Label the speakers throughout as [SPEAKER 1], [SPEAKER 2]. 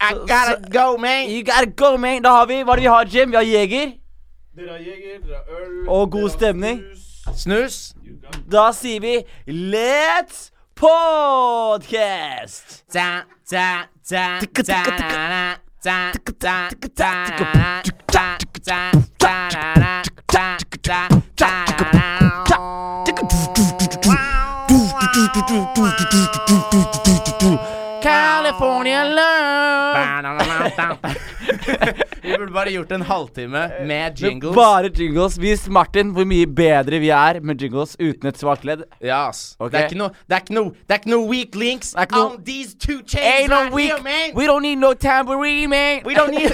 [SPEAKER 1] I gotta go, man.
[SPEAKER 2] You gotta go, man. Da har vi Hva er det vi har, Jim? Vi har Jeger.
[SPEAKER 3] Dere har jeger, dere har øl
[SPEAKER 2] Og god
[SPEAKER 3] dere har
[SPEAKER 2] stemning.
[SPEAKER 3] snus.
[SPEAKER 1] Snus.
[SPEAKER 2] Da sier vi Let's podcast!
[SPEAKER 1] Da, da, da, da, da, da, da, da, da, da, da, da, da, da, da, da, da, da. California love. Vi burde bare gjort en halvtime med jingles.
[SPEAKER 2] er Bare jingles. Vis Martin hvor mye bedre vi er med jingles uten et svart ledd.
[SPEAKER 1] Ja, ass.
[SPEAKER 2] Ok.
[SPEAKER 1] Det, er ikke noe, det, er ikke noe, det er ikke noe weak links
[SPEAKER 2] er ikke noe-
[SPEAKER 1] on these two chains
[SPEAKER 2] Ain't no
[SPEAKER 1] right
[SPEAKER 2] weak
[SPEAKER 1] here, man.
[SPEAKER 2] We don't need no tambourine, man.
[SPEAKER 1] We don't need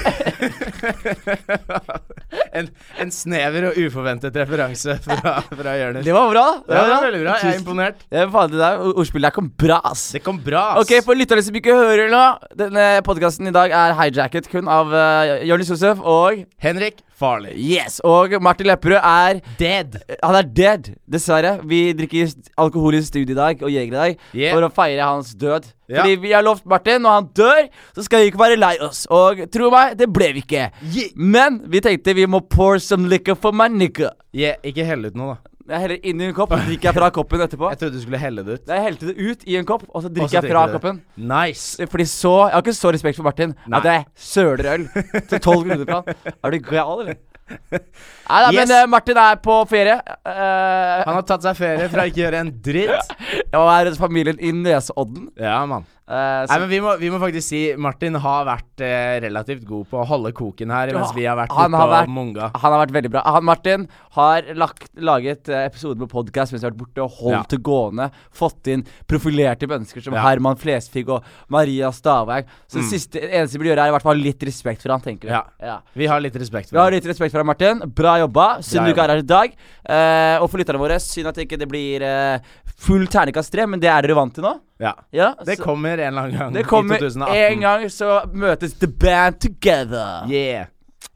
[SPEAKER 1] en, en snever og uforventet referanse fra, fra Jonis.
[SPEAKER 2] Det var bra.
[SPEAKER 1] Ja, det var veldig bra. Jeg er
[SPEAKER 2] Tusen-
[SPEAKER 1] imponert.
[SPEAKER 2] Det er faen det der o- ordspillet der kom bra, ass.
[SPEAKER 1] Det kom bra, ass.
[SPEAKER 2] Ok, For lytterne som ikke hører nå, denne podkasten i dag er hijacket kun av uh, Jonis Josef og
[SPEAKER 1] Henrik Farley.
[SPEAKER 2] Yes! Og Martin Lepperød er eh,
[SPEAKER 1] Dead.
[SPEAKER 2] Han er dead, dessverre. Vi drikker st- alkohol i studio i dag og jeger i dag
[SPEAKER 1] Yeah.
[SPEAKER 2] for å feire hans død.
[SPEAKER 1] Ja.
[SPEAKER 2] Fordi vi har lovt Martin, når han dør, så skal vi ikke være lei oss. Og tro meg, det ble vi ikke.
[SPEAKER 1] Yeah.
[SPEAKER 2] Men vi tenkte vi må pour some liquor for my nigga.
[SPEAKER 1] Yeah, ikke helle ut noe, da.
[SPEAKER 2] Jeg heller inni en kopp, så drikker jeg fra koppen etterpå.
[SPEAKER 1] Jeg trodde du skulle helle det ut.
[SPEAKER 2] Jeg helte det ut i en kopp, og så
[SPEAKER 1] Og så
[SPEAKER 2] drikker jeg fra
[SPEAKER 1] drikker du det.
[SPEAKER 2] koppen.
[SPEAKER 1] Nice.
[SPEAKER 2] Fordi så Jeg har ikke så respekt for Martin
[SPEAKER 1] Nei.
[SPEAKER 2] at jeg søler øl til tolv kroner for han. Er du gal, eller? Nei da,
[SPEAKER 1] Yes.
[SPEAKER 2] men eh, Martin er på ferie. eh,
[SPEAKER 1] Han har tatt seg ferie fra ikke gjøre en dritt.
[SPEAKER 2] og er hos familien i Nesodden.
[SPEAKER 1] Ja, mann.
[SPEAKER 2] eh,
[SPEAKER 1] Nei,
[SPEAKER 2] så-
[SPEAKER 1] men vi må, vi må faktisk si Martin har vært eh, relativt god på å holde koken her, mens
[SPEAKER 2] Ja,
[SPEAKER 1] vi har vært
[SPEAKER 2] han har
[SPEAKER 1] ute og
[SPEAKER 2] vært-
[SPEAKER 1] munga.
[SPEAKER 2] han har vært veldig bra. Han Martin har lagt, laget eh, episoder på podkast mens vi har vært borte, og holdt
[SPEAKER 1] Ja.
[SPEAKER 2] det gående. Fått inn profilerte mennesker som
[SPEAKER 1] Ja. Mm.
[SPEAKER 2] Herman Flesvig og Maria Stavang. Så det siste, eneste vi bør gjøre, er i hvert fall litt respekt for han, tenker vi.
[SPEAKER 1] Ja. Vi har litt respekt
[SPEAKER 2] Vi
[SPEAKER 1] for
[SPEAKER 2] har
[SPEAKER 1] det.
[SPEAKER 2] litt respekt for deg, Martin. Bra jobba.
[SPEAKER 1] Bra
[SPEAKER 2] Synd du ikke er her i dag. Eh, og for lytterne våre, synd at det ikke det blir eh, full terningkast tre, men det er dere vant til nå.
[SPEAKER 1] Ja.
[SPEAKER 2] Ja,
[SPEAKER 1] Det
[SPEAKER 2] så-
[SPEAKER 1] kommer en eller annen gang
[SPEAKER 2] det kommer
[SPEAKER 1] i 2018.
[SPEAKER 2] en gang, så møtes the band together.
[SPEAKER 1] Yeah.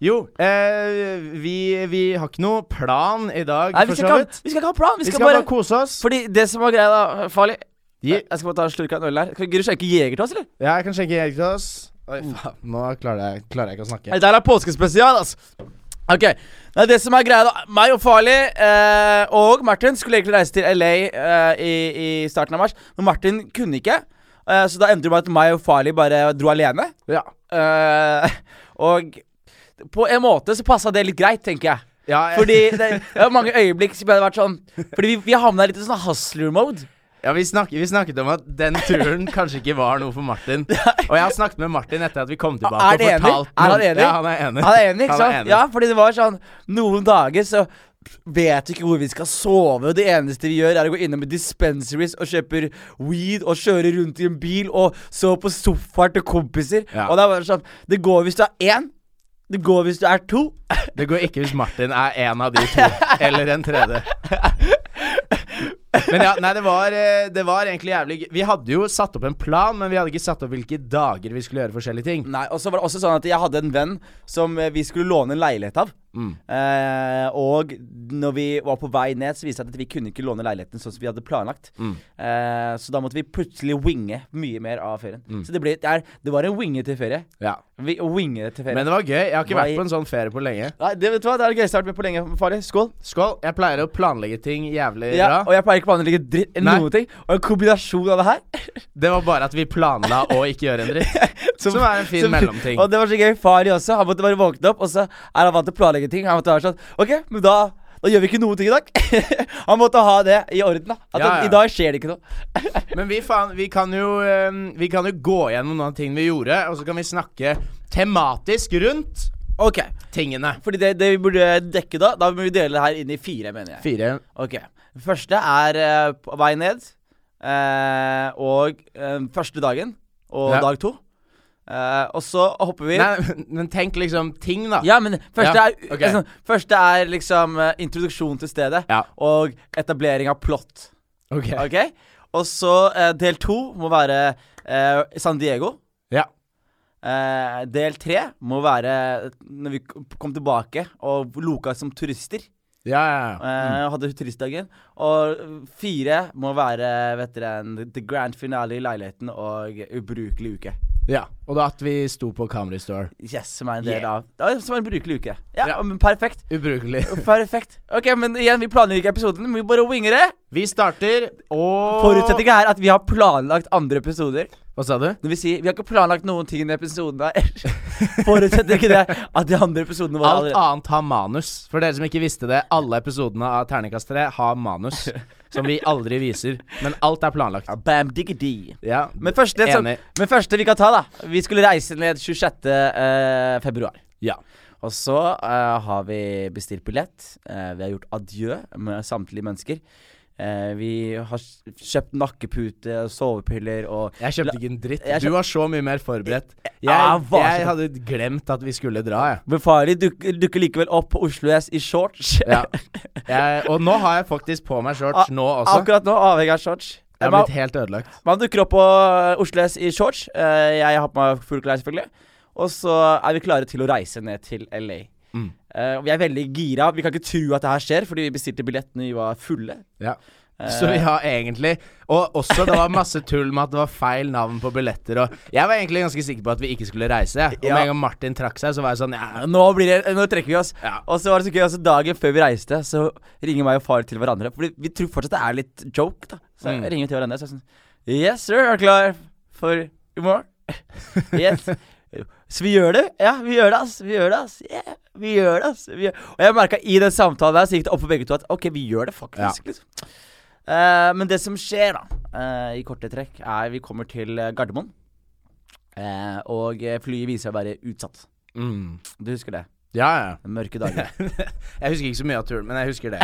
[SPEAKER 1] Jo, eh, vi, vi har ikke noe plan i dag,
[SPEAKER 2] Nei, vi
[SPEAKER 1] for
[SPEAKER 2] skal,
[SPEAKER 1] så
[SPEAKER 2] ikke ha,
[SPEAKER 1] vidt.
[SPEAKER 2] vi skal ikke ha plan. Vi
[SPEAKER 1] Vi
[SPEAKER 2] skal,
[SPEAKER 1] skal bare
[SPEAKER 2] bare
[SPEAKER 1] kose oss.
[SPEAKER 2] Fordi det som var greia, da, farlig
[SPEAKER 1] Gi-
[SPEAKER 2] Jeg skal bare ta en slurk av en øl her. Kan- Gidder du skjenke Jeger til oss, eller?
[SPEAKER 1] Ja, jeg kan skjenke Erik til oss. Oi, faen. Nå klarer jeg, klarer jeg ikke å snakke.
[SPEAKER 2] Mm. Nei, der er påskespesial, altså. Ok, Nei, Det som er greia, da Meg og Farlig eh, og Martin skulle egentlig reise til LA eh, i, i starten av mars, men Martin kunne ikke. Eh, så da endte det med at meg og Farlig bare dro alene.
[SPEAKER 1] Ja.
[SPEAKER 2] Eh, og på en måte så passa det litt greit, tenker jeg.
[SPEAKER 1] ja jeg-
[SPEAKER 2] Fordi det, det var mange øyeblikk som hadde vært sånn Fordi vi, vi havna litt i sånn hustler-mode.
[SPEAKER 1] Ja, vi, snakket, vi snakket om at den turen kanskje ikke var noe for Martin. Og jeg har snakket med Martin etter at vi kom tilbake
[SPEAKER 2] Er det
[SPEAKER 1] og
[SPEAKER 2] enig?
[SPEAKER 1] fortalt
[SPEAKER 2] Er han
[SPEAKER 1] noe-
[SPEAKER 2] enig?
[SPEAKER 1] Ja, han er enig.
[SPEAKER 2] Han er enig, ikke
[SPEAKER 1] Han er
[SPEAKER 2] sant?
[SPEAKER 1] enig.
[SPEAKER 2] Ja, fordi det var sånn Noen dager så vet vi ikke hvor vi skal sove, og det eneste vi gjør, er å gå innom dispensaries og kjøper weed og kjøre rundt i en bil og sove på sofaen til kompiser.
[SPEAKER 1] Ja.
[SPEAKER 2] Og det er bare sånn Det går hvis du er én. Det går hvis du er to.
[SPEAKER 1] Det går ikke hvis Martin er en av de to, eller en tredje. Men ja, nei, det var, eh, det var egentlig jævlig gøy. Vi hadde jo satt opp en plan, men vi hadde ikke satt opp hvilke dager vi skulle gjøre forskjellige ting.
[SPEAKER 2] Nei, og så var det også sånn at jeg hadde en venn som eh, vi skulle låne en leilighet av.
[SPEAKER 1] Mm,
[SPEAKER 2] Eh, og når vi var på vei ned, så viste det seg at vi kunne ikke låne leiligheten sånn som vi hadde planlagt.
[SPEAKER 1] mm,
[SPEAKER 2] Eh, så da måtte vi plutselig winge mye mer av ferien.
[SPEAKER 1] Mm.
[SPEAKER 2] Så det, ble, det, er, det var en wingete ferie.
[SPEAKER 1] Ja.
[SPEAKER 2] Vi, winge til ferie.
[SPEAKER 1] Men det var gøy. Jeg har ikke
[SPEAKER 2] Hva i-
[SPEAKER 1] vært på en sånn ferie på lenge.
[SPEAKER 2] Nei, det vet du hva, det er det gøyeste jeg har vært med på lenge. Farlig. Skål.
[SPEAKER 1] Skål. Jeg pleier å planlegge ting jævlig
[SPEAKER 2] Ja, og
[SPEAKER 1] bra.
[SPEAKER 2] jeg pleier ikke å planlegge dritt eller
[SPEAKER 1] Nei.
[SPEAKER 2] noen ting. Og en kombinasjon av det her
[SPEAKER 1] Det var bare at vi planla å ikke gjøre en dritt. Som, er en fin
[SPEAKER 2] Som-
[SPEAKER 1] mellomting.
[SPEAKER 2] Og det var så gøy. Farlig også. Han måtte bare våkne opp, og så er han vant til å planlegge ting. Han måtte være sånn OK, men da da gjør vi ikke noen ting i dag. han måtte ha det i orden. da At
[SPEAKER 1] Ja,
[SPEAKER 2] han-
[SPEAKER 1] ja.
[SPEAKER 2] I dag skjer det ikke noe.
[SPEAKER 1] Men vi, faen, vi, kan jo, eh, vi kan jo gå gjennom noen ting vi gjorde, og så kan vi snakke tematisk rundt
[SPEAKER 2] Ok
[SPEAKER 1] tingene.
[SPEAKER 2] Fordi det, det vi burde dekke da, da må vi dele det her inn i fire, mener jeg.
[SPEAKER 1] Fire.
[SPEAKER 2] Ok Første er eh, på vei ned. eh, og eh, første dagen. Og
[SPEAKER 1] Ja.
[SPEAKER 2] dag to. Eh, og så hopper vi
[SPEAKER 1] Nei, men- men tenk liksom ting, da.
[SPEAKER 2] Ja, men første,
[SPEAKER 1] Ja,
[SPEAKER 2] er,
[SPEAKER 1] ok.
[SPEAKER 2] altså, første er liksom eh, introduksjon til stedet
[SPEAKER 1] Ja.
[SPEAKER 2] og etablering av plott.
[SPEAKER 1] Ok.
[SPEAKER 2] Ok? Og så eh, del to må være eh, San Diego.
[SPEAKER 1] Ja.
[SPEAKER 2] Eh, del tre må være når vi k- kom tilbake og loka som turister.
[SPEAKER 1] Ja, ja, ja.
[SPEAKER 2] Eh, Hadde turistdagen. Og fire må være vet dere, en- the grand finale i leiligheten og ubrukelig uke.
[SPEAKER 1] ja. Og da at vi sto på Comedy Store.
[SPEAKER 2] Yes, som er en del
[SPEAKER 1] Yeah.
[SPEAKER 2] av ja, Som er en brukelig uke. Ja,
[SPEAKER 1] Ja.
[SPEAKER 2] men perfekt.
[SPEAKER 1] Ubrukelig.
[SPEAKER 2] Perfekt. Ok, men igjen, vi planlegger ikke episoden, men vi bare winger det.
[SPEAKER 1] Vi starter og
[SPEAKER 2] Forutsetninga er at vi har planlagt andre episoder.
[SPEAKER 1] Hva sa du?
[SPEAKER 2] Når vi sier Vi har ikke planlagt noen ting i denne episoden her. Forutsetter ikke det at de andre episodene våre
[SPEAKER 1] Alt
[SPEAKER 2] allerede
[SPEAKER 1] annet har manus. For dere som ikke visste det, alle episodene av Terningkast 3 har manus. Som vi aldri viser. Men alt er planlagt.
[SPEAKER 2] Ja, Bam diggity.
[SPEAKER 1] Ja,
[SPEAKER 2] Men sånn- første, som,
[SPEAKER 1] Enig.
[SPEAKER 2] men første vi kan ta, da. Vi skulle reise ned 26. eh, februar.
[SPEAKER 1] ja.
[SPEAKER 2] Og så eh, har vi bestilt billett. Eh, vi har gjort adjø med samtlige mennesker. Eh, vi har s- kjøpt nakkepute og sovepiller og
[SPEAKER 1] Jeg kjøpte ikke en dritt.
[SPEAKER 2] Jeg kjøp-
[SPEAKER 1] Du var så mye mer forberedt.
[SPEAKER 2] Ja,
[SPEAKER 1] Jeg,
[SPEAKER 2] hva-
[SPEAKER 1] jeg hadde glemt at vi skulle dra, jeg.
[SPEAKER 2] Men Farley dukker, dukker likevel opp på Oslo S i shorts.
[SPEAKER 1] Ja. jeg. Og nå har jeg faktisk på meg shorts nå også.
[SPEAKER 2] Ah, Akkurat nå avhengig av shorts.
[SPEAKER 1] Jeg har
[SPEAKER 2] man,
[SPEAKER 1] blitt helt ødelagt.
[SPEAKER 2] man dukker opp på Oslo S i shorts. Eh, jeg har på meg full klær, selvfølgelig. Og så er vi klare til å reise ned til LA.
[SPEAKER 1] Mm.
[SPEAKER 2] Eh, og vi er veldig gira. Vi kan ikke tro at det her skjer, fordi vi bestilte billettene vi var fulle.
[SPEAKER 1] Ja.
[SPEAKER 2] Eh.
[SPEAKER 1] Så vi har egentlig Og også det var masse tull med at det var feil navn på billetter og Jeg var egentlig ganske sikker på at vi ikke skulle reise. jeg. Og
[SPEAKER 2] Ja.
[SPEAKER 1] med en gang Martin trakk seg, så var jeg sånn ja,
[SPEAKER 2] Nå, blir det, nå trekker vi oss.
[SPEAKER 1] Ja.
[SPEAKER 2] Og så var det så gøy, altså dagen før vi reiste, så ringer meg og far til hverandre. Fordi vi tror fortsatt det er litt joke, da. Så
[SPEAKER 1] Mm.
[SPEAKER 2] jeg ringer til hverandre og så er jeg sånn Yes, sir, er du klar for i morgen? yes. Så vi gjør det. Ja, vi gjør det, ass. Vi gjør det, ass. Yeah, vi gjør det, ass. Vi gjør. Og jeg merka i den samtalen der, så gikk det opp for begge to at ok, vi gjør det faktisk, liksom. Eh, men det som skjer, da, eh, i korte trekk, er vi kommer til eh, Gardermoen. Eh, og eh, flyet viser seg å være utsatt.
[SPEAKER 1] mm.
[SPEAKER 2] Du husker det?
[SPEAKER 1] Ja, ja.
[SPEAKER 2] Mørke dager.
[SPEAKER 1] Jeg husker ikke så mye av turen, men jeg husker det.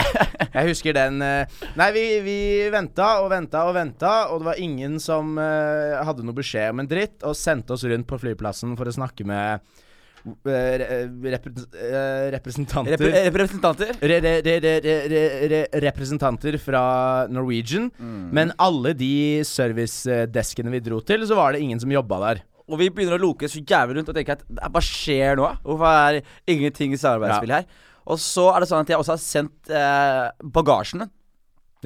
[SPEAKER 1] Jeg husker den eh, Nei, vi, vi venta og venta og venta, og det var ingen som eh, hadde noe beskjed om en dritt, og sendte oss rundt på flyplassen for å snakke med eh, re- repre- eh, representanter
[SPEAKER 2] Repre representanter?
[SPEAKER 1] re, re, re, re, re, re, re, representanter fra Norwegian. Men alle de servicedeskene vi dro til, så var det ingen som jobba der.
[SPEAKER 2] Og vi begynner å loke så jævlig rundt og tenke at "Nei, hva skjer nå? Hvorfor er ingenting i samarbeidsspill her? Og så er det sånn at jeg også har sendt eh, bagasjen min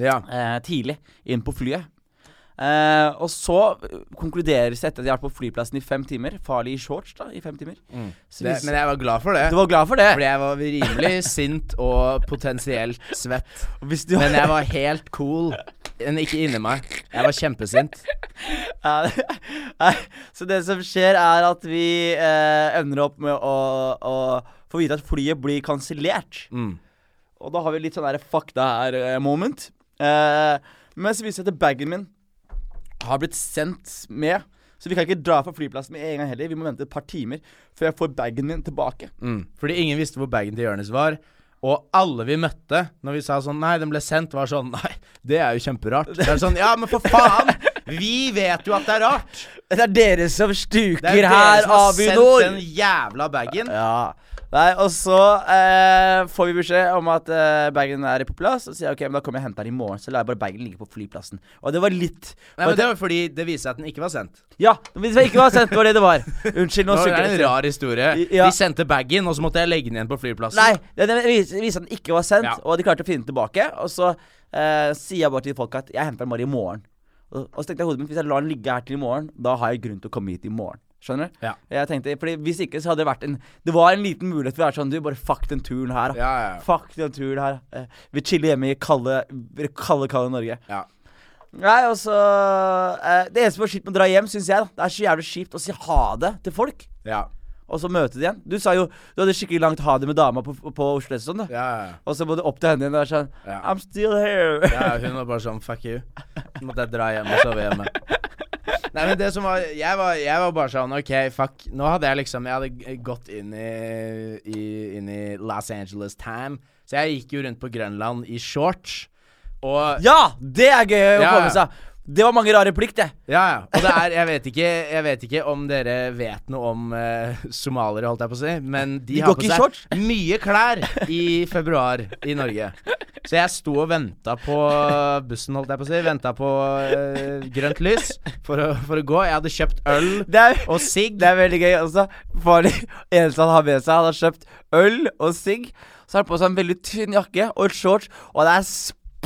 [SPEAKER 1] Ja.
[SPEAKER 2] eh, tidlig inn på flyet. Eh, og så konkluderes det etter at jeg har vært på flyplassen i fem timer. Farlig i shorts, da, i fem timer. Så
[SPEAKER 1] Mm. Det,
[SPEAKER 2] hvis-
[SPEAKER 1] men jeg var glad for det.
[SPEAKER 2] du var glad for det?
[SPEAKER 1] Fordi jeg var rimelig sint og potensielt svett.
[SPEAKER 2] Hvis du
[SPEAKER 1] Men jeg var helt cool. Men ikke inni meg. Jeg var kjempesint.
[SPEAKER 2] Ja, nei, Eh, Så det som skjer, er at vi eh, ender opp med å, å få vite at flyet blir kansellert.
[SPEAKER 1] Mm.
[SPEAKER 2] Og da har vi litt sånn der fuck det her-moment. Eh, men så viser det seg at bagen min har blitt sendt med. Så vi kan ikke dra fra flyplassen med en gang heller. Vi må vente et par timer før jeg får bagen min tilbake.
[SPEAKER 1] Mm. Fordi ingen visste hvor bagen til Jonis var. Og alle vi møtte når vi sa sånn Nei, den ble sendt, var sånn Nei, det er jo kjemperart. Det er sånn Ja, men for faen! Vi vet jo at det er rart!
[SPEAKER 2] Det er dere som
[SPEAKER 1] Det
[SPEAKER 2] stuker
[SPEAKER 1] er dere
[SPEAKER 2] her,
[SPEAKER 1] som har sendt
[SPEAKER 2] Avinor!
[SPEAKER 1] den jævla bagen.
[SPEAKER 2] Ja. Nei, og så eh, får vi beskjed om at eh, bagen er på plass. Og så sier jeg ok, men da kommer jeg og henter den i morgen. Så lar jeg bare bagen ligge på flyplassen. Og det var litt
[SPEAKER 1] Nei, men Det var fordi det viste seg at den ikke var sendt.
[SPEAKER 2] Ja, hvis jeg ikke var sendt, det var det det var. Unnskyld, nå
[SPEAKER 1] Nå er
[SPEAKER 2] sukker
[SPEAKER 1] det en
[SPEAKER 2] jeg.
[SPEAKER 1] rar historie.
[SPEAKER 2] Ja.
[SPEAKER 1] De sendte bagen, og så måtte jeg legge den igjen på flyplassen.
[SPEAKER 2] Nei, det, det viser viser at den ikke var sendt,
[SPEAKER 1] Ja.
[SPEAKER 2] og de klarte å finne den tilbake. Og så eh, sier jeg bare til folk at jeg henter den bare i morgen. Og, og så tenkte jeg i hodet mitt hvis jeg lar den ligge her til i morgen, da har jeg grunn til å komme hit i morgen. Skjønner du?
[SPEAKER 1] Ja.
[SPEAKER 2] Jeg tenkte, fordi Hvis ikke så hadde det vært en Det var en liten mulighet for å være sånn Du, bare fuck den turen her. da.
[SPEAKER 1] Ja, ja, ja.
[SPEAKER 2] Fuck den turen her. Eh, vi chiller hjemme i kalde, kalde, kalde Norge.
[SPEAKER 1] Ja.
[SPEAKER 2] Nei, og så eh, Det eneste som er kjipt med å dra hjem, syns jeg, da, det er så jævlig kjipt å si ha det til folk,
[SPEAKER 1] Ja.
[SPEAKER 2] og så møte de igjen. Du sa jo du hadde skikkelig langt ha det med dama på, på Oslo S og sånn, da.
[SPEAKER 1] Ja, ja, ja.
[SPEAKER 2] Og så må du opp til henne igjen og være sånn
[SPEAKER 1] Ja.
[SPEAKER 2] I'm still here.
[SPEAKER 1] Ja, hun var bare sånn Fuck you. Så måtte jeg dra hjem og sove hjemme. Nei, men det som var Jeg var, jeg var bare sånn OK, fuck. Nå hadde jeg liksom Jeg hadde g- gått inn i, i, inn i Los Angeles time, så jeg gikk jo rundt på Grønland i shorts. Og
[SPEAKER 2] Ja, det er gøy å
[SPEAKER 1] Ja,
[SPEAKER 2] få
[SPEAKER 1] ja.
[SPEAKER 2] med seg. Det var mange rare plikk, det.
[SPEAKER 1] Ja, ja. Og det er Jeg vet ikke, jeg vet ikke om dere vet noe om eh, somaliere, holdt jeg på å si, men de,
[SPEAKER 2] De
[SPEAKER 1] har
[SPEAKER 2] går
[SPEAKER 1] på
[SPEAKER 2] ikke i
[SPEAKER 1] seg
[SPEAKER 2] shorts?
[SPEAKER 1] mye klær i februar i Norge. Så jeg sto og venta på bussen, holdt jeg på å si. Venta på eh, grønt lys for å, for å gå. Jeg hadde kjøpt øl
[SPEAKER 2] Det er,
[SPEAKER 1] og sigg.
[SPEAKER 2] det er veldig gøy også. Farlig. Eneste han har med seg, han har kjøpt øl og sigg. Så har han på seg en veldig tynn jakke og shorts, og det er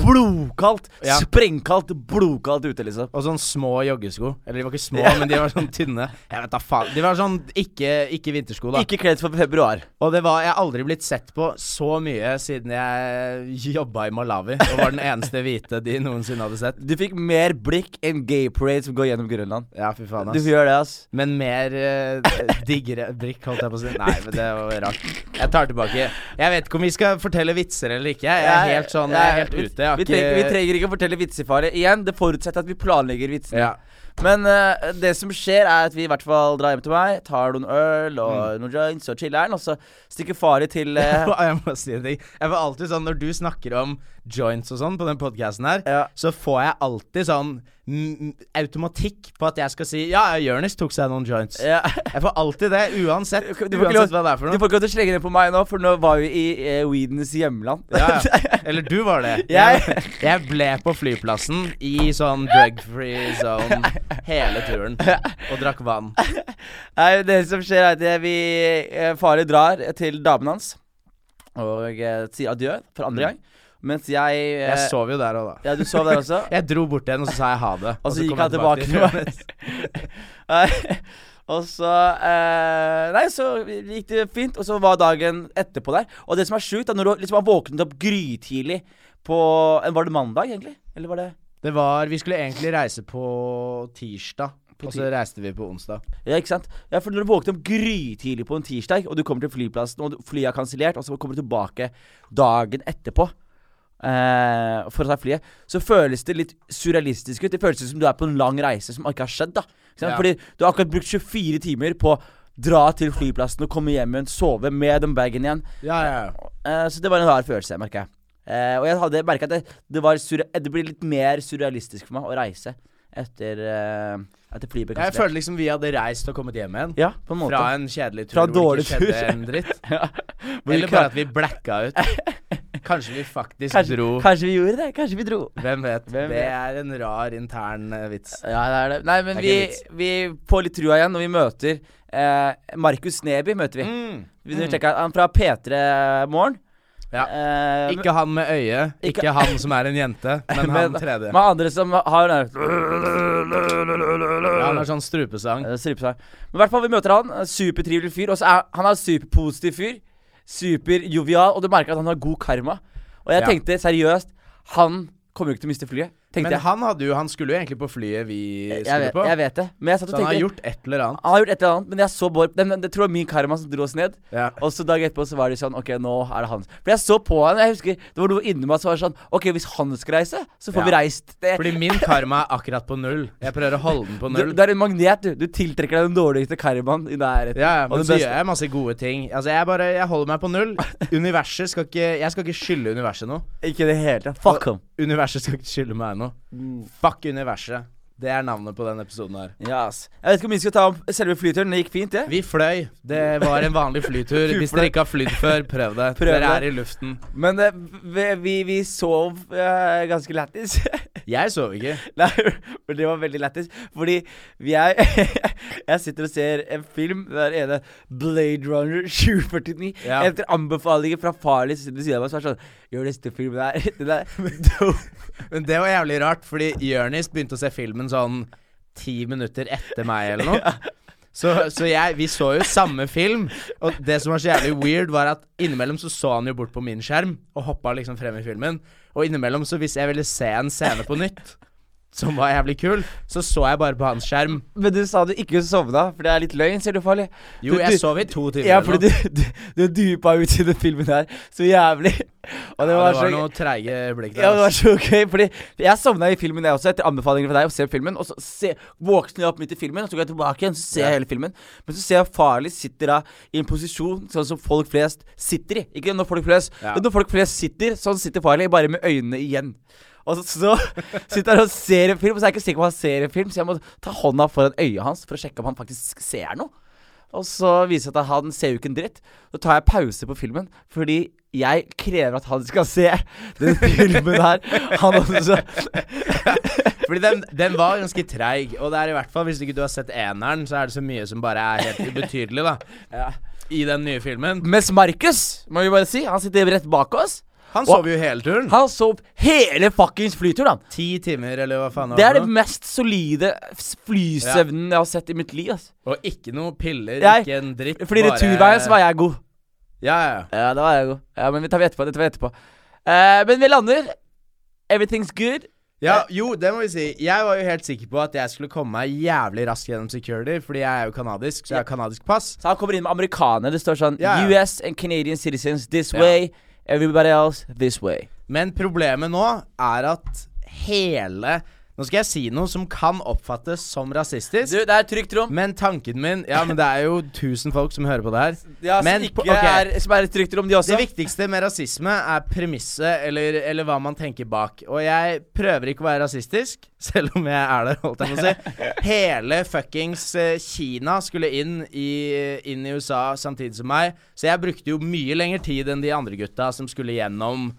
[SPEAKER 2] blodkaldt.
[SPEAKER 1] Ja.
[SPEAKER 2] Sprengkaldt, blodkaldt ute, liksom.
[SPEAKER 1] Og sånn små joggesko. Eller de var ikke små, men de var sånn tynne. Jeg vet da faen. De var sånn ikke, ikke vintersko, da.
[SPEAKER 2] Ikke kledd for februar.
[SPEAKER 1] Og det var Jeg har aldri blitt sett på så mye siden jeg jobba i Malawi og var den eneste hvite de noensinne hadde sett.
[SPEAKER 2] Du fikk mer blikk enn gay parade som går gjennom Grønland.
[SPEAKER 1] Ja, fy faen,
[SPEAKER 2] Du
[SPEAKER 1] ass.
[SPEAKER 2] gjør det, ass.
[SPEAKER 1] Men mer eh, diggere drikk, holdt jeg på å si. Nei, men det var rart. Jeg tar tilbake. Jeg vet ikke om vi skal fortelle vitser eller ikke. Jeg er helt sånn, jeg er helt
[SPEAKER 2] vi-
[SPEAKER 1] ute. Jeg har
[SPEAKER 2] vi, trenger, vi
[SPEAKER 1] ikke
[SPEAKER 2] trenger ikke å fortelle vitsefaret. Igjen, det forutsetter at vi planlegger vitsene.
[SPEAKER 1] ja.
[SPEAKER 2] Men eh, det som skjer, er at vi i hvert fall drar hjem til meg, tar noen øl og
[SPEAKER 1] Mm.
[SPEAKER 2] noen joints og chiller'n, og så stikker fare til eh,
[SPEAKER 1] Og Jeg må si en ting. Jeg får alltid sånn Når du snakker om joints og sånn på den podkasten her,
[SPEAKER 2] Ja.
[SPEAKER 1] så får jeg alltid sånn mm, automatikk på at jeg skal si Ja, Jonis tok seg noen joints.
[SPEAKER 2] ja.
[SPEAKER 1] Jeg får alltid det, uansett.
[SPEAKER 2] Du får ikke lov-
[SPEAKER 1] Uansett hva det er
[SPEAKER 2] Du
[SPEAKER 1] for noe.
[SPEAKER 2] får ikke lov til å slenge det på meg nå, for nå var vi i eh, Weedens hjemland.
[SPEAKER 1] Ja, ja. Eller du var det.
[SPEAKER 2] Jeg-
[SPEAKER 1] jeg ble på flyplassen i sånn drug-free zone hele turen og drakk vann.
[SPEAKER 2] Nei, det som skjer er at jeg- vi eh, Fare drar til damen hans og eh, sier adjø for andre gang. Mens jeg eh,
[SPEAKER 1] Mm. Jeg sov jo der òg, da.
[SPEAKER 2] Ja, du sov der også?
[SPEAKER 1] Jeg dro bort til henne, og så sa jeg ha det.
[SPEAKER 2] Og så
[SPEAKER 1] kom
[SPEAKER 2] gikk han
[SPEAKER 1] jeg
[SPEAKER 2] tilbake til
[SPEAKER 1] til-
[SPEAKER 2] meg. Nei, og så eh, Nei, så gikk det fint, og så var dagen etterpå der. Og det som er sjukt, er når du liksom har våknet opp grytidlig på eh, Var det mandag, egentlig? Eller var det
[SPEAKER 1] Det var Vi skulle egentlig reise på tirsdag, og så
[SPEAKER 2] tir-
[SPEAKER 1] reiste vi på onsdag.
[SPEAKER 2] Ja, ikke sant? Ja, for når du våkner opp grytidlig på en tirsdag, og du kommer til flyplassen, og du- flyet er kansellert, og så kommer du tilbake dagen etterpå eh, for å ta flyet, så føles det litt surrealistisk ut. Det føles som du er på en lang reise som ikke har skjedd. da ikke sant?
[SPEAKER 1] Ja.
[SPEAKER 2] Fordi du har akkurat brukt 24 timer på å dra til flyplassen og komme hjem igjen, sove med den bagen igjen.
[SPEAKER 1] Ja, ja, ja.
[SPEAKER 2] Eh, så det var en rar følelse, merker jeg. Eh, og jeg hadde merka at det, det, var surre det ble litt mer surrealistisk for meg å reise etter, eh, etter flyet
[SPEAKER 1] Jeg
[SPEAKER 2] ble kansellert.
[SPEAKER 1] følte liksom vi hadde reist og kommet hjem igjen.
[SPEAKER 2] Ja, på en måte.
[SPEAKER 1] Fra en kjedelig tur
[SPEAKER 2] Fra
[SPEAKER 1] hvor det
[SPEAKER 2] dårlig
[SPEAKER 1] ikke
[SPEAKER 2] tur.
[SPEAKER 1] skjedde en dritt.
[SPEAKER 2] Ja. Hvor
[SPEAKER 1] Eller
[SPEAKER 2] vi
[SPEAKER 1] bare
[SPEAKER 2] klar-
[SPEAKER 1] at vi blacka ut. Kanskje vi faktisk
[SPEAKER 2] kanskje,
[SPEAKER 1] dro
[SPEAKER 2] kanskje vi gjorde det. Kanskje vi dro.
[SPEAKER 1] Hvem vet?
[SPEAKER 2] Hvem
[SPEAKER 1] det
[SPEAKER 2] vet?
[SPEAKER 1] er en rar intern eh, vits.
[SPEAKER 2] Ja, det er det. Nei,
[SPEAKER 1] Det
[SPEAKER 2] men
[SPEAKER 1] er
[SPEAKER 2] vi,
[SPEAKER 1] ikke vits.
[SPEAKER 2] vi får litt trua igjen når vi møter eh, Markus Neby. møter Vi
[SPEAKER 1] Mm.
[SPEAKER 2] Vi sjekker Han fra P3 Morgen.
[SPEAKER 1] Ja.
[SPEAKER 2] Eh,
[SPEAKER 1] Ikke han med øyet, ikke,
[SPEAKER 2] Ikke-
[SPEAKER 1] han som er en jente, men han tredje.
[SPEAKER 2] Med andre som har den
[SPEAKER 1] Ja, han har sånn strupesang.
[SPEAKER 2] der strupesang. Eh, Men i hvert fall, vi møter han. eh, Supertrivelig fyr. Og så er han er superpositiv fyr. Superjovial. Og du merker at han har god karma. Og jeg
[SPEAKER 1] Ja.
[SPEAKER 2] tenkte seriøst, han kommer jo ikke til å miste flyet. Tenkte
[SPEAKER 1] Men
[SPEAKER 2] jeg.
[SPEAKER 1] han hadde jo Han skulle jo egentlig på flyet vi
[SPEAKER 2] Jeg
[SPEAKER 1] skulle
[SPEAKER 2] vet,
[SPEAKER 1] på.
[SPEAKER 2] jeg vet det. Men jeg satt og
[SPEAKER 1] Så han har
[SPEAKER 2] tenkte
[SPEAKER 1] gjort et eller annet.
[SPEAKER 2] Han har gjort et eller annet, men jeg så Bård den, den, Det tror jeg var min karma som dro oss ned.
[SPEAKER 1] Ja.
[SPEAKER 2] Og så dagen etterpå så var det sånn Ok, nå er det han. For jeg så på han, jeg husker det var noe inni meg som var sånn Ok, hvis han skal reise, så får
[SPEAKER 1] Ja.
[SPEAKER 2] vi reist. Det,
[SPEAKER 1] Fordi min karma er akkurat på null. Jeg prøver å holde den på
[SPEAKER 2] du,
[SPEAKER 1] null.
[SPEAKER 2] du er en magnet, du. Du tiltrekker deg den dårligste karmaen i nærheten.
[SPEAKER 1] Ja, ja, men
[SPEAKER 2] Og det
[SPEAKER 1] så
[SPEAKER 2] beste.
[SPEAKER 1] gjør jeg masse gode ting. Altså, jeg bare Jeg holder meg på null. Universet skal ikke Jeg skal ikke skylde universet noe.
[SPEAKER 2] Ikke i det hele tatt. Fuck ham.
[SPEAKER 1] Universet skal ikke skylde meg noe. Fuck universet. Det er navnet på den episoden her.
[SPEAKER 2] Ja, ass. Jeg vet ikke om vi skal ta opp selve flyturen. Det gikk fint, det.
[SPEAKER 1] Vi fløy. Det var en vanlig flytur. Hvis dere ikke har flydd før, prøv det.
[SPEAKER 2] Prøv
[SPEAKER 1] dere er i
[SPEAKER 2] det.
[SPEAKER 1] luften.
[SPEAKER 2] Men eh, vi, vi, vi sov eh, ganske lættis.
[SPEAKER 1] Jeg sov ikke.
[SPEAKER 2] Nei, men det var veldig lættis. Fordi vi er Jeg sitter og ser en film. Den ene Blade Runner 2049.
[SPEAKER 1] Ja.
[SPEAKER 2] Etter anbefalinger fra Farley som sitter ved siden av meg, så er det sånn Gjør neste film der. Den er dope.
[SPEAKER 1] Men det var jævlig rart, fordi Jonis begynte å se filmen sånn ti minutter etter meg eller noe. Så, så jeg, vi så jo samme film, og det som var så jævlig weird, var at innimellom så så han jo bort på min skjerm, og hoppa liksom frem i filmen. Og innimellom, så hvis jeg ville se en scene på nytt, som var jævlig kul, så så jeg bare på hans skjerm.
[SPEAKER 2] Men du sa du ikke sovna, for det er litt løgn, sier du, Farley.
[SPEAKER 1] Jo,
[SPEAKER 2] Du-
[SPEAKER 1] jeg
[SPEAKER 2] du-
[SPEAKER 1] sov i to timer.
[SPEAKER 2] Ja,
[SPEAKER 1] eller
[SPEAKER 2] fordi
[SPEAKER 1] noe.
[SPEAKER 2] du, du, du dypa ut i den filmen her så jævlig. Og
[SPEAKER 1] ja, det
[SPEAKER 2] det var,
[SPEAKER 1] var
[SPEAKER 2] så
[SPEAKER 1] noe treige blikk der. altså.
[SPEAKER 2] Ja, det var
[SPEAKER 1] ass.
[SPEAKER 2] så gøy, fordi jeg sovna i filmen jeg også, etter anbefalinger fra deg, å se filmen. Og så se, våkner jeg opp midt i filmen, og så går jeg tilbake igjen, så ser jeg hele filmen. Men så ser jeg Farley sitter da i en posisjon sånn som folk flest sitter i. Ikke når folk flest,
[SPEAKER 1] Ja.
[SPEAKER 2] men når folk flest sitter, sånn sitter Farley, bare med øynene igjen. Og så, så sitter han og ser en film, og så er jeg ikke sikker på om han ser en film, så jeg må ta hånda foran øyet hans for å sjekke om han faktisk ser noe. Og så viser det seg at han ser jo ikke en dritt. Så tar jeg pause på filmen fordi jeg krever at han skal se den filmen her. Han også
[SPEAKER 1] Fordi den, den var ganske treig, og det er i hvert fall, hvis ikke du har sett eneren, så er det så mye som bare er helt ubetydelig, da. I den nye filmen.
[SPEAKER 2] Mens Markus, må vi bare si, han sitter rett bak oss.
[SPEAKER 1] Han
[SPEAKER 2] Og-
[SPEAKER 1] sov jo hele turen.
[SPEAKER 2] Han sov hele fuckings flyturen, han.
[SPEAKER 1] Ti timer, eller hva faen
[SPEAKER 2] Det er
[SPEAKER 1] for
[SPEAKER 2] det
[SPEAKER 1] noe.
[SPEAKER 2] mest solide s- flysøvnen jeg har sett i mitt liv. ass.
[SPEAKER 1] Og ikke noe piller,
[SPEAKER 2] Jeg-
[SPEAKER 1] ikke en dritt.
[SPEAKER 2] Fordi returveien så var jeg god.
[SPEAKER 1] Ja, ja.
[SPEAKER 2] Ja, da var jeg god. Ja, Men vi tar vi etterpå. Det tar vi etterpå. Eh, men vi lander. Everything's good.
[SPEAKER 1] Ja, jo, det må vi si. Jeg var jo helt sikker på at jeg skulle komme meg jævlig raskt gjennom security, fordi jeg er jo kanadisk, så jeg har kanadisk pass.
[SPEAKER 2] Så han kommer inn med amerikaner. Det står sånn
[SPEAKER 1] Ja, ja.
[SPEAKER 2] US and Canadian citizens this
[SPEAKER 1] Ja.
[SPEAKER 2] way. Everybody else this way.
[SPEAKER 1] Men problemet nå er at hele Nå skal jeg si noe som kan oppfattes som rasistisk.
[SPEAKER 2] Du, det er et trygt rom.
[SPEAKER 1] Men tanken min Ja, men det er jo tusen folk som hører på det her.
[SPEAKER 2] Ja,
[SPEAKER 1] men
[SPEAKER 2] som, ikke
[SPEAKER 1] på- ok.
[SPEAKER 2] er, som er et trygt rom, de også.
[SPEAKER 1] Det viktigste med rasisme er premisset, eller, eller hva man tenker bak. Og jeg prøver ikke å være rasistisk, selv om jeg er det, holdt jeg på å si. Hele fuckings eh, Kina skulle inn i, inn i USA samtidig som meg, så jeg brukte jo mye lengre tid enn de andre gutta som skulle gjennom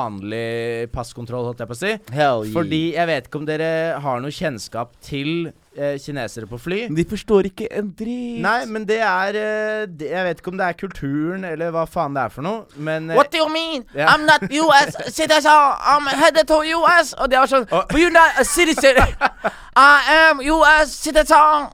[SPEAKER 1] vanlig passkontroll, holdt jeg på å si.
[SPEAKER 2] Hell yeah.
[SPEAKER 1] Fordi jeg vet ikke om dere har noe kjennskap til eh, kinesere på fly.
[SPEAKER 2] De forstår ikke en dritt.
[SPEAKER 1] Nei, men det er eh, det, Jeg vet ikke om det er kulturen eller hva faen det er for noe, men eh,
[SPEAKER 4] What do you mean?
[SPEAKER 1] Ja.
[SPEAKER 4] I'm not US citizen. I'm headed to US. Og det var sånn
[SPEAKER 1] Og-
[SPEAKER 4] But you're not a citizen. I am US citizen.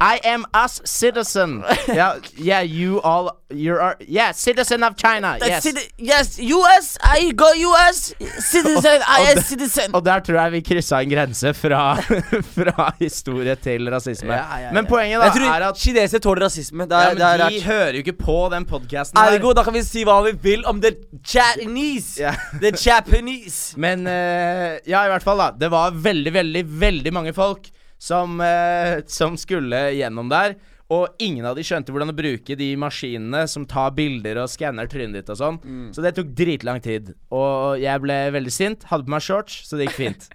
[SPEAKER 1] I am us citizen. yeah, yeah, you all, you are, yeah, citizen of China.
[SPEAKER 4] A
[SPEAKER 1] Yes.
[SPEAKER 4] citi- yes, US. I go US. Citizen. I am citizen.
[SPEAKER 1] Og der tror jeg vi kryssa en grense fra, fra historie til rasisme.
[SPEAKER 2] Ja, ja, ja.
[SPEAKER 1] Men poenget da
[SPEAKER 2] Jeg tror
[SPEAKER 1] er at
[SPEAKER 2] kinesere tåler rasisme. Det er,
[SPEAKER 1] ja,
[SPEAKER 2] det
[SPEAKER 1] men
[SPEAKER 2] er
[SPEAKER 1] De
[SPEAKER 2] rart.
[SPEAKER 1] hører jo ikke på den podkasten
[SPEAKER 2] Ergo, da kan vi si hva vi vil om the Japanese.
[SPEAKER 1] Ja.
[SPEAKER 2] The Japanese.
[SPEAKER 1] Men eh, ja, i hvert fall, da. Det var veldig, veldig, veldig mange folk som, eh, som skulle gjennom der. Og ingen av de skjønte hvordan å bruke de maskinene som tar bilder og skanner trynet ditt og sånn. Så det tok dritlang tid. Og jeg ble veldig sint. Hadde på meg shorts, så det gikk fint.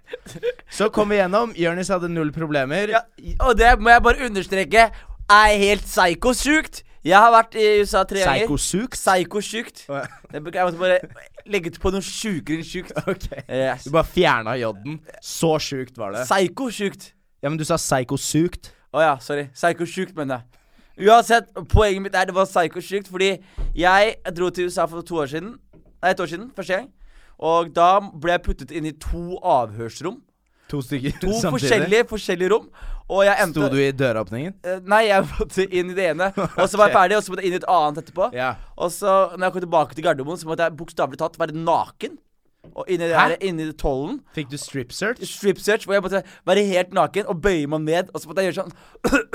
[SPEAKER 1] så kom vi gjennom. Jonis hadde null problemer.
[SPEAKER 2] Ja, og det må jeg bare understreke er helt psykosjukt. Jeg har vært i USA tre ganger.
[SPEAKER 1] Psykosuk.
[SPEAKER 2] Psykosjukt.
[SPEAKER 1] Å, ja.
[SPEAKER 2] Jeg beklager, jeg måtte bare legge til på noe sjukere enn sjukt. Eh,
[SPEAKER 1] Ok.
[SPEAKER 2] Yes.
[SPEAKER 1] Du bare fjerna j-en. Så sjukt var det.
[SPEAKER 2] Psykosjukt.
[SPEAKER 1] Ja, men du sa psykosukt.
[SPEAKER 2] Å ja, sorry. Psykosjukt, mener jeg. Uansett, poenget mitt er det var psykosjukt, fordi jeg dro til USA for to år siden. Nei, et år siden, første gang. Og da ble jeg puttet inn i to avhørsrom.
[SPEAKER 1] To stykker
[SPEAKER 2] To forskjellige, forskjellige rom. Og jeg endte
[SPEAKER 1] Sto du i døråpningen?
[SPEAKER 2] Eh, Nei, jeg måtte inn i det ene, og så var jeg ferdig, og så måtte jeg inn i et annet etterpå.
[SPEAKER 1] Ja.
[SPEAKER 2] Og så, når jeg kom tilbake til Gardermoen, så måtte jeg bokstavelig talt være naken. Og inni det
[SPEAKER 1] Hæ?
[SPEAKER 2] der, inni det tollen.
[SPEAKER 1] Fikk du strip search?
[SPEAKER 2] Strip search, hvor jeg måtte være helt naken og bøye meg ned, og så måtte jeg gjøre sånn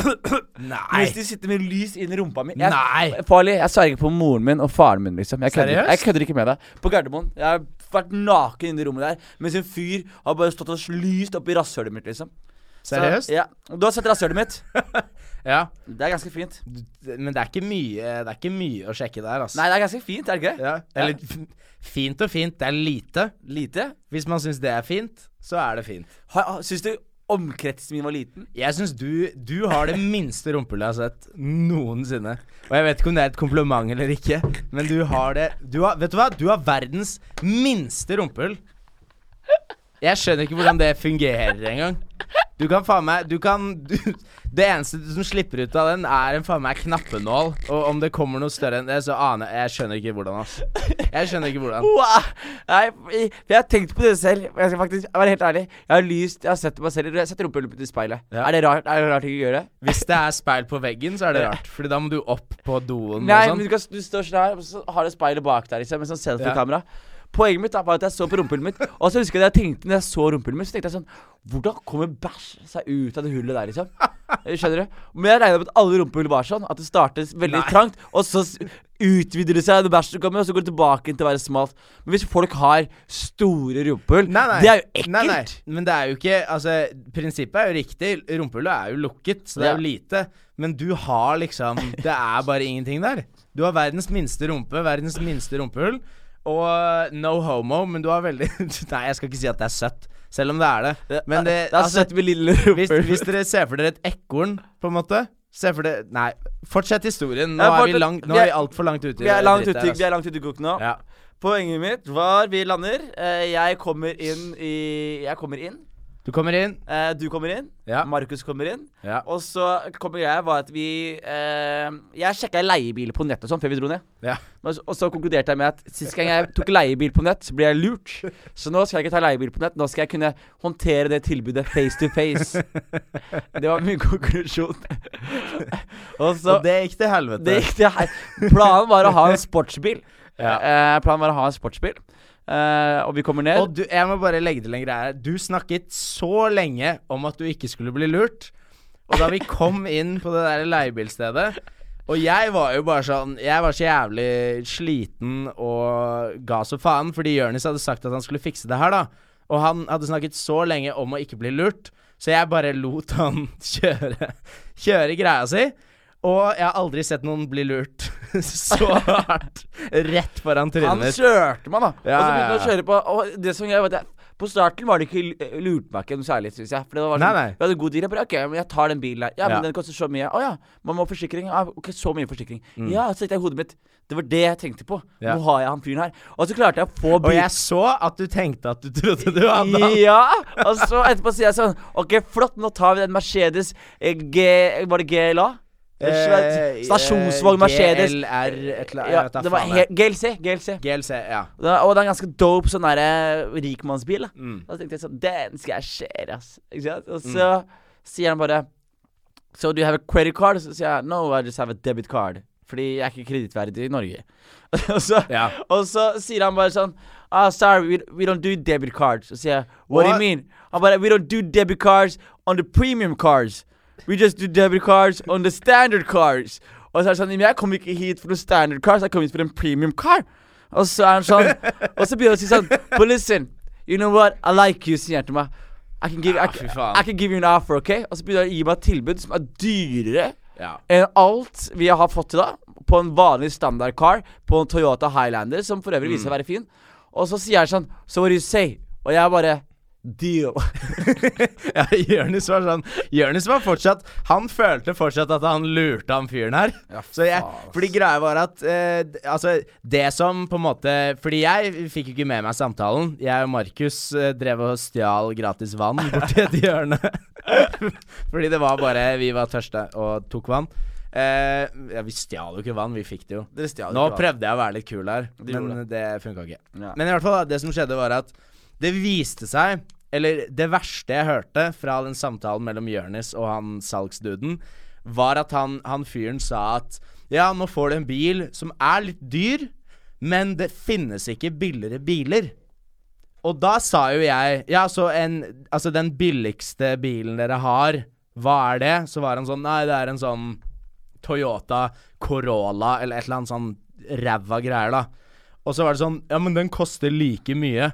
[SPEAKER 1] Nei.
[SPEAKER 2] Mens de sitter med lys inn i rumpa mi. Jeg, Eh,
[SPEAKER 1] Nei.
[SPEAKER 2] Farlig. Jeg sverger på moren min og faren min, liksom. Jeg kødder,
[SPEAKER 1] Seriøst?
[SPEAKER 2] jeg kødder ikke med deg. På Gardermoen. Jeg har vært naken inne i rommet der, mens en fyr har bare stått og lyst oppi rasshølet mitt, liksom. Så-
[SPEAKER 1] Seriøst?
[SPEAKER 2] Ja. Og Du har sett rasshølet mitt.
[SPEAKER 1] Ja.
[SPEAKER 2] Det er ganske fint.
[SPEAKER 1] Men det er ikke mye, det er ikke mye å sjekke der, altså.
[SPEAKER 2] Nei, det er ganske fint, er det ikke? det?
[SPEAKER 1] Ja. Eller f- fint og fint, det er lite.
[SPEAKER 2] Lite?
[SPEAKER 1] Hvis man syns det er fint, så er det fint.
[SPEAKER 2] Ha- ha- Syns du omkretsen min var liten?
[SPEAKER 1] Jeg syns du, du har det minste rumpehullet jeg har sett noensinne. Og jeg vet ikke om det er et kompliment eller ikke, men du har det du har, Vet du hva? Du har verdens minste rumpehull. Jeg skjønner ikke hvordan det fungerer engang. Du kan faen meg Du kan du, Det eneste som slipper ut av den, er en faen meg knappenål. Og om det kommer noe større enn det, så aner jeg Jeg skjønner ikke hvordan, ass. Jeg skjønner ikke hvordan.
[SPEAKER 2] Wow. Nei, i- jeg har tenkt på det selv. og Jeg skal faktisk være helt ærlig. Jeg har lyst, jeg har sett meg selv Jeg har sett rumpehullet mitt i speilet.
[SPEAKER 1] Ja.
[SPEAKER 2] Er det rart Er det rart ikke å gjøre det?
[SPEAKER 1] Hvis det er speil på veggen, så er det rart. Fordi da må du opp på doen
[SPEAKER 2] Nei,
[SPEAKER 1] og
[SPEAKER 2] men du,
[SPEAKER 1] sånn.
[SPEAKER 2] kan, du står sånn her, og så har du speilet bak deg, liksom, med sånn selfie-kamera. Poenget mitt da, var at jeg så på rumpehullet mitt, og så husker jeg at jeg tenkte når jeg så rumpehullet mitt, så tenkte jeg sånn Hvordan kommer bæsj seg ut av det hullet der, liksom? Skjønner du? Men jeg regna med at alle rumpehull var sånn, at det startet veldig
[SPEAKER 1] Nei.
[SPEAKER 2] trangt, og så s- utvider det seg når bæsjen kommer, og så går det tilbake inn til å være smalt. Men hvis folk har store rumpehull,
[SPEAKER 1] Nei, nei.
[SPEAKER 2] det er jo ekkelt.
[SPEAKER 1] Nei, nei. Men det er jo ikke Altså, prinsippet er jo riktig. Rumpehullet er jo lukket, så det er jo
[SPEAKER 2] Ja.
[SPEAKER 1] lite. Men du har liksom Det er bare ingenting der. Du har verdens minste rumpe, verdens minste rumpehull. Og no homo, men du har veldig Nei, jeg skal ikke si at det er søtt, selv om det er det. Men det,
[SPEAKER 2] er
[SPEAKER 1] altså,
[SPEAKER 2] søtt med lille
[SPEAKER 1] hvis,
[SPEAKER 2] rumpehull.
[SPEAKER 1] hvis dere ser for dere et ekorn, på en måte Se for dere Nei, fortsett historien. Nå
[SPEAKER 2] Ja,
[SPEAKER 1] er vi,
[SPEAKER 2] fortsett.
[SPEAKER 1] langt, nå
[SPEAKER 2] Vi
[SPEAKER 1] er
[SPEAKER 2] er-
[SPEAKER 1] vi altfor langt ute. i
[SPEAKER 2] Vi er
[SPEAKER 1] det
[SPEAKER 2] langt
[SPEAKER 1] drittet
[SPEAKER 2] ute
[SPEAKER 1] her,
[SPEAKER 2] vi er langt ute i koken nå.
[SPEAKER 1] altså. Ja.
[SPEAKER 2] Poenget mitt var vi lander. Eh, jeg kommer inn i Jeg kommer inn.
[SPEAKER 1] Du kommer inn.
[SPEAKER 2] Eh, du kommer inn.
[SPEAKER 1] Ja.
[SPEAKER 2] Markus kommer inn.
[SPEAKER 1] Ja.
[SPEAKER 2] Og så kommer greia var at vi eh, Jeg sjekka leiebiler på nettet og sånn før vi dro ned.
[SPEAKER 1] Ja.
[SPEAKER 2] Og så- og så konkluderte jeg med at sist gang jeg tok leiebil på nett, så ble jeg lurt. Så nå skal jeg ikke ta leiebil på nett, nå skal jeg kunne håndtere det tilbudet face to face. Det var min konklusjon. Og så
[SPEAKER 1] Og det gikk til helvete.
[SPEAKER 2] det gikk til her. Planen var å ha en sportsbil.
[SPEAKER 1] Ja.
[SPEAKER 2] Eh, planen var å ha en sportsbil. Eh, og vi kommer ned.
[SPEAKER 1] Og du, jeg må bare legge til en greie her. Du snakket så lenge om at du ikke skulle bli lurt. Og da vi kom inn på det der leiebilstedet Og jeg var jo bare sånn Jeg var så jævlig sliten og ga så faen, fordi Jonis hadde sagt at han skulle fikse det her, da. Og han hadde snakket så lenge om å ikke bli lurt, så jeg bare lot han kjøre, kjøre greia si. Og jeg har aldri sett noen bli lurt så hardt rett foran trynet
[SPEAKER 2] Han
[SPEAKER 1] mitt.
[SPEAKER 2] kjørte meg, da.
[SPEAKER 1] Ja,
[SPEAKER 2] og så begynte
[SPEAKER 1] ja,
[SPEAKER 2] han å kjøre på. Og det som jeg, vet jeg på starten var det ikke l- lurt meg ikke noe særlig, syns jeg. For det var sånn,
[SPEAKER 1] Nei, nei.
[SPEAKER 2] Vi hadde god deal. Jeg bare, ok, men jeg tar den bilen her. Ja, men
[SPEAKER 1] Ja.
[SPEAKER 2] den koster så mye. Å ja, man må ha forsikring. Ja, ok, så mye forsikring. Ja, så tenkte jeg i hodet mitt. Det var det jeg tenkte på.
[SPEAKER 1] Mm. Ja.
[SPEAKER 2] Nå har jeg han fyren her. Og så klarte jeg å få
[SPEAKER 1] Og
[SPEAKER 2] bilen.
[SPEAKER 1] jeg så at du tenkte at du trodde du hadde han.
[SPEAKER 2] Ja! Og så etterpå sier jeg sånn OK, flott, nå tar vi den Mercedes eh, G... Var det GLA?
[SPEAKER 1] Eh,
[SPEAKER 2] Stasjonsvogn Mercedes.
[SPEAKER 1] GLR, et eller
[SPEAKER 2] Ja,
[SPEAKER 1] annet.
[SPEAKER 2] det var he GLC. GLC.
[SPEAKER 1] GLC, ja.
[SPEAKER 2] Da- Og det er en ganske dope sånn derre rikmannsbil. Da. da tenkte jeg sånn Den skal jeg kjøre, ass. Ikke sant? Og så sier han bare So do you have a credit card? Så sier jeg No, I just have a debit card. Fordi jeg er ikke kredittverdig i Norge. og, så,
[SPEAKER 1] Ja.
[SPEAKER 2] og så sier han bare sånn Ah, sorry, we, we don't do debit cards. Så sier jeg What do you
[SPEAKER 1] What?
[SPEAKER 2] mean? Han bare We don't do debit cards on the premium cards. We just do debit cards on the standard cars. Og så er det sånn Men jeg kom ikke hit for noen standard cars, jeg kom hit for en premium car. Og så er han sånn Og så begynner han å si sånn But listen, you know what? I like you, sier han til meg. I can, give, I,
[SPEAKER 1] Ah,
[SPEAKER 2] can,
[SPEAKER 1] fy faen.
[SPEAKER 2] I can give you an offer, ok? Og så begynner han å gi meg et tilbud som er dyrere
[SPEAKER 1] ja.
[SPEAKER 2] enn Eh, alt vi har fått til da, på en vanlig standard car, på en Toyota Highlander, som for øvrig viser seg å være fin. Og så sier han sånn So what do you say? Og jeg bare Deal.
[SPEAKER 1] ja Jonis var sånn Jonis var fortsatt Han følte fortsatt at han lurte han fyren her. Så jeg, fordi greia var at eh, d- Altså, det som på en måte Fordi jeg fikk jo ikke med meg samtalen. Jeg og Markus eh, drev og stjal gratis vann borti et hjørne. fordi det var bare Vi var tørste og tok vann. Eh, ja, vi stjal jo ikke vann, vi fikk det jo.
[SPEAKER 2] Dere stjal
[SPEAKER 1] Nå
[SPEAKER 2] ikke, da.
[SPEAKER 1] prøvde jeg å være litt kul her, men
[SPEAKER 2] gjorde
[SPEAKER 1] det funka ikke.
[SPEAKER 2] Ja.
[SPEAKER 1] Men i hvert fall, da, det som skjedde, var at det viste seg Eller det verste jeg hørte fra den samtalen mellom Jonis og han salgsduden, var at han, han fyren sa at ja, nå får du en bil som er litt dyr, men det finnes ikke billigere biler. Og da sa jo jeg Ja, så en Altså, den billigste bilen dere har, hva er det? Så var han sånn Nei, det er en sånn Toyota Corolla eller et eller annet sånn ræva greier, da. Og så var det sånn Ja, men den koster like mye.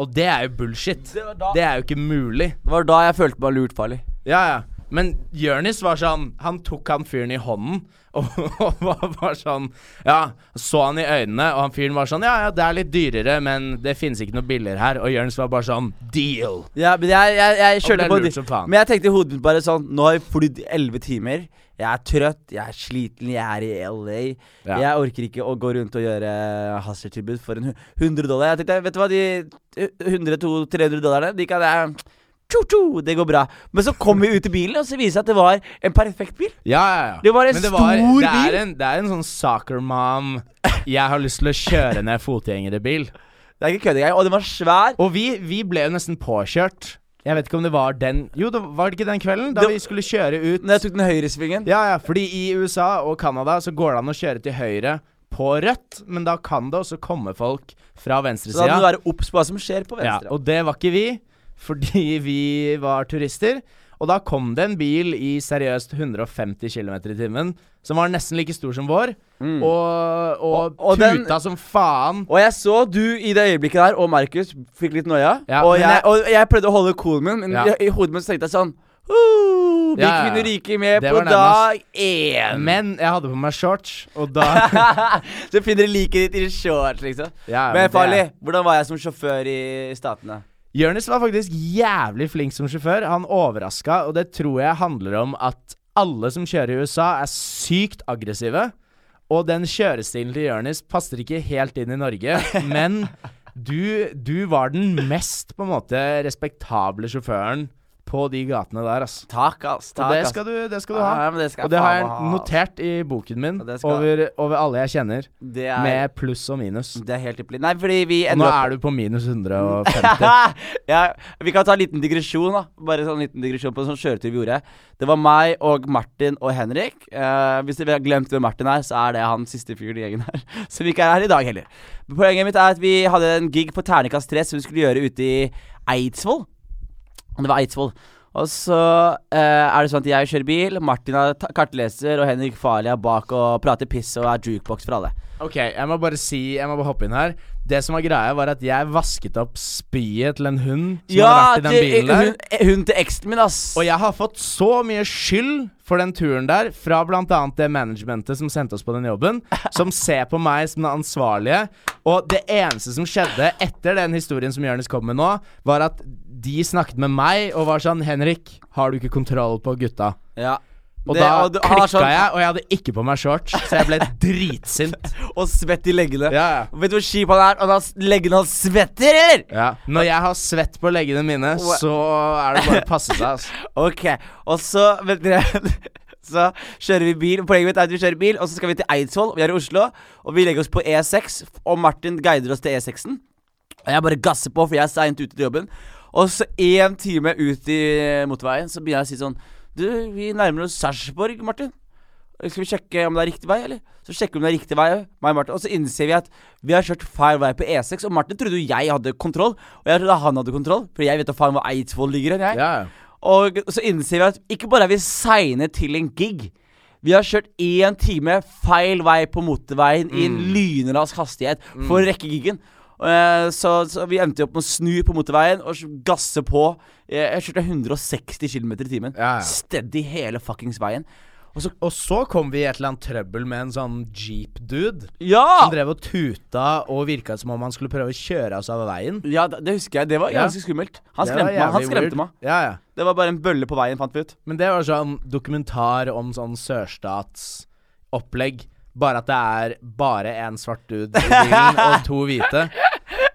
[SPEAKER 1] Og det er jo bullshit.
[SPEAKER 2] Det var da-
[SPEAKER 1] Det er jo ikke mulig.
[SPEAKER 2] Det var da jeg følte meg lurt, farlig.
[SPEAKER 1] Ja, ja. Men Jonis var sånn Han tok han fyren i hånden og, og var, var sånn Ja, så han i øynene, og han fyren var sånn Ja, ja, det er litt dyrere, men det finnes ikke noe billigere her. Og Jonis var bare sånn Deal!
[SPEAKER 2] Ja, men jeg, jeg, jeg kjørte
[SPEAKER 1] ble
[SPEAKER 2] på
[SPEAKER 1] lurt
[SPEAKER 2] de-
[SPEAKER 1] som faen.
[SPEAKER 2] Men jeg tenkte i hodet mitt bare sånn Nå har vi flydd 11 timer Jeg er trøtt, jeg er sliten, jeg er i LA
[SPEAKER 1] Ja.
[SPEAKER 2] Jeg orker ikke å gå rundt og gjøre Hasseltilbud for en hu- 100 dollar Jeg tenkte, vet du hva, de 100-300 dollarene De kan jeg tjo, tjo, Det går bra Men så kom vi ut i bilen Og så viser det seg at det var en perfekt bil
[SPEAKER 1] Ja, ja, ja.
[SPEAKER 2] Det var en stor
[SPEAKER 1] det er
[SPEAKER 2] bil.
[SPEAKER 1] En, det er en sånn soccer mom Jeg har lyst til å kjøre ned fotgjengere-bil.
[SPEAKER 2] Det er ikke kødd engang Og den var svær
[SPEAKER 1] Og vi, vi ble jo nesten påkjørt. Jeg vet ikke om det var den Jo, det var det ikke den kvelden? Da
[SPEAKER 2] Det-
[SPEAKER 1] vi skulle kjøre ut
[SPEAKER 2] Når jeg tok den høyre svingen
[SPEAKER 1] Ja, ja, fordi i USA og Canada så går det an å kjøre til høyre på rødt, men da kan det også komme folk fra
[SPEAKER 2] Så da må du
[SPEAKER 1] venstresida.
[SPEAKER 2] være opps på hva som skjer på
[SPEAKER 1] Ja,
[SPEAKER 2] venstre
[SPEAKER 1] og det var ikke vi, fordi vi var turister. Og da kom det en bil i seriøst 150 km i timen, som var nesten like stor som vår, og, og,
[SPEAKER 2] Mm. Og- og den-
[SPEAKER 1] tuta som faen.
[SPEAKER 2] Og jeg så du i det øyeblikket der, og Markus fikk litt noia.
[SPEAKER 1] Ja,
[SPEAKER 2] og,
[SPEAKER 1] men
[SPEAKER 2] jeg,
[SPEAKER 1] jeg-
[SPEAKER 2] og jeg prøvde å holde coolen min, men
[SPEAKER 1] Ja.
[SPEAKER 2] jeg, i hodet mitt så tenkte jeg sånn «Woo, Vi
[SPEAKER 1] Ja, ja, ja.
[SPEAKER 2] kunne ryke med
[SPEAKER 1] Det
[SPEAKER 2] på
[SPEAKER 1] var nærmest.
[SPEAKER 2] dag én.
[SPEAKER 1] Men jeg hadde på meg shorts, og da
[SPEAKER 2] så finner du liket ditt i shorts, liksom.
[SPEAKER 1] Ja, ja, men
[SPEAKER 2] men
[SPEAKER 1] det er-
[SPEAKER 2] farlig. Hvordan var jeg som sjåfør i Statene?
[SPEAKER 1] Jonis var faktisk jævlig flink som sjåfør. Han overraska, og det tror jeg handler om at alle som kjører i USA, er sykt aggressive. Og den kjørestilen til Jonis passer ikke helt inn i Norge, men Du, du var den mest på en måte respektable sjåføren på de gatene der, ass.
[SPEAKER 2] Takk, ass.
[SPEAKER 1] Og
[SPEAKER 2] Takk,
[SPEAKER 1] det
[SPEAKER 2] ass.
[SPEAKER 1] skal du, det skal du
[SPEAKER 2] Ja,
[SPEAKER 1] ha.
[SPEAKER 2] men det skal
[SPEAKER 1] Og det har
[SPEAKER 2] faen
[SPEAKER 1] jeg
[SPEAKER 2] meg ha, ass.
[SPEAKER 1] notert i boken min
[SPEAKER 2] Ja, det skal-
[SPEAKER 1] over, over alle jeg kjenner,
[SPEAKER 2] Det er,
[SPEAKER 1] med pluss og minus.
[SPEAKER 2] det er helt ypperlig. Nei, fordi vi
[SPEAKER 1] Og nå er du på minus 150.
[SPEAKER 2] ja, vi kan ta en liten digresjon, da. Bare sånn liten digresjon på en sånn kjøretur vi gjorde. Det var meg og Martin og Henrik. Eh, hvis dere har glemt hvem Martin er, så er det han siste fyren i gjengen her. Som ikke er her i dag heller. Men Poenget mitt er at vi hadde en gig på Ternekast 3 som vi skulle gjøre ute i Eidsvoll. Det var Eidsvoll. Og så eh, er det sånn at jeg kjører bil, Martin er ta- kartleser, og Henrik Farley er bak og prater piss og er jukebox for alle.
[SPEAKER 1] Ok, jeg må bare si Jeg må bare hoppe inn her. Det som var greia, var at jeg vasket opp spyet til en hund som hadde vært i den bilen der.
[SPEAKER 2] hun, hun til eksen min, ass.
[SPEAKER 1] Og jeg har fått så mye skyld for den turen der fra bl.a. det managementet som sendte oss på den jobben, som ser på meg som den ansvarlige. Og det eneste som skjedde etter den historien som Jonis kom med nå, var at de snakket med meg og var sånn Henrik, har du ikke kontroll på gutta?
[SPEAKER 2] Ja.
[SPEAKER 1] Og
[SPEAKER 2] Det-
[SPEAKER 1] da
[SPEAKER 2] og du- han
[SPEAKER 1] klikka
[SPEAKER 2] er sånn-
[SPEAKER 1] jeg, og jeg hadde ikke på meg shorts, så jeg ble dritsint.
[SPEAKER 2] Og svett i leggene.
[SPEAKER 1] Ja, ja.
[SPEAKER 2] Og Vet du hvor kjip han er? Og da s- leggene hans svetter, eller?
[SPEAKER 1] Ja. Når jeg har svett på leggene mine,
[SPEAKER 2] Wow.
[SPEAKER 1] så er det bare å passe seg. Altså.
[SPEAKER 2] Ok, og så Vet dere Så kjører vi bil. Poenget mitt er at vi kjører bil, og så skal vi til Eidsvoll. og Vi er i Oslo, og vi legger oss på E6. Og Martin guider oss til E6-en. Og jeg bare gasser på, for jeg er seint ute til jobben. Og så én time ut i motorveien, så begynner jeg å si sånn Du, vi nærmer oss Sarpsborg, Martin. Skal vi sjekke om det er riktig vei, eller? Så sjekker vi om det er riktig vei, meg og Martin. Og så innser vi at vi har kjørt feil vei på E6. Og Martin trodde jo jeg hadde kontroll, og jeg trodde han hadde kontroll. For jeg vet da faen hvor Eidsvoll ligger hen, jeg.
[SPEAKER 1] Ja, ja.
[SPEAKER 2] Og så innser vi at ikke bare er vi seine til en gig. Vi har kjørt én time feil vei på motorveien i en
[SPEAKER 1] Mm.
[SPEAKER 2] lynrask hastighet for å rekke gigen. Eh, Så, så vi endte jo opp med å snu på motorveien og s- gasse på. Eh, Jeg kjørte 160 km i timen.
[SPEAKER 1] Ja, ja.
[SPEAKER 2] Steady hele fuckings veien. Og så
[SPEAKER 1] Og så kom vi i et eller annet trøbbel med en sånn jeep-dude.
[SPEAKER 2] Ja!
[SPEAKER 1] Han drev og tuta og virka som om han skulle prøve å kjøre oss av veien.
[SPEAKER 2] Ja, det det husker jeg. Det var
[SPEAKER 1] Ja.
[SPEAKER 2] ganske skummelt. Han
[SPEAKER 1] Det var
[SPEAKER 2] skremte meg. Han
[SPEAKER 1] jævlig
[SPEAKER 2] skremte
[SPEAKER 1] weird.
[SPEAKER 2] meg.
[SPEAKER 1] Ja, ja.
[SPEAKER 2] Det var bare en bølle på veien, fant vi ut.
[SPEAKER 1] Men det var sånn dokumentar om sånn sørstatsopplegg. Bare at det er bare én svart dude i bilen og to hvite.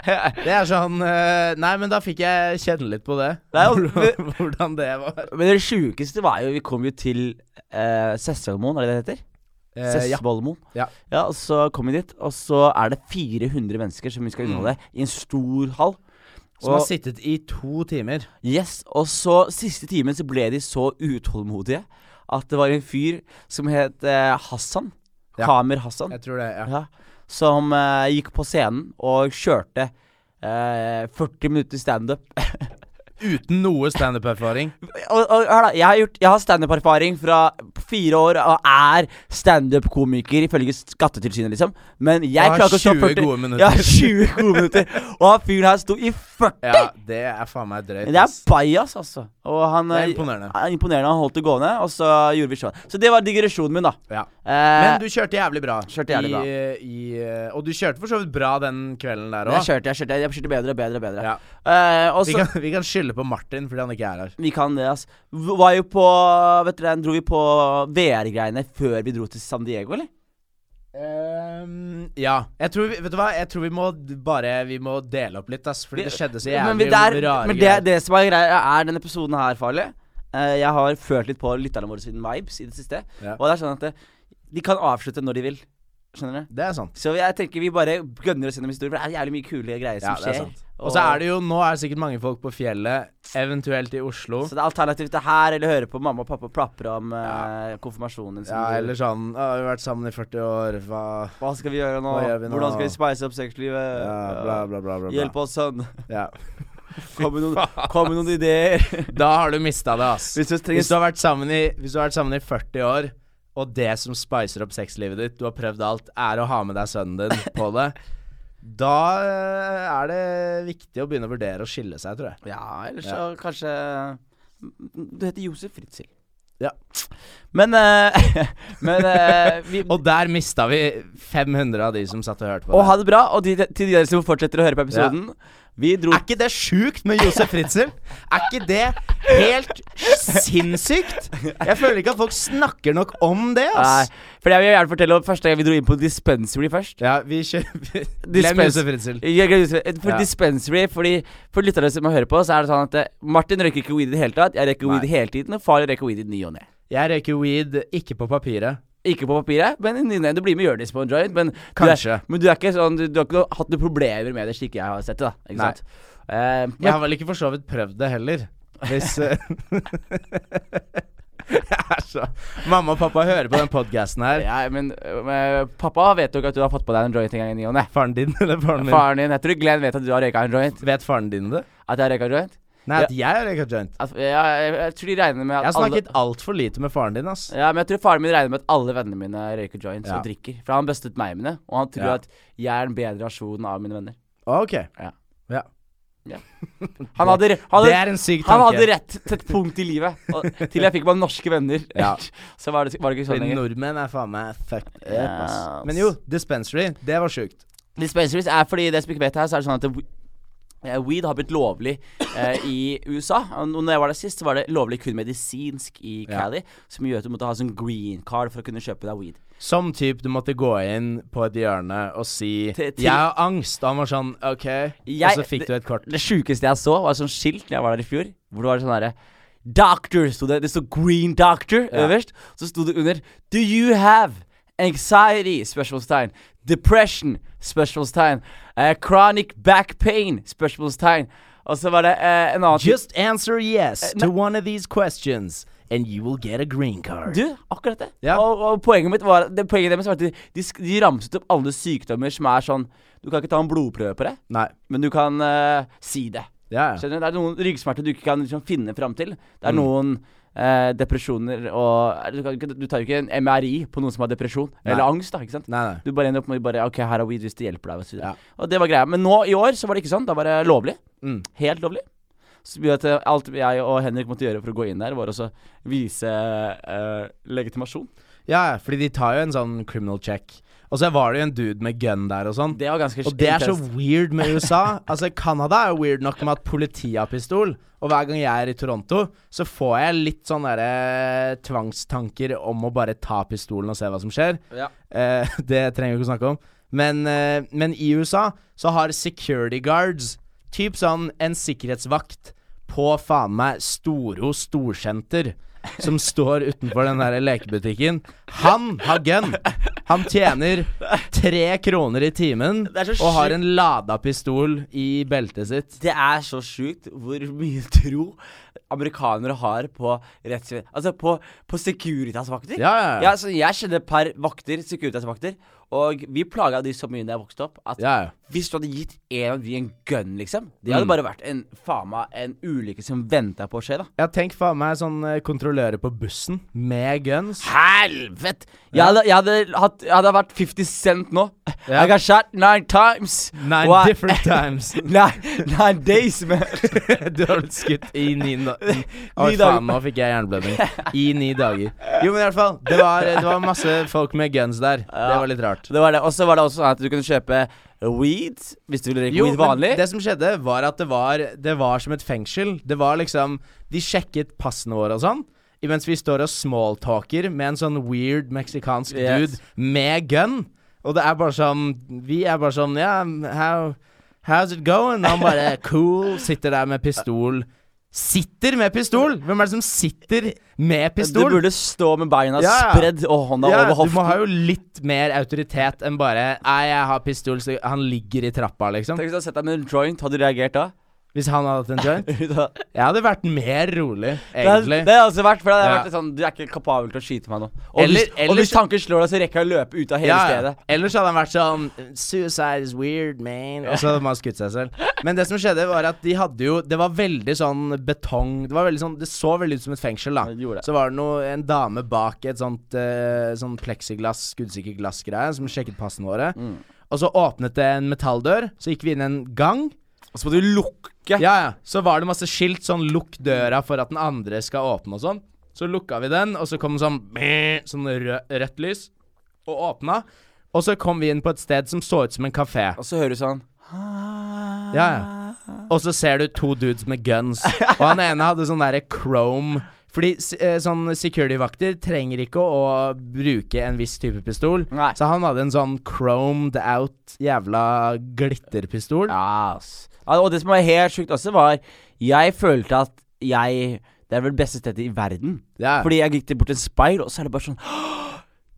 [SPEAKER 1] Det er sånn eh, Nei, men da fikk jeg kjenne litt på det.
[SPEAKER 2] Nei, altså, og-
[SPEAKER 1] Hvordan hvordan det var.
[SPEAKER 2] Men det sjukeste var jo Vi kom jo til eh, Sessvollmoen, er det det det heter?
[SPEAKER 1] Eh, ja.
[SPEAKER 2] Sessvollmoen.
[SPEAKER 1] ja.
[SPEAKER 2] Ja, og så kom vi dit, og så er det 400 mennesker som
[SPEAKER 1] Mm.
[SPEAKER 2] vi skal underholde i en stor hall.
[SPEAKER 1] Som har
[SPEAKER 2] Og,
[SPEAKER 1] sittet i to timer.
[SPEAKER 2] yes, og så siste timen så ble de så utålmodige at det var en fyr som het eh, Hassan.
[SPEAKER 1] Ja.
[SPEAKER 2] Kamer Hassan.
[SPEAKER 1] Jeg tror det. ja
[SPEAKER 2] Ja, som eh, gikk på scenen og kjørte eh, 40 minutter standup.
[SPEAKER 1] Uten noe standup-erfaring.
[SPEAKER 2] og, og hør da, jeg har, gjort- jeg har standup-erfaring fra fire år og er standup-komiker ifølge Skattetilsynet, liksom. Men jeg
[SPEAKER 1] Og har
[SPEAKER 2] klarer ikke å stå
[SPEAKER 1] 20
[SPEAKER 2] 40
[SPEAKER 1] gode minutter.
[SPEAKER 2] Ja, 20 gode minutter. Og han fyren her sto i 40!
[SPEAKER 1] Ja, det er faen meg drøyt.
[SPEAKER 2] Men det er
[SPEAKER 1] ass.
[SPEAKER 2] bajas, altså. Og han
[SPEAKER 1] Det er
[SPEAKER 2] eh,
[SPEAKER 1] imponerende.
[SPEAKER 2] er imponerende. Han holdt det gående, og så gjorde vi sånn. Så det var digresjonen min, da.
[SPEAKER 1] Ja.
[SPEAKER 2] Eh,
[SPEAKER 1] Men du kjørte jævlig bra.
[SPEAKER 2] Kjørte jævlig bra.
[SPEAKER 1] I, i, og du kjørte for så vidt bra den kvelden der
[SPEAKER 2] jeg
[SPEAKER 1] òg.
[SPEAKER 2] kjørte, jeg kjørte, jeg kjørte bedre og bedre og bedre.
[SPEAKER 1] Ja.
[SPEAKER 2] Eh, og
[SPEAKER 1] Vi,
[SPEAKER 2] så
[SPEAKER 1] kan- vi kan skylde på Martin fordi han ikke er her.
[SPEAKER 2] Vi kan det, ass. V- Var jo på Vet dere, dro vi på VR-greiene før vi dro til San Diego, eller?
[SPEAKER 1] Ehm, ja. Jeg tror, vi- vet du hva? Jeg tror vi må d- bare Vi må dele opp litt, ass. Fordi det skjedde så jævlig
[SPEAKER 2] Men, vi- der,
[SPEAKER 1] rare
[SPEAKER 2] men det,
[SPEAKER 1] greier.
[SPEAKER 2] det som er greia, er denne episoden her, Farlig. Eh, jeg har følt litt på lytterne våre siden vibes i det siste.
[SPEAKER 1] Ja.
[SPEAKER 2] Og det er sånn at det, de kan avslutte når de vil. Skjønner du?
[SPEAKER 1] Det er sant.
[SPEAKER 2] Så jeg tenker vi bare gønner oss gjennom historien, for det er jævlig mye kule greier
[SPEAKER 1] Ja,
[SPEAKER 2] som
[SPEAKER 1] det er
[SPEAKER 2] skjer.
[SPEAKER 1] sant. Og så er det jo Nå er det sikkert mange folk på fjellet, eventuelt i Oslo.
[SPEAKER 2] Så det er alternativt det her, eller høre på mamma og pappa plapre om eh, konfirmasjonen. som
[SPEAKER 1] Ja,
[SPEAKER 2] du-
[SPEAKER 1] eller sånn «Å, Vi har vært sammen i 40 år, hva
[SPEAKER 2] Hva skal vi gjøre nå?
[SPEAKER 1] Hva gjør vi nå?
[SPEAKER 2] Hvordan skal vi spice opp sexlivet?
[SPEAKER 1] ja, Bla, bla, bla. bla, bla.
[SPEAKER 2] Hjelp oss, sønn.
[SPEAKER 1] Ja.
[SPEAKER 2] Kom med noen, kom med noen ideer.
[SPEAKER 1] Da har du mista det, ass.
[SPEAKER 2] Hvis du trenger
[SPEAKER 1] Hvis du har vært sammen i, hvis du har vært sammen i 40 år, og det som spicer opp sexlivet ditt, du har prøvd alt, er å ha med deg sønnen din på det, da eh, er det viktig å begynne å vurdere å skille seg, tror jeg.
[SPEAKER 2] Ja, eller så kanskje mm, Du heter Josef Fritzl.
[SPEAKER 1] Ja.
[SPEAKER 2] Men eh, Men eh, vi
[SPEAKER 1] Og der mista vi 500 av de som satt og hørte på.
[SPEAKER 2] Og
[SPEAKER 1] det.
[SPEAKER 2] ha det bra. Og de, til de dere som fortsetter å høre på episoden
[SPEAKER 5] Vi dro
[SPEAKER 1] Er ikke det sjukt med Josef Fritzel? Er ikke det helt sinnssykt? Jeg føler ikke at folk snakker nok om det,
[SPEAKER 2] Nei,
[SPEAKER 1] ass.
[SPEAKER 2] for jeg vil gjerne fortelle om første gang vi dro inn på dispensary først.
[SPEAKER 1] Ja, vi kjører
[SPEAKER 2] Dispens-
[SPEAKER 1] Glem Josef Fritzel.
[SPEAKER 2] Jeg glemmer å si- For
[SPEAKER 1] Ja.
[SPEAKER 2] dispensary, fordi for lytterne som hører på, så er det sånn at eh, Martin røyker ikke weed i det hele tatt. Jeg røyker
[SPEAKER 1] Nei.
[SPEAKER 2] weed hele tiden, og far røyker weed i ny og ne.
[SPEAKER 1] Jeg røyker weed ikke på papiret.
[SPEAKER 2] Ikke på papiret, men i ny og ne. Du blir med Jonis på en joint, men Du
[SPEAKER 1] Kanskje.
[SPEAKER 2] er, men du er ikke sånn Du, du har ikke hatt noen problemer med det, slik jeg har sett det, da. Ikke
[SPEAKER 1] Nei.
[SPEAKER 2] sant? Eh,
[SPEAKER 1] Jeg
[SPEAKER 2] men,
[SPEAKER 1] har vel ikke for så vidt prøvd det heller. Hvis eh, Jeg er så Mamma og pappa hører på den podkasten her.
[SPEAKER 2] ja, men, eh, men pappa vet jo ikke at du har fått på deg en joint en gang i ny og ne.
[SPEAKER 1] Faren din eller faren min?
[SPEAKER 2] Faren din Jeg tror Glenn vet at du har røyka en joint.
[SPEAKER 1] Vet faren din det?
[SPEAKER 2] At jeg har røyka en joint.
[SPEAKER 1] Nei, at jeg har røyka joint.
[SPEAKER 2] At, ja, jeg, jeg tror de regner med at
[SPEAKER 1] Jeg har
[SPEAKER 2] alle-
[SPEAKER 1] snakket altfor lite med faren din, ass.
[SPEAKER 2] Ja, men jeg tror faren min regner med at alle vennene mine røyker joints
[SPEAKER 1] Ja.
[SPEAKER 2] og drikker. For han bustet meg med det, og han tror
[SPEAKER 1] Ja.
[SPEAKER 2] at jeg er en bedre versjon av mine venner.
[SPEAKER 1] Ok.
[SPEAKER 2] Ja.
[SPEAKER 1] Ja.
[SPEAKER 2] Han hadde, han
[SPEAKER 1] Det
[SPEAKER 2] hadde,
[SPEAKER 1] er en syk
[SPEAKER 2] han hadde
[SPEAKER 1] tanke.
[SPEAKER 2] rett til et punkt i livet. Og, til jeg fikk meg norske venner.
[SPEAKER 1] Ja.
[SPEAKER 2] Så var det, var det ikke sånn
[SPEAKER 1] Fordi
[SPEAKER 2] lenger.
[SPEAKER 1] nordmenn er faen meg fucked up, ass.
[SPEAKER 2] Ja, ass.
[SPEAKER 1] Men jo, dispensary, det var sjukt.
[SPEAKER 2] Dispensaries er fordi det som ikke vet her, så er det sånn at det, eh, weed har blitt lovlig eh, i USA. Og når jeg var der sist, så var det lovlig kun medisinsk i
[SPEAKER 1] Ja.
[SPEAKER 2] Cali. Som gjør at du måtte ha sånn green card for å kunne kjøpe deg weed.
[SPEAKER 1] Som typ du måtte gå inn på et hjørne og si
[SPEAKER 2] Til- til-
[SPEAKER 1] 'Jeg har angst', og han var sånn 'OK',
[SPEAKER 2] Jeg-
[SPEAKER 1] og så fikk du et kort.
[SPEAKER 2] Det sjukeste jeg så, var et sånt skilt da jeg var der i fjor. Hvor det var sånn derre Doctor sto det. Det sto Green Doctor øverst. Så sto det under Do you have anxiety? Spørsmålstegn. Depression? Spørsmålstegn. Eh, chronic back pain? Spørsmålstegn. Og så var det eh, en annen
[SPEAKER 1] Just answer yes
[SPEAKER 2] Eh,
[SPEAKER 1] to one of these questions, and you will get a green card.
[SPEAKER 2] Du, akkurat det.
[SPEAKER 1] Ja.
[SPEAKER 2] Og, og poenget mitt var det, Poenget deres var at de, de, sk- de ramset opp alle sykdommer som er sånn Du kan ikke ta en blodprøve på det,
[SPEAKER 1] Nei.
[SPEAKER 2] men du kan eh, si det.
[SPEAKER 1] Ja, Mm. ja.
[SPEAKER 2] Skjønner du? Det er noen ryggsmerter du ikke kan liksom finne fram til. Det er noen eh, depresjoner og eh, du, kan, ikke- du tar jo ikke en MRI på noen som har depresjon eller angst, da, ikke sant?
[SPEAKER 1] Nei, nei.
[SPEAKER 2] Du bare ender opp med bare OK, her er weed hvis det hjelper deg. Og, så videre.
[SPEAKER 1] Ja.
[SPEAKER 2] og det var greia. Men nå i år så var det ikke sånn. Da var det lovlig.
[SPEAKER 1] Mm.
[SPEAKER 2] Helt lovlig. Så mye at eh, alt jeg og Henrik måtte gjøre for å gå inn der, var også vise eh, legitimasjon.
[SPEAKER 1] Ja, ja, fordi de tar jo en sånn criminal check. Og så var det jo en dude med gun der og sånn.
[SPEAKER 2] Det var ganske
[SPEAKER 1] Og det er så
[SPEAKER 2] intenst.
[SPEAKER 1] weird med USA. Altså, Canada er jo weird nok med at politiet har pistol. Og hver gang jeg er i Toronto, så får jeg litt sånne derre tvangstanker om å bare ta pistolen og se hva som skjer.
[SPEAKER 2] Ja.
[SPEAKER 1] Eh, det trenger vi ikke å snakke om. Men, eh, men i USA så har security guards typ sånn en sikkerhetsvakt på faen meg Storo Storsenter. Som står utenfor den der lekebutikken. Han har gun! Han tjener tre kroner i timen
[SPEAKER 2] Det er så
[SPEAKER 1] og har
[SPEAKER 2] sjukt.
[SPEAKER 1] en lada pistol i beltet sitt.
[SPEAKER 2] Det er så sjukt hvor mye tro amerikanere har på rettsvesen Altså på, på Securitas-vakter.
[SPEAKER 1] Ja, ja, ja.
[SPEAKER 2] så jeg kjenner et par vakter, Securitas-vakter, og vi plaga de så mye da jeg vokste opp, at
[SPEAKER 1] Ja, ja.
[SPEAKER 2] hvis du hadde gitt en av de en gun, liksom Det
[SPEAKER 1] Mm.
[SPEAKER 2] hadde bare vært en faen meg en ulykke som venta på å skje, da.
[SPEAKER 1] Ja, tenk faen meg sånn eh, kontrollører på bussen med guns.
[SPEAKER 2] Helvete! Jeg hadde, jeg hadde, hatt, jeg hadde vært 50 Cent nå.
[SPEAKER 1] Ja.
[SPEAKER 2] I got shot nine times.
[SPEAKER 1] Nine
[SPEAKER 2] Why-
[SPEAKER 1] different times.
[SPEAKER 2] nine, nine days, man.
[SPEAKER 1] Du har blitt skutt i ni, da Å,
[SPEAKER 2] Ni dager.
[SPEAKER 1] faen, nå fikk jeg jernblødning. I ni dager. Jo, men i hvert fall, det var, det var masse folk med guns der. Det var litt rart.
[SPEAKER 2] Det var det. Og så var det også sånn at du kunne kjøpe weed hvis du ville drikke weed
[SPEAKER 1] men
[SPEAKER 2] vanlig.
[SPEAKER 1] det som skjedde, var at det var, det var som et fengsel. Det var liksom De sjekket passene våre og sånn. Imens vi står og smalltalker med en sånn weird meksikansk
[SPEAKER 2] Yes.
[SPEAKER 1] dude med gun. Og det er bare sånn Vi er bare sånn Ja, how, how's it going? Han bare cool. Sitter der med pistol. Sitter med pistol! Hvem er det som sitter med
[SPEAKER 2] du
[SPEAKER 1] pistol?
[SPEAKER 2] burde stå med beina
[SPEAKER 1] Ja, ja.
[SPEAKER 2] spredd og hånda
[SPEAKER 1] Ja,
[SPEAKER 2] over
[SPEAKER 1] du må
[SPEAKER 2] hoften.
[SPEAKER 1] ha jo litt mer autoritet enn bare Nei, jeg har pistol, så han ligger i trappa, liksom.
[SPEAKER 2] Tenk hvis du hadde sett deg med en joint, hadde du reagert da?
[SPEAKER 1] Hvis han hadde hatt en joint.
[SPEAKER 2] det, hadde,
[SPEAKER 1] Jeg hadde vært mer rolig,
[SPEAKER 2] det
[SPEAKER 1] egentlig.
[SPEAKER 2] hadde også vært, for det hadde
[SPEAKER 1] Ja.
[SPEAKER 2] vært sånn Du er ikke kapabel til å skyte meg nå. Og,
[SPEAKER 1] Eller-
[SPEAKER 2] hvis,
[SPEAKER 1] eller
[SPEAKER 2] og hvis
[SPEAKER 1] så-
[SPEAKER 2] tanken slår deg, så rekker jeg å løpe ut av hele
[SPEAKER 1] Ja, ja.
[SPEAKER 2] stedet.
[SPEAKER 1] Ellers hadde han vært sånn Suicide is weird, man. Og så hadde man skutt seg selv. Men det som skjedde, var at de hadde jo Det var veldig sånn betong Det var veldig sånn Det så veldig ut som et fengsel, da.
[SPEAKER 2] Ja, det gjorde det.
[SPEAKER 1] Så var det noe, en dame bak et sånt eh, sånn pleksiglass, skuddsikker glass-greie, som sjekket passene våre.
[SPEAKER 2] Mm.
[SPEAKER 1] Og så åpnet det en metalldør. Så gikk vi inn en gang.
[SPEAKER 2] Og så må du lukke.
[SPEAKER 1] Ja, ja. Så var det masse skilt sånn 'lukk døra for at den andre skal åpne' og sånn. Så lukka vi den, og så kom det sånn brrr, sånn rød, rødt lys, og åpna. Og så kom vi inn på et sted som så ut som en kafé.
[SPEAKER 2] Og så hører du sånn
[SPEAKER 1] Ja, ja. Og så ser du to dudes med guns. Og han ene hadde sånn derre chrome Fordi s- eh, sånn security-vakter trenger ikke å, å bruke en viss type pistol.
[SPEAKER 2] Nei.
[SPEAKER 1] Så han hadde en sånn chromed out jævla glitterpistol.
[SPEAKER 2] Ja, ass. Ja, og det som var helt sjukt også, var Jeg følte at jeg Det er vel det beste stedet i verden.
[SPEAKER 1] Ja.
[SPEAKER 2] Fordi jeg gikk til bort til en speil, og så er det bare sånn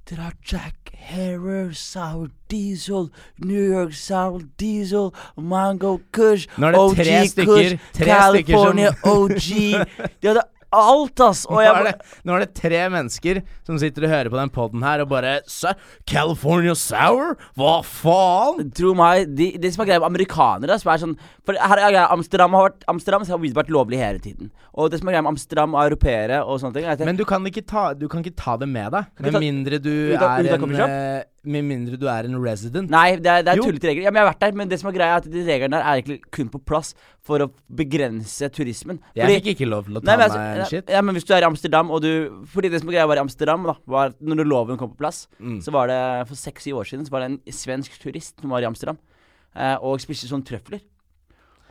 [SPEAKER 2] Dere har Jack Harrer, Sour Diesel, New York Sour Diesel, Mango Kush,
[SPEAKER 1] Nå er det
[SPEAKER 2] OG
[SPEAKER 1] tre stykker-
[SPEAKER 2] Kush,
[SPEAKER 1] tre stykker som-
[SPEAKER 2] California OG De hadde alt, ass! Og
[SPEAKER 1] Nå
[SPEAKER 2] jeg
[SPEAKER 1] er,
[SPEAKER 2] bare
[SPEAKER 1] det, nå er det tre mennesker som sitter og hører på den poden her og bare "Sa- California Sour? Hva faen?
[SPEAKER 2] Tro meg, de- det som er greia med amerikanere som er sånn For her er greia, Amsterdam har vært Amsterdam har vært lovlig hele tiden. Og det som er greia med Amsterdam og europeere og sånne ting er at
[SPEAKER 1] Men du kan ikke ta, du kan ikke ta det med deg.
[SPEAKER 2] ikke
[SPEAKER 1] Med
[SPEAKER 2] ta-
[SPEAKER 1] mindre du
[SPEAKER 2] Ut av-
[SPEAKER 1] er
[SPEAKER 2] ut av
[SPEAKER 1] en
[SPEAKER 2] coffee shop?
[SPEAKER 1] eh, Med mindre du er en resident.
[SPEAKER 2] Nei, det er, det er
[SPEAKER 1] Jo.
[SPEAKER 2] tullete regler. Ja, men jeg har vært der, men det som er greia er at de reglene der er egentlig kun på plass for å begrense turismen.
[SPEAKER 1] Jeg fikk ikke lov til å ta
[SPEAKER 2] Nei,
[SPEAKER 1] meg
[SPEAKER 2] men, altså,
[SPEAKER 1] en shit.
[SPEAKER 2] ja, men hvis du er i Amsterdam og du Fordi det som er greia var i Amsterdam, da var at Når loven kom på plass,
[SPEAKER 1] Mm.
[SPEAKER 2] så var det for seks-syv år siden Så var det en svensk turist som var i Amsterdam eh, og spiste sånn trøfler.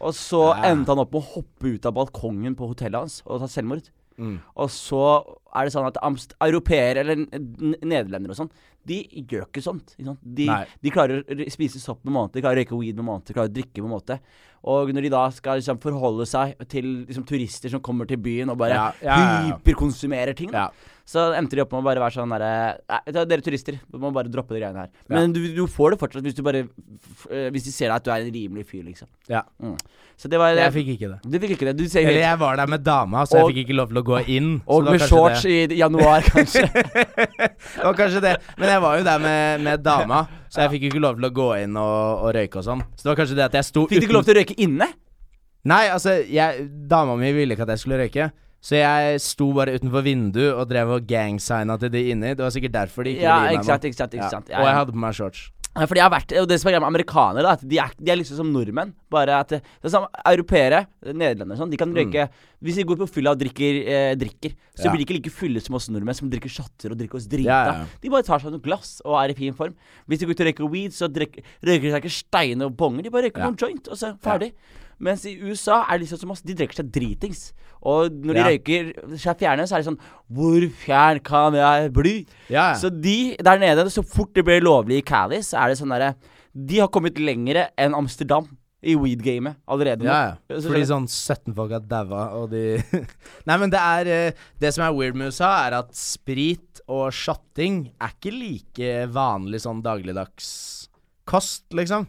[SPEAKER 2] Og så
[SPEAKER 1] Ah.
[SPEAKER 2] endte han opp med å hoppe ut av balkongen på hotellet hans og ta selvmord.
[SPEAKER 1] Mm.
[SPEAKER 2] Og så er det sånn at Amst europeere eller n- nederlendere og sånn, de gjør ikke sånt. Ikke sant? De,
[SPEAKER 1] Nei.
[SPEAKER 2] de klarer å r- spise sopp med måneder, de klarer å røyke weed med måneder, de klarer å drikke med måneder. Og når de da skal liksom forholde seg til liksom, turister som kommer til byen og bare
[SPEAKER 1] Ja, ja, ja, ja.
[SPEAKER 2] hyperkonsumerer ting, da,
[SPEAKER 1] Ja.
[SPEAKER 2] så endte de opp med å bare være sånn derre Nei, vet du hva, dere turister, du må bare droppe de greiene her. Men du, du får det fortsatt hvis du bare f- eh, Hvis de ser deg at du er en rimelig fyr, liksom.
[SPEAKER 1] Ja.
[SPEAKER 2] Mm. Så det var
[SPEAKER 1] Jeg fikk ikke det.
[SPEAKER 2] Du fikk ikke det. Du ser
[SPEAKER 1] Eller
[SPEAKER 2] helt
[SPEAKER 1] jeg var der med dama, så jeg
[SPEAKER 2] Og-
[SPEAKER 1] fikk ikke lov til å gå inn. så det
[SPEAKER 2] Og
[SPEAKER 1] var
[SPEAKER 2] med
[SPEAKER 1] kanskje
[SPEAKER 2] shorts
[SPEAKER 1] Det.
[SPEAKER 2] i januar, kanskje.
[SPEAKER 1] det var kanskje det. Men jeg var jo der med, med dama, så jeg fikk jo ikke lov til å gå inn og, og røyke og sånn. Så det var kanskje det at jeg sto
[SPEAKER 2] Fikk du ikke lov til å røyke inne?
[SPEAKER 1] Nei, altså, jeg, dama mi ville ikke at jeg skulle røyke. Så jeg sto bare utenfor vinduet og drev og gangsigna til de inni. Det var sikkert derfor de ikke
[SPEAKER 2] Ja,
[SPEAKER 1] ville gi meg
[SPEAKER 2] ikke sant,
[SPEAKER 1] noe.
[SPEAKER 2] ikke sant, ikke sant.
[SPEAKER 1] Ja. Og jeg hadde på meg shorts.
[SPEAKER 2] Ja, Fordi jeg har vært, og Det som er greia med amerikanere, da, at de er, de er liksom som nordmenn. Bare at det det er som Europeere, nederlendere og sånn, de kan røyke Hvis de går på fylla og drikker, eh, drikker så
[SPEAKER 1] Mm. Ja.
[SPEAKER 2] blir de ikke like fulle som oss nordmenn som drikker shotter og drikker oss drita.
[SPEAKER 1] Ja, ja, ja.
[SPEAKER 2] De bare tar seg noen glass og er i fin form. Hvis de går ut og røyker weed, så drikk- røyker de seg ikke steiner og bonger. De bare røyker
[SPEAKER 1] Ja.
[SPEAKER 2] noen joint, og så ferdig. Mens i USA er de sånn som oss, de drikker seg dritings. Og når de
[SPEAKER 1] Ja.
[SPEAKER 2] røyker seg fjerne, så er det sånn Hvor fjern kan jeg bli?
[SPEAKER 1] Ja, ja.
[SPEAKER 2] Så de der nede, så fort det blir lovlig i Cali, så er det sånn derre De har kommet lengre enn Amsterdam i weed-gamet allerede nå.
[SPEAKER 1] Ja, ja.
[SPEAKER 2] Så-
[SPEAKER 1] Fordi sånn 17 folk har daua, og de Nei, men det er eh, Det som er weird med USA, er at sprit og shotting er ikke like vanlig sånn dagligdags kost, liksom.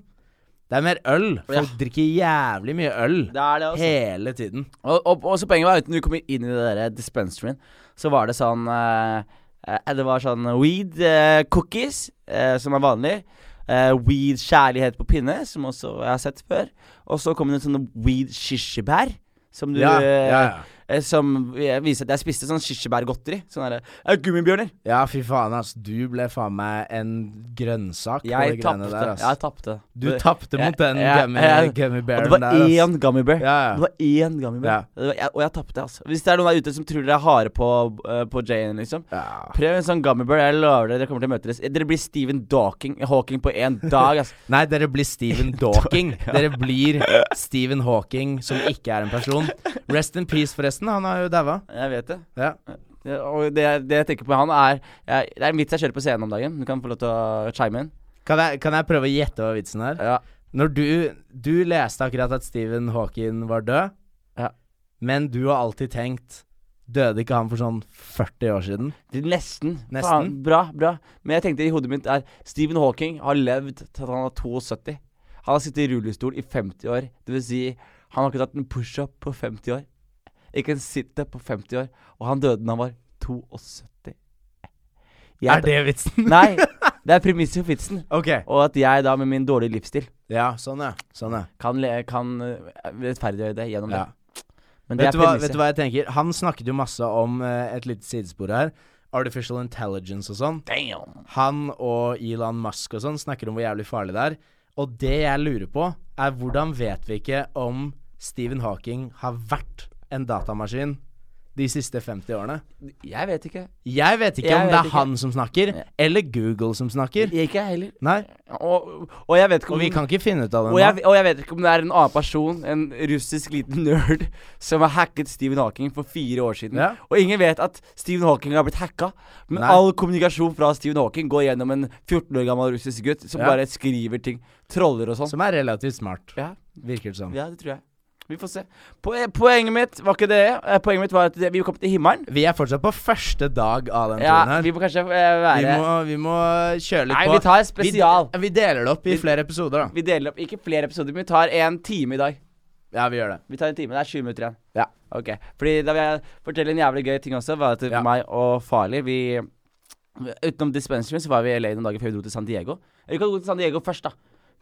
[SPEAKER 1] Det er mer øl. Folk drikker jævlig mye øl
[SPEAKER 2] det er det, altså.
[SPEAKER 1] hele tiden.
[SPEAKER 2] Og, og, og så poenget var at når vi kom inn i det der dispensaryen, så var det sånn eh, eh, Det var sånn weed eh, cookies, eh, som er vanlig. eh, weed kjærlighet på pinne, som også jeg har sett før. Og så kom det sånne weed kirsebær. Som du
[SPEAKER 1] Ja, ja, ja.
[SPEAKER 2] eh, Som eh, viser at jeg spiste sånn kirsebærgodteri. Sånn derre eh, Gummibjørner.
[SPEAKER 1] Ja, fy faen, ass. Du ble faen meg en grønnsak på de
[SPEAKER 2] Jeg
[SPEAKER 1] greiene
[SPEAKER 2] tapte.
[SPEAKER 1] der,
[SPEAKER 2] Jeg
[SPEAKER 1] ass.
[SPEAKER 2] tapte.
[SPEAKER 1] Du
[SPEAKER 2] Det-
[SPEAKER 1] tapte mot den
[SPEAKER 2] Jeg-
[SPEAKER 1] gummy,
[SPEAKER 2] jeg-
[SPEAKER 1] gummy
[SPEAKER 2] Og
[SPEAKER 1] bearen
[SPEAKER 2] det var
[SPEAKER 1] der, ass.
[SPEAKER 2] én gummy bear.
[SPEAKER 1] Ja, ja.
[SPEAKER 2] Det var én gummy bear. Det var- jeg- Og jeg tapte, altså. Hvis det er noen der ute som tror dere er harde på, eh, på Jane, liksom.
[SPEAKER 1] Ja.
[SPEAKER 2] Prøv en sånn gummy bear. Jeg lover dere, dere kommer til å møte dere. Dere blir Stephen Dawking, Hawking på én dag, altså.
[SPEAKER 1] Nei, dere blir Stephen Dawking. Dere blir Stephen Hawking, som ikke er en person. Rest in peace, forresten. Han har jo daua.
[SPEAKER 2] Jeg vet det.
[SPEAKER 1] Ja.
[SPEAKER 2] Det- Og det, det jeg tenker på med han, er jeg, Det er en vits jeg kjører på scenen om dagen. Du kan få lov til å chime inn.
[SPEAKER 1] Kan, jeg, kan jeg prøve å gjette hva vitsen er?
[SPEAKER 2] Ja.
[SPEAKER 1] Når du Du leste akkurat at Stephen Hawking var død,
[SPEAKER 2] Ja.
[SPEAKER 1] men du har alltid tenkt Døde ikke han for sånn 40 år siden?
[SPEAKER 2] Det- Nesten.
[SPEAKER 1] Nesten.
[SPEAKER 2] Faen, bra, bra. Men jeg tenkte i hodet mitt er Stephen Hawking har levd til at han er 72. Han har sittet i rullestol i 50 år. Det vil si, han har ikke tatt en pushup på 50 år. Ikke en situp på 50 år. Og han døde da han var 72. Jeg,
[SPEAKER 1] Er det vitsen?
[SPEAKER 2] Nei. Det er premisset for vitsen.
[SPEAKER 1] OK.
[SPEAKER 2] Og at jeg da, med min dårlige livsstil,
[SPEAKER 1] Ja, sånn, ja. Sånn, ja.
[SPEAKER 2] kan, le- kan eh, rettferdiggjøre det gjennom
[SPEAKER 1] ja.
[SPEAKER 2] det. Men det
[SPEAKER 1] Vet,
[SPEAKER 2] er
[SPEAKER 1] du hva, vet
[SPEAKER 2] premisset.
[SPEAKER 1] du hva jeg tenker? Han snakket jo masse om eh, et lite sidespor her. Artificial intelligence og sånn.
[SPEAKER 2] Damn.
[SPEAKER 1] han og Elon Musk og sånn snakker om hvor jævlig farlig det er. Og det jeg lurer på, er hvordan vet vi ikke om Stephen Hawking har vært en datamaskin de de siste 50 årene?
[SPEAKER 2] Jeg vet ikke.
[SPEAKER 1] Jeg vet ikke
[SPEAKER 2] Jeg
[SPEAKER 1] om
[SPEAKER 2] vet
[SPEAKER 1] det er
[SPEAKER 2] ikke.
[SPEAKER 1] han som snakker, eller Google som snakker.
[SPEAKER 2] Ikke jeg heller.
[SPEAKER 1] Nei.
[SPEAKER 2] Og, og jeg vet ikke
[SPEAKER 1] Og
[SPEAKER 2] om
[SPEAKER 1] vi kan ikke finne ut av det
[SPEAKER 2] og
[SPEAKER 1] nå.
[SPEAKER 2] jeg, og jeg vet ikke om det er en annen person, en russisk liten nerd, som har hacket Stephen Hawking for fire år siden.
[SPEAKER 1] Ja.
[SPEAKER 2] Og ingen vet at Stephen Hawking har blitt hacka. Men
[SPEAKER 1] Nei.
[SPEAKER 2] all kommunikasjon fra Stephen Hawking går gjennom en 14 år gammel russisk gutt som
[SPEAKER 1] Ja.
[SPEAKER 2] bare skriver ting. Troller og sånn.
[SPEAKER 1] Som er relativt smart,
[SPEAKER 2] Ja,
[SPEAKER 1] virker det som.
[SPEAKER 2] ja, det tror jeg. Vi får se. Poe- Poenget mitt var ikke det. Eh, Poenget mitt var at det- vi kom til himmelen.
[SPEAKER 1] Vi er fortsatt på første dag av den turen
[SPEAKER 2] Ja,
[SPEAKER 1] her.
[SPEAKER 2] vi må kanskje eh,
[SPEAKER 1] Vi
[SPEAKER 2] være
[SPEAKER 1] må, vi må kjøre litt
[SPEAKER 2] Nei,
[SPEAKER 1] på.
[SPEAKER 2] vi tar spesial.
[SPEAKER 1] Vi, vi deler det opp i
[SPEAKER 2] Vi-
[SPEAKER 1] flere episoder, da.
[SPEAKER 2] Vi deler opp ikke flere episoder, men vi tar en time i dag.
[SPEAKER 1] Ja, vi gjør det.
[SPEAKER 2] Vi tar en time, Det er 20 minutter igjen.
[SPEAKER 1] Ja.
[SPEAKER 2] Ok, Fordi da vil jeg fortelle en jævlig gøy ting også. Var at
[SPEAKER 1] Ja.
[SPEAKER 2] meg og Farlig vi Utenom dispensary så var vi i LA noen dager før vi dro til San Diego. Eller vi kan dro til San Diego først, da.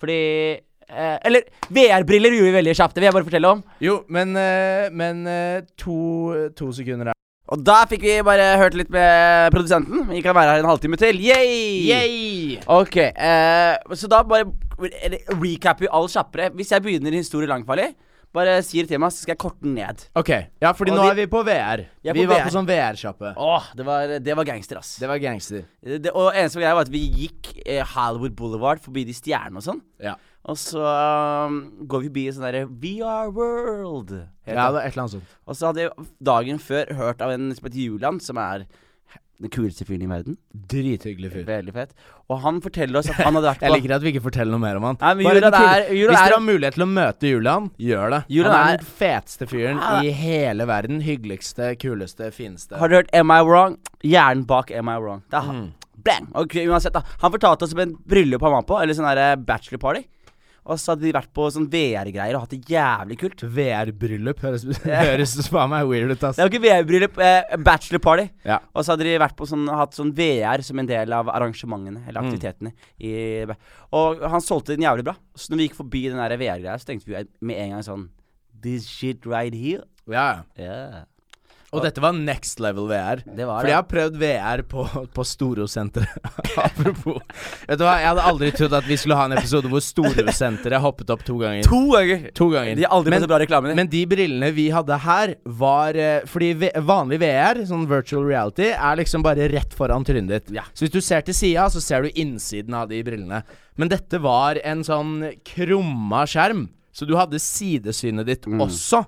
[SPEAKER 2] Fordi eh, Eller VR-briller gjorde vi veldig kjapt. Det vil jeg bare fortelle om.
[SPEAKER 1] Jo, men, eh, men eh, to, to sekunder her.
[SPEAKER 2] Og da fikk vi bare hørt litt med produsenten. Vi kan være her en halvtime til. Yay!
[SPEAKER 1] Yay!
[SPEAKER 2] Ok, eh, så da bare re- recapper vi all kjappere. Hvis jeg begynner en historie langfarlig, bare sier til meg, så skal jeg korte den ned.
[SPEAKER 1] OK. Ja, fordi
[SPEAKER 2] Og
[SPEAKER 1] nå
[SPEAKER 2] vi-
[SPEAKER 1] er vi på VR.
[SPEAKER 2] Vi er
[SPEAKER 1] vi
[SPEAKER 2] på
[SPEAKER 1] var
[SPEAKER 2] VR.
[SPEAKER 1] på sånn VR-sjappe.
[SPEAKER 2] Åh, det var, det var gangster, ass.
[SPEAKER 1] Det var gangster.
[SPEAKER 2] Det, det, og eneste greia var at vi gikk eh, Hollywood Boulevard forbi de stjernene og sånn.
[SPEAKER 1] Ja.
[SPEAKER 2] Og så um, går vi forbi en sånn derre VR World. heter
[SPEAKER 1] Ja,
[SPEAKER 2] det.
[SPEAKER 1] det er et eller annet sånt.
[SPEAKER 2] Og så hadde jeg dagen før hørt av en som heter Julian, som er den kuleste fyren i verden.
[SPEAKER 1] Drithyggelig fyr.
[SPEAKER 2] Veldig fett. Og han forteller oss at han hadde vært
[SPEAKER 1] Jeg
[SPEAKER 2] på
[SPEAKER 1] liker at vi ikke forteller noe mer om han.
[SPEAKER 2] Nei, men
[SPEAKER 1] Bare
[SPEAKER 2] Julian
[SPEAKER 1] den kule-
[SPEAKER 2] er- Julian
[SPEAKER 1] Hvis
[SPEAKER 2] er-
[SPEAKER 1] dere har mulighet til å møte Julian, gjør det.
[SPEAKER 2] Julian
[SPEAKER 1] han er
[SPEAKER 2] er- Ah.
[SPEAKER 1] den feteste fyren i hele verden. Hyggeligste, kuleste, fineste.
[SPEAKER 2] Har du hørt Am I Wrong? Hjernen bak Am I Wrong. Det er han.
[SPEAKER 1] Mm.
[SPEAKER 2] Bang! Ok, uansett da Han fortalte oss om en bryllup han var på, eller sånn her bachelorparty. Og så hadde de vært på sånn VR-greier og hatt det jævlig kult.
[SPEAKER 1] VR-bryllup høres, høres faen meg weird ut, ass.
[SPEAKER 2] Det var ikke VR-bryllup, eh, bachelorparty.
[SPEAKER 1] Ja.
[SPEAKER 2] Og så hadde de vært på sånn, hatt sånn VR som en del av arrangementene
[SPEAKER 1] Mm.
[SPEAKER 2] eller aktivitetene. I, og han solgte den jævlig bra. Så når vi gikk forbi den der VR-greia, så tenkte vi med en gang sånn This shit right here.
[SPEAKER 1] Ja. ja.
[SPEAKER 2] Yeah.
[SPEAKER 1] Og dette var next level VR.
[SPEAKER 2] Det var
[SPEAKER 1] Fordi
[SPEAKER 2] det.
[SPEAKER 1] jeg har prøvd VR på, på Storosenteret. Apropos. Vet du hva, jeg hadde aldri trodd at vi skulle ha en episode hvor Storosenteret hoppet opp to ganger.
[SPEAKER 2] To ganger!
[SPEAKER 1] To ganger.
[SPEAKER 2] De har aldri fått så bra reklame.
[SPEAKER 1] Men de brillene vi hadde her, var eh, Fordi ve- vanlig VR, sånn virtual reality, er liksom bare rett foran trynet ditt.
[SPEAKER 2] Ja.
[SPEAKER 1] Så hvis du ser til sida, så ser du innsiden av de brillene. Men dette var en sånn krumma skjerm, så du hadde sidesynet ditt
[SPEAKER 2] Mm.
[SPEAKER 1] også.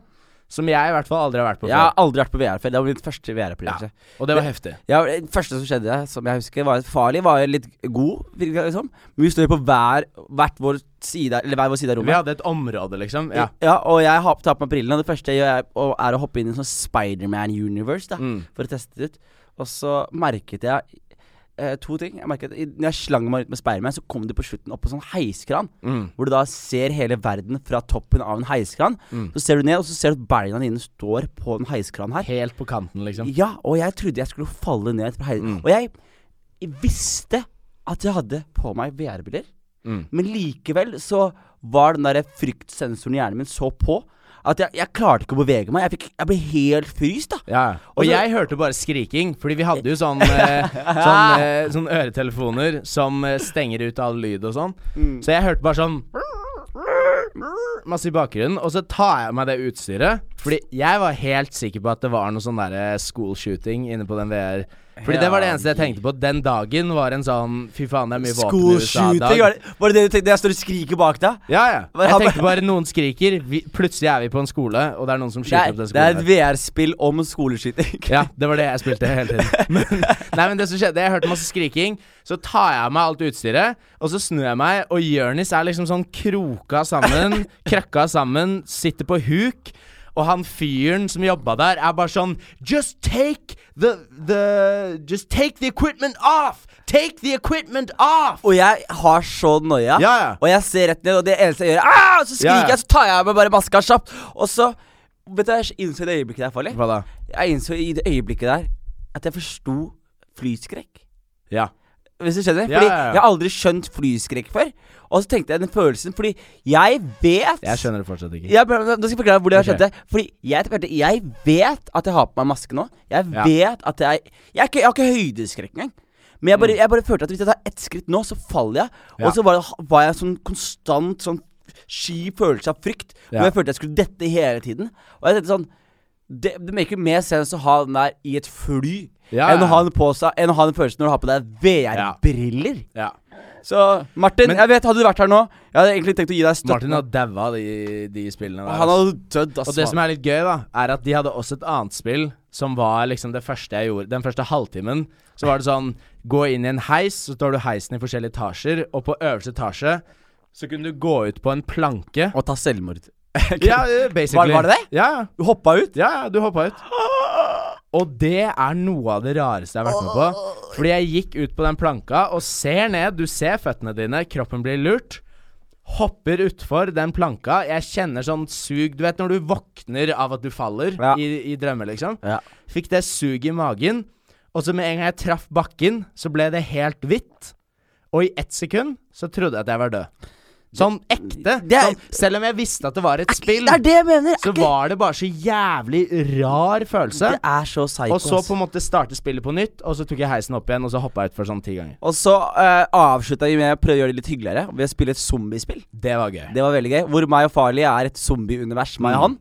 [SPEAKER 1] Som jeg i hvert fall aldri har vært på
[SPEAKER 2] Jeg har
[SPEAKER 1] før.
[SPEAKER 2] aldri vært på VR før. Det var mitt første VR-opplevelse.
[SPEAKER 1] Og det var heftig.
[SPEAKER 2] Ja, det første som skjedde, som jeg husker, var at Farlig var litt god, virka det som. Men vi står jo på hver, hvert vår side, eller hver vår side av
[SPEAKER 1] Vi
[SPEAKER 2] rommet.
[SPEAKER 1] hadde et område, liksom. Ja.
[SPEAKER 2] og jeg har tar på meg brillene, og det første jeg gjør, er, og er å hoppe inn i en sånn Spiderman universe,
[SPEAKER 1] Mm.
[SPEAKER 2] da, for å teste det ut. Og så merket jeg eh, to ting. Jeg merket, i- når jeg slang meg ut med Spiderman, så kom det på slutten opp på sånn heiskran, hvor du da ser hele verden fra toppen av en heiskran. Så ser du ned, og så ser du at beina dine står på den heiskranen her.
[SPEAKER 1] Helt på kanten, liksom.
[SPEAKER 2] Ja, og jeg trodde jeg skulle falle ned fra heisen.
[SPEAKER 1] Mm.
[SPEAKER 2] Og jeg visste at jeg hadde på meg VR-briller,
[SPEAKER 1] Mm.
[SPEAKER 2] men likevel så var den der fryktsensoren i hjernen min så på at jeg, jeg klarte ikke å bevege meg. Jeg, fikk, jeg ble helt fryst, da.
[SPEAKER 1] Ja. Og
[SPEAKER 2] Og så-
[SPEAKER 1] jeg hørte bare skriking, fordi vi hadde jo sånn, eh, sånn, eh, sånn øretelefoner som eh, stenger ut all lyd og sånn. Så jeg hørte bare sånn Masse i bakgrunnen. Og så tar jeg av meg det utstyret, fordi jeg var helt sikker på at det var noe sånn derre school shooting inne på den VR. Fordi det var det eneste jeg tenkte på. Den dagen var en sånn Fy faen, det er mye våpen i USA-dag.
[SPEAKER 2] Var, det- var det det du tenkte? Jeg står og skriker bak deg?
[SPEAKER 1] Ja, ja.
[SPEAKER 2] Hva-
[SPEAKER 1] Jeg tenkte bare noen skriker. Vi, plutselig er vi på en skole, og det er noen som
[SPEAKER 2] Det
[SPEAKER 1] skyter
[SPEAKER 2] er,
[SPEAKER 1] opp den
[SPEAKER 2] det er et
[SPEAKER 1] skolen. her.
[SPEAKER 2] VR-spill om skoleskyting.
[SPEAKER 1] Ja, det var det jeg spilte hele tiden. Men, nei, men det som skjedde, jeg hørte masse skriking. Så tar jeg av meg alt utstyret, og så snur jeg meg, og Jonis er liksom sånn kroka sammen, krøkka sammen, sitter på huk. Og han fyren som jobba der, er bare sånn Just take the, the Just take the equipment off! Take the equipment off!
[SPEAKER 2] Og jeg har så noia.
[SPEAKER 1] Ja, ja.
[SPEAKER 2] Og jeg ser rett ned, og det eneste jeg gjør, er «Ah!» Og så skriker
[SPEAKER 1] Ja, ja.
[SPEAKER 2] jeg, så tar jeg av meg bare maska kjapt. Og så Vet du, jeg innså i det øyeblikket der, Farlig.
[SPEAKER 1] Hva da?
[SPEAKER 2] Jeg innså i det øyeblikket der at jeg forsto flyskrekk.
[SPEAKER 1] Ja.
[SPEAKER 2] Hvis du skjønner?
[SPEAKER 1] Ja,
[SPEAKER 2] Fordi
[SPEAKER 1] ja, ja.
[SPEAKER 2] jeg har aldri skjønt flyskrekk før. Og så tenkte jeg den følelsen, fordi jeg vet
[SPEAKER 1] Jeg skjønner det fortsatt ikke.
[SPEAKER 2] Jeg prøver- nå skal jeg forklare hvor jeg har
[SPEAKER 1] Ok.
[SPEAKER 2] skjønt det. Fordi jeg, tenkte, jeg vet at jeg har på meg maske nå. Jeg
[SPEAKER 1] Ja.
[SPEAKER 2] vet at jeg Jeg, er ikke, jeg har ikke høydeskrekk engang. Men jeg bare, jeg bare følte at hvis jeg tar ett skritt nå, så faller jeg.
[SPEAKER 1] Mm. Ja.
[SPEAKER 2] Og så var, det- var jeg sånn konstant sånn sky følelse av frykt.
[SPEAKER 1] Ja.
[SPEAKER 2] Hvor jeg følte jeg skulle dette hele tiden. Og jeg tenkte sånn det, det maker mer sense å ha den der i et fly
[SPEAKER 1] Ja,
[SPEAKER 2] enn,
[SPEAKER 1] ja.
[SPEAKER 2] å ha den på seg, enn å ha den følelsen når du har på deg VR-briller.
[SPEAKER 1] Ja.
[SPEAKER 2] Så Martin,
[SPEAKER 1] Men-
[SPEAKER 2] jeg vet, hadde du vært her nå Jeg hadde egentlig tenkt å gi deg støtte.
[SPEAKER 1] Martin har daua de, de spillene der.
[SPEAKER 2] Han
[SPEAKER 1] ass.
[SPEAKER 2] hadde dødd, ass.
[SPEAKER 1] Og det
[SPEAKER 2] mann.
[SPEAKER 1] som er litt gøy, da, er at de hadde også et annet spill som var liksom det første jeg gjorde. Den første halvtimen så var det sånn Gå inn i en heis, så tar du heisen i forskjellige etasjer, og på øverste etasje så kunne du gå ut på en planke.
[SPEAKER 2] Å ta selvmord.
[SPEAKER 1] Ja, eh, basically.
[SPEAKER 2] Var- var det det?
[SPEAKER 1] Ja, ja.
[SPEAKER 2] Du hoppa ut?
[SPEAKER 1] Ja, ja, du hoppa ut. Og det er noe av det rareste jeg har vært med på. Fordi jeg gikk ut på den planka og ser ned. Du ser føttene dine, kroppen blir lurt. Hopper utfor den planka. Jeg kjenner sånn sug Du vet når du våkner av at du faller
[SPEAKER 2] Ja.
[SPEAKER 1] i, i drømmer, liksom.
[SPEAKER 2] Ja.
[SPEAKER 1] Fikk det suget i magen. Og så med en gang jeg traff bakken, så ble det helt hvitt. Og i ett sekund så trodde jeg at jeg var død. Sånn ekte.
[SPEAKER 2] Det er-
[SPEAKER 1] sånn, selv om jeg visste at det var et spill
[SPEAKER 2] Det er det jeg mener!
[SPEAKER 1] så var det bare så jævlig rar følelse.
[SPEAKER 2] det er så psycho.
[SPEAKER 1] Og så
[SPEAKER 2] ass.
[SPEAKER 1] på en måte starte spillet på nytt, og så tok jeg heisen opp igjen, og så hoppa jeg utfor sånn ti ganger.
[SPEAKER 2] Og så uh, avslutta vi med å prøve å gjøre det litt hyggeligere ved å spille et zombiespill.
[SPEAKER 1] Det var gøy.
[SPEAKER 2] Det var veldig gøy. Hvor meg og Farley er et zombieunivers, meg og han.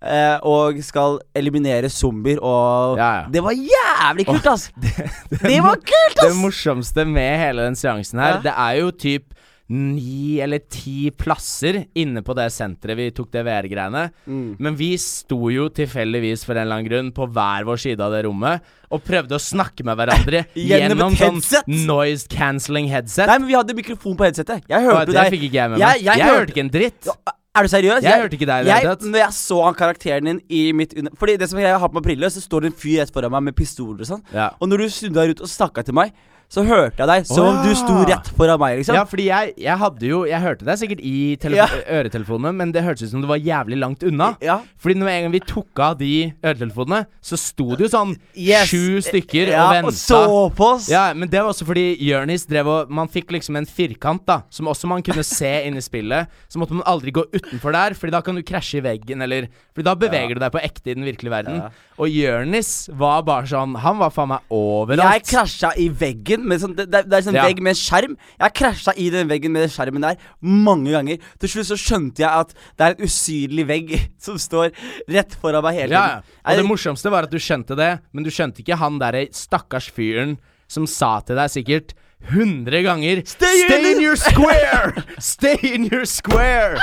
[SPEAKER 2] eh, og skal eliminere zombier og
[SPEAKER 1] Ja, ja.
[SPEAKER 2] Det var jævlig kult, ass! Det, var kult,
[SPEAKER 1] Det
[SPEAKER 2] ass!
[SPEAKER 1] morsomste med hele den seansen her,
[SPEAKER 2] Ja.
[SPEAKER 1] det er jo typ ni eller ti plasser inne på det senteret vi tok det VR-greiene.
[SPEAKER 2] Mm.
[SPEAKER 1] Men vi sto jo tilfeldigvis for en eller annen grunn på hver vår side av det rommet og prøvde å snakke med hverandre
[SPEAKER 2] Gjennom et
[SPEAKER 1] gjennom sånn
[SPEAKER 2] headset.
[SPEAKER 1] noise cancelling headset.
[SPEAKER 2] Nei, men vi hadde mikrofon på headsetet. Jeg
[SPEAKER 1] Og
[SPEAKER 2] hørte
[SPEAKER 1] det
[SPEAKER 2] deg.
[SPEAKER 1] fikk ikke jeg med meg.
[SPEAKER 2] Jeg-
[SPEAKER 1] Jeg,
[SPEAKER 2] jeg hørte-
[SPEAKER 1] hørte ikke en dritt.
[SPEAKER 2] Er du seriøs?
[SPEAKER 1] Jeg hørte ikke deg i det
[SPEAKER 2] jeg-
[SPEAKER 1] hele tatt.
[SPEAKER 2] Når jeg så han karakteren din i mitt under... Fordi det som jeg har på meg briller, så står det en fyr rett foran meg med pistoler og sånn.
[SPEAKER 1] Ja.
[SPEAKER 2] Og når du snudde deg rundt og snakka til meg, så hørte jeg deg som om
[SPEAKER 1] Å,
[SPEAKER 2] du
[SPEAKER 1] ja.
[SPEAKER 2] sto rett foran meg, liksom.
[SPEAKER 1] Ja, fordi jeg, jeg hadde jo Jeg hørte deg sikkert i tele-
[SPEAKER 2] Ja.
[SPEAKER 1] øretelefonene, men det hørtes ut som du var jævlig langt unna.
[SPEAKER 2] Ja.
[SPEAKER 1] Fordi når en gang vi tok av de øretelefonene, så sto det jo sånn
[SPEAKER 2] Yes.
[SPEAKER 1] sju stykker
[SPEAKER 2] Ja,
[SPEAKER 1] og venta.
[SPEAKER 2] og så på oss.
[SPEAKER 1] Ja, men det var også fordi Jonis drev og Man fikk liksom en firkant, da, som også man kunne se inni spillet. Så måtte man aldri gå utenfor der, Fordi da kan du krasje i veggen, eller Fordi da beveger du deg på ekte i den virkelige verden. Og Jonis var bare sånn Han var faen meg
[SPEAKER 2] Jeg
[SPEAKER 1] overalt.
[SPEAKER 2] krasja i veggen. Med sånn, det, det det er sånn
[SPEAKER 1] Ja.
[SPEAKER 2] vegg med en skjerm. Jeg krasja i den veggen med den skjermen der mange ganger. Til slutt så skjønte jeg at det er en usynlig vegg som står rett foran meg hele
[SPEAKER 1] Ja, ja.
[SPEAKER 2] tiden.
[SPEAKER 1] Og det
[SPEAKER 2] Jeg-
[SPEAKER 1] morsomste var at du skjønte det, men du skjønte ikke han derre stakkars fyren som sa til deg sikkert 100 ganger
[SPEAKER 2] Stay in it!"
[SPEAKER 1] your square! Stay in your square!